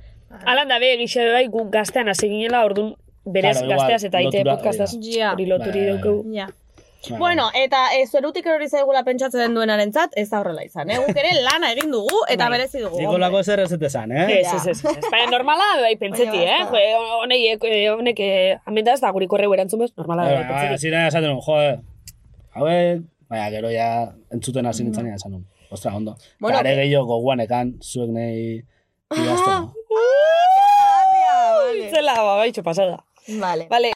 Alan da be, gixe bai, guk gaztean hasi ginela, orduan berez
Claro, igual,
gazteaz eta ite
lotura-
podcastaz
Ja.
hori loturi
Bai,
dugu.
Ja.
ba,
Bueno, eta ez zerutik erori zaigula pentsatzen duenaren zat, ez da horrela izan, eh? Guk ere lana egin dugu eta berezi dugu.
Nik
hombre.
olako zer ez dut esan, eh?
Ez, ez, ez. ez. Baina normala, bai, pentseti,
Baina
eh?
basta.
Jo, honek, eh, honek, eh, amenda ez da guri korreu erantzun bez, normala da,
Bai,
bai,
bai,
pentseti.
hasi nahi esaten nun, joder, eh, hauek, baina gero ja entzuten hasi nintzen esan nun. Ostra, ondo.
Bueno,
Bueno, Gare gehiago goguan ekan, zuek nahi
Ah.
idazten.
Zela, ba, bai, pasada.
Vale.
Vale,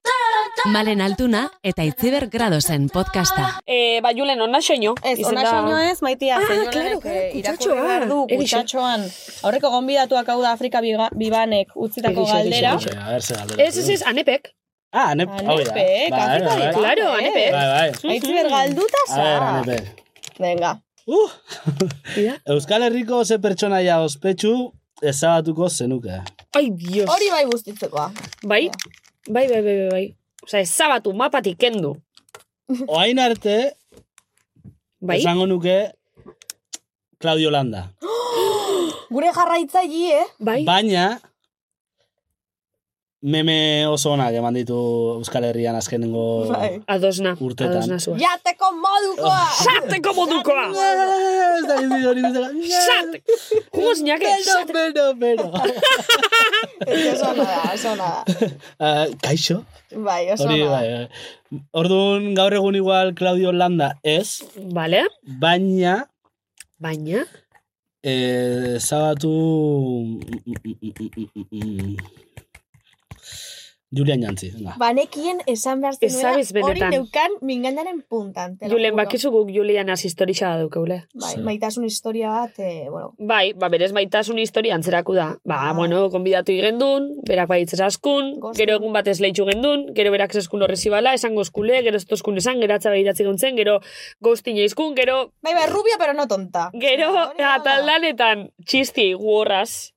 Malen Altuna eta Itziber Gradosen podcasta.
eh, ba, Julen, onna xeño.
Ez, ona xeño ez, maitia, ah,
claro,
señorenek
claro,
eh, irakurri
kutsatxoan.
behar du,
Egixe.
kutsatxoan. Aurreko gonbidatuak hau da Afrika biga- bibanek utzitako
Egixe, egixe,
galdera.
Oxe, a ver, ze galdera.
Ez, eh, ez, ez, anepek.
Ah, anep, hau da.
Anepe,
Ba,
Bai,
kafita
bai, bai.
Claro, anepe.
Bai, bai.
Aitziber galduta
A ver,
za.
anepe.
Venga.
Uh!
Ia.
Euskal Herriko ze pertsonaia ospetsu ezabatuko zenuke.
Ai, dios.
Hori bai guztitzekoa.
Bai, bai, bai, bai, bai, bai. Osa, ezabatu mapatik kendu.
Oain arte,
Bai?
esango nuke Claudio Landa.
Gure jarraitzaile, eh?
Bai?
Baina, meme oso onak eman ditu Euskal Herrian azkenengo...
Bai.
Adosna.
Urtetan.
Adosna zua.
Jateko modukoa!
Sateko modukoa!
Ah, Ez da gizu hori bezala.
Sat! Jugo zinake? Sat!
Bero, bero, bero.
Ez que oso ona da, oso ona da.
Ah, Kaixo?
Bai, oso
Hori,
ona da.
bai, bai. Orduan, gaur egun igual Claudio Landa ez,
Vale,
baina
baina...
eh, zabatu... Julian Jantzi, venga.
Banekien Ba, esan behar zenuela,
Ezabiz
hori
benetan.
neukan mingainaren puntan. te lo
Julen,
juro.
bakizu guk Julian asistorisa da daukeule.
Bai,
Zer.
maitasun historia bat, eh, bueno,
Bai, ba, berez baitasun historia antzerako da. Ba,
Ah.
bueno, konbidatu igendun, berak baitz askun,
Gosti.
gero egun batez leitxu gendun, gero berak eskun horrezibala, esango eskule, gero estoskun esan, geratza behiratzi gontzen, gero goztine izkun, gero
Bai, bai, rubia, pero no tonta.
Gero,
Hori da.
ataldanetan, txisti guorraz.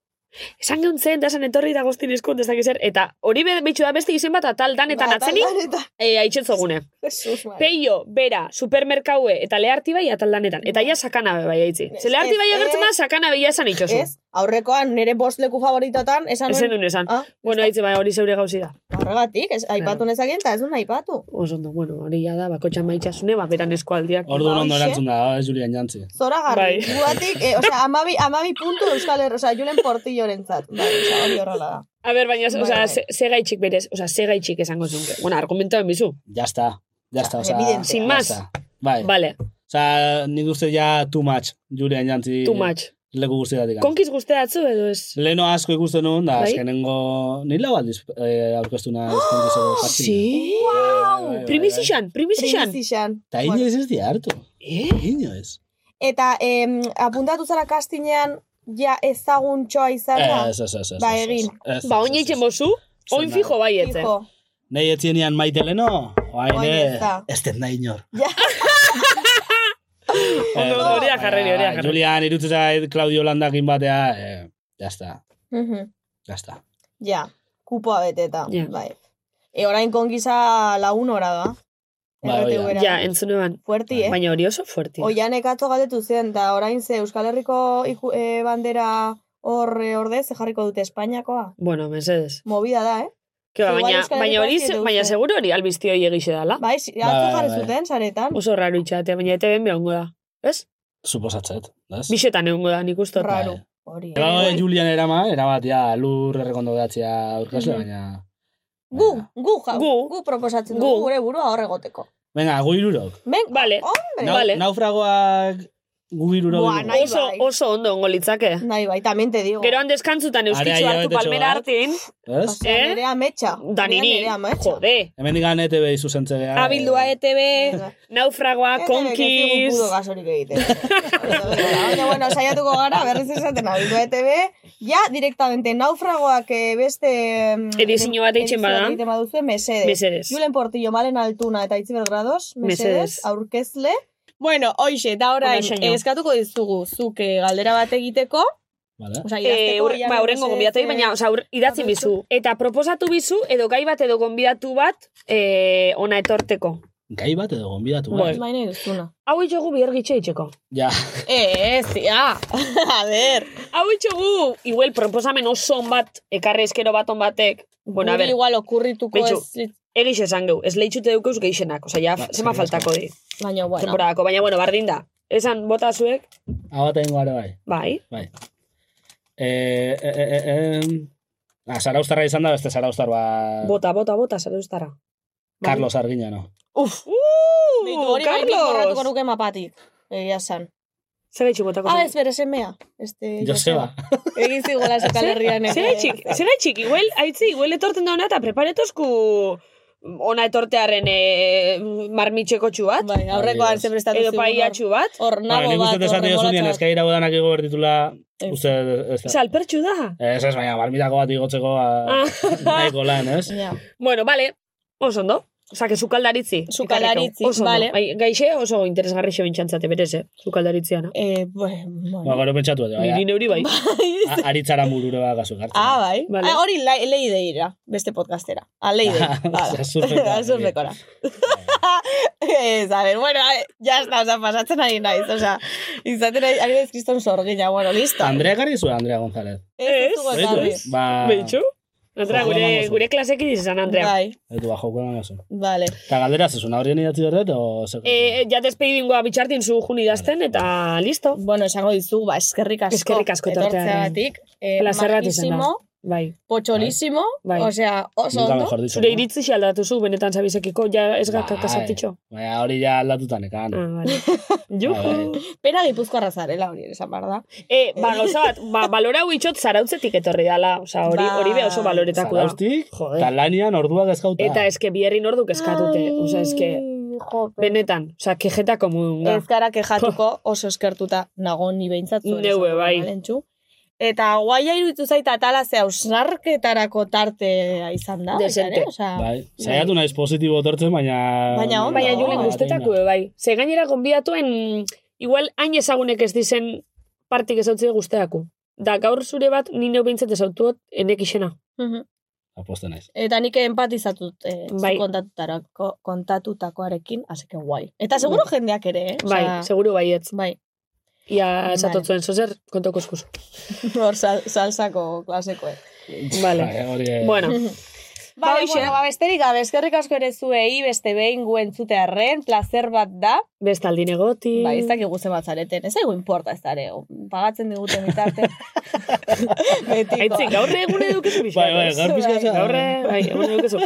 Esan geuntzen, da esan etorri da goztin eskun, ez dakit zer. Eta hori be- betxu da beste izen bat ataldanetan
Ba,
atzeni,
ataldanetan.
e, aitzenzogune.
Jesus, madre.
Peio, bera, supermerkaue eta leharti bai ataldanetan. Eta ia sakana be bai aitzi.
Ez,
Ze leharti
ez,
bai agertzen da,
ez.
sakana be ia esan itxosu.
Ez, aurrekoan nire bost leku favoritotan, esan
Ez
nuen,
duen esan.
ah,
Bueno, aitzi bai hori zeure gauzi da.
horregatik, ez,
Bai.
aipatu nezakien, eta ez duen aipatu.
Osondo, bueno, hori ja da, bakotxan maitxasune, ba, beran eskualdiak.
Orduan ondo
Horixe.
erantzun da, ez Julian Jantzi.
Zora garri,
Bai.
guatik, eh, osea, amabi, amabi puntu euskal herro, osea, Julen Portilloren zat. Bai, osea, hori horrela da.
A ber, baina,
Bai,
oza,
bai.
ze ze gaitxik berez, oza, ze gaitxik esango zunke. Bueno, argumentoen bizu.
Ya está, ya está, o sea,
Evidente.
Sin
ya
más.
está. Bai.
Vale,
Osa, nik uste ja too much, Julian Jantzi
too much.
leku guztietatik.
Konkiz guzteatzu edo ez?
Leno asko ikusten nuen, da
Bai.
azkenengo ni lau aldiz eh, aurkeztu na eskondizo
Sí.
Eh, bai,
Wow! Primizixan, primizixan.
Primizixan.
Ta inoiz ez di hartu. Eh? Inoiz.
Eta em, apuntatu zara kastinean, ja ezagun txoa izan da.
Ez, ez, ez, ez.
Ba,
ez, ez,
egin.
ez, ez,
Ba, oin
ez, ez.
eitzen bozu, oin
Zen
fijo bai etzen.
Fijo.
Nei etzienian maite leno, oain
Oain ez
ez,
da.
ez den da inor. Eh,
Ondo, ondo, horiak jarri, horiak jarri.
Julian, irutu zait Claudio Landakin batea, eh, jazta,
Mhm.
jazta.
Ja, kupoa beteta,
Ja.
bai. E, orain kongiza lagun hora da.
Bai, hori da.
RTVra.
Ja, entzune ban.
Fuerti, eh?
Baina hori oso fuerti.
Oian ekato galdetu zen, da orain ze Euskal Herriko iku, eh, bandera hor eh, ordez ze jarriko dute Espainiakoa.
Bueno, mesedes.
Movida da, eh?
Ke ba,
Igual
baina,
Euskal
baina hori,
Herrikoak ez dute
baina
uste.
seguro hori albizti hori egixe dala.
Bai, si,
Bai,
altu
bai,
jarri
bai.
zuten, saretan.
Oso raro itxate, baina ete ben behongo da. Ez?
Suposatzet, ez?
Bixetan egongo da, nik uste.
Ra- Raro. Hori. eh.
Eba, bai, Julian erama, erabat, ja, lur errekondo behatzea aurkasle,
Mhm.
baina...
Gu, gu, ja, gu,
Gu.
proposatzen
Gu.
dugu gure burua hor egoteko.
Venga, gu irurok.
Ben,
Vale.
Eh,
hombre,
Nau,
Vale.
Naufragoak gu irurok.
Buah,
dugu.
nahi
Oso,
bai.
oso ondo ongo litzake.
nahi bai, tamien te digo.
Geroan deskantzutan euskitxo
Area
hartu
hilabetetxo
palmera
bat.
hartin.
Ez?
Osea,
eh?
nerea ametsa.
Daniri,
Nerea ametsa.
jode.
Hemen digan ETB izuzentzea. eh,
Abildua ETB, naufragoa,
Ez dabe, ez
konkiz.
dugu gasorik egiten. Baina, bueno, saiatuko gara, berriz esaten abildu ETV, ja, direktamente naufragoak eh, beste... em,
Edizio bat
edizio
egiten bada.
egiten baduzue, mesedes.
Mesedes.
Julen Portillo, Malen Altuna eta Itziber Grados, mesedes,
Mesedes.
aurkezle.
Bueno, hoixe, eta orain,
Honaixeño.
eh, eskatuko dizugu, zuk eh, galdera bat egiteko,
Vale.
Osa,
Eh,
idazteko,
hor-
ja,
ba, horrengo
mesedes,
gonbidatei,
eh,
baina oza, hor, idatzen bizu. Eta proposatu bizu, edo gai bat edo gonbidatu bat, eh, ona etorteko.
Gai bat edo gonbidatu.
Bueno.
Bueno.
Bai nahi duzuna.
Hau itxogu bihergitxe itxeko.
Ja,
Eh, Ez, ja, a ber.
Hau itxogu, igual proposamen oso on bat, ekarri eskero bat on batek. Bueno, a
Guri
ber,
igual okurrituko
Betxu.
ez, lit-
egiz esan geu, ez leitzute dukeuz geixenak, oza, ja,
Ba,
zema
eskerrik
faltako di,
baina bueno.
temporadako, baina, bueno, bardin da. Esan, bota zuek,
hau bat egingo gara bai.
bai,
Bai. Eh, eh, eh, eh, em. Ah, Zaraustarra izan da, beste Zaraustar
Bai.
bat.
bota, bota, bota, zara ustara.
Carlos Arguiñano. no.
Uf,
Beitu,
uh,
hori bai, nik borratuko
Carlos!
nuke mapatik, egia san.
Zer gaitxik botako
Ah,
zen?
ez bere semea.
Bai,
Este,
Joseba.
Egin zigula Euskal Herrian. eh.
Zegaitxik, zegaitxik, igual, aitzi, igual etorten da ona eta preparetozku ona etortearen eh, marmitxeko txu bat,
Bai, aurrekoan ze prestatu
edo
zigun. hor-
paiatxu bat.
Hor
Bueno,
nago
nik
bat,
uste
hor
desate jozunien,
remolatxa bat.
eskaira bodanak igor ditula,
Ez.
uste, ez da.
Salpertxu da.
Ez ez, baina, barmitako bat igotzeko ah, nahiko lan, ez?
Ja.
Bueno, vale, oso ondo. Osea, zukaldaritzi.
Sukaldaritzi,
oso ondo.
vale.
Bai, gaixe oso interesgarri xe bintxantzate berez, eh? Zukaldaritzeana.
Eh, bue- bueno.
Ba, gero pentsatu edo,
Niri
baina,
neuri bai.
ba.
a- aritzara murure bat gazu gartzen.
Ah, bai.
Vale.
Ah, hori lai- leide ira, beste podcastera. Ah, A leide. Hala.
Azurreka.
Azurrekora. Ah, Ez, a ver, bueno, a ver, ya está, o sea, pasatzen ari naiz, o sea, izaten ari ari naiz kriston sorgina, bueno, listo.
Andrea garri zuen, Andrea González.
Ez, ez dugu
Ez,
ekarri.
Beitu, Ba,
Beitxu? Andrea,
Ojo,
gure,
vamos.
gure klaseki izan, Andrea.
Bai,
Beitu, ba, joko eman gazu.
vale.
Eta galdera zezuna horien idatzi berdet, o... zer-
Eh, ja despedingoa bitxartin zu jun idazten, eta listo.
Bueno, esango dizu, ba, eskerrik asko.
Eskerrik asko
etortzeagatik. Eh,
Plazer bat izan da.
majísimo,
Bai.
Potxolísimo,
Bai. Bai.
osea, oso
Nunca
ondo.
mejor dicho.
Zure
¿no?
iritzi xe aldatu zu, benetan zabizekiko, ja ez gaka
Bai.
kasatitxo.
Baina hori ja aldatutan ekan. Ba,
Ah, vale. Juhu.
Bai.
Pera gipuzkoarra zarela hori, esan behar da.
Eh, ba, gauza bat, ba, balora huitxot zarautzetik etorri dala. Osa, hori, hori be oso baloretako da.
Zaraustik,
Joder.
Bai.
eta lanian orduak ezkauta.
Eta eske bierri norduk eskatute. Osa, eske,
Ai, jope.
benetan. Osa, kejeta komunga.
Ez gara kejatuko oso eskertuta nago ni behintzat zuen.
Neue,
esan,
bai.
Valentxu. Eta guaia iruditu zait atala ze ausnarketarako tartea izan da. baita
Desente.
ere, osea,
Bai, saiatu naiz positibo tortzen, baina... Ba,
Baina ondo.
Baina
No,
Julen
bateina.
guztetako, be, bai. Ze gainera gonbidatuen, igual hain ezagunek ez dizen partik ezautzi guztetako. Da gaur zure bat, ni neu behintzat ezautuot, enek isena.
Mhm.
Aposten naiz.
Eta nik empatizatut eh, zu
Bai.
kontatutako, kontatutakoarekin, así que guai. Eta seguro jendeak ere, eh?
Bai,
Osea,
seguru baietz.
bai.
Ia
Vale.
esatotzuen zozer, kontoko eskuz.
Hor sal, salsako klasekoek.
Vale.
Bai, hori... eh,
Bueno,
Ba,
hoxe.
bueno, ba, besterik gabe, eskerrik asko ere zuei, beste behin gu entzutearren, placer bat da.
bestaldi negoti.
Bai, ez dakigu zen bat zareten, ez dago importa ez dare, pagatzen diguten bitarte.
Aitzi,
Betiko.
gaur egun edukezu
Bai, bai,
bizkatzen.
gaur pizkatzen.
Gaur bai, egun edukezu.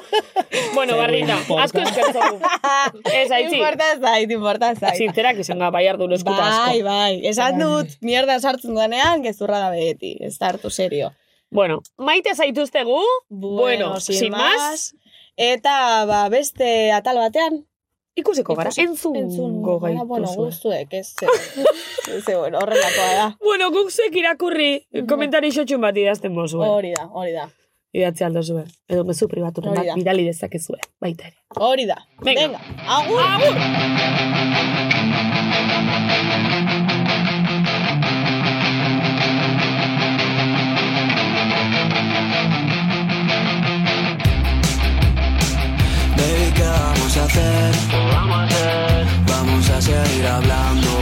bueno,
Zaigu
barrinda,
importa.
asko eskertzogu. Ez, aitzi,
Importa ez zait, importa ez zait.
sinterak izan gara, bai ardu eskuta asko.
Bai, bai, esan dut, mierda sartzen duanean, gezurra da beti, ez da hartu serio.
Bueno, maite zaituztegu, Bueno, sin más.
Eta, ba, beste atal batean,
ikusiko gara,
Ikusi-
entzungo
gara, bueno,
gaituzue.
guztuek, ez, ez, ez, bueno, horrelakoa da. Bai.
Bueno, guk zuek irakurri komentari xotxun bat idazten bozu.
Hori da, hori da.
idatzi aldozue. Edo mezu pribatu
Hori
bat
da.
bidali dezakezue. Baita ere.
Hori da.
Venga.
Venga. Agur. Agur.
Baby, ¿qué vamos a hacer? Vamos a seguir hablando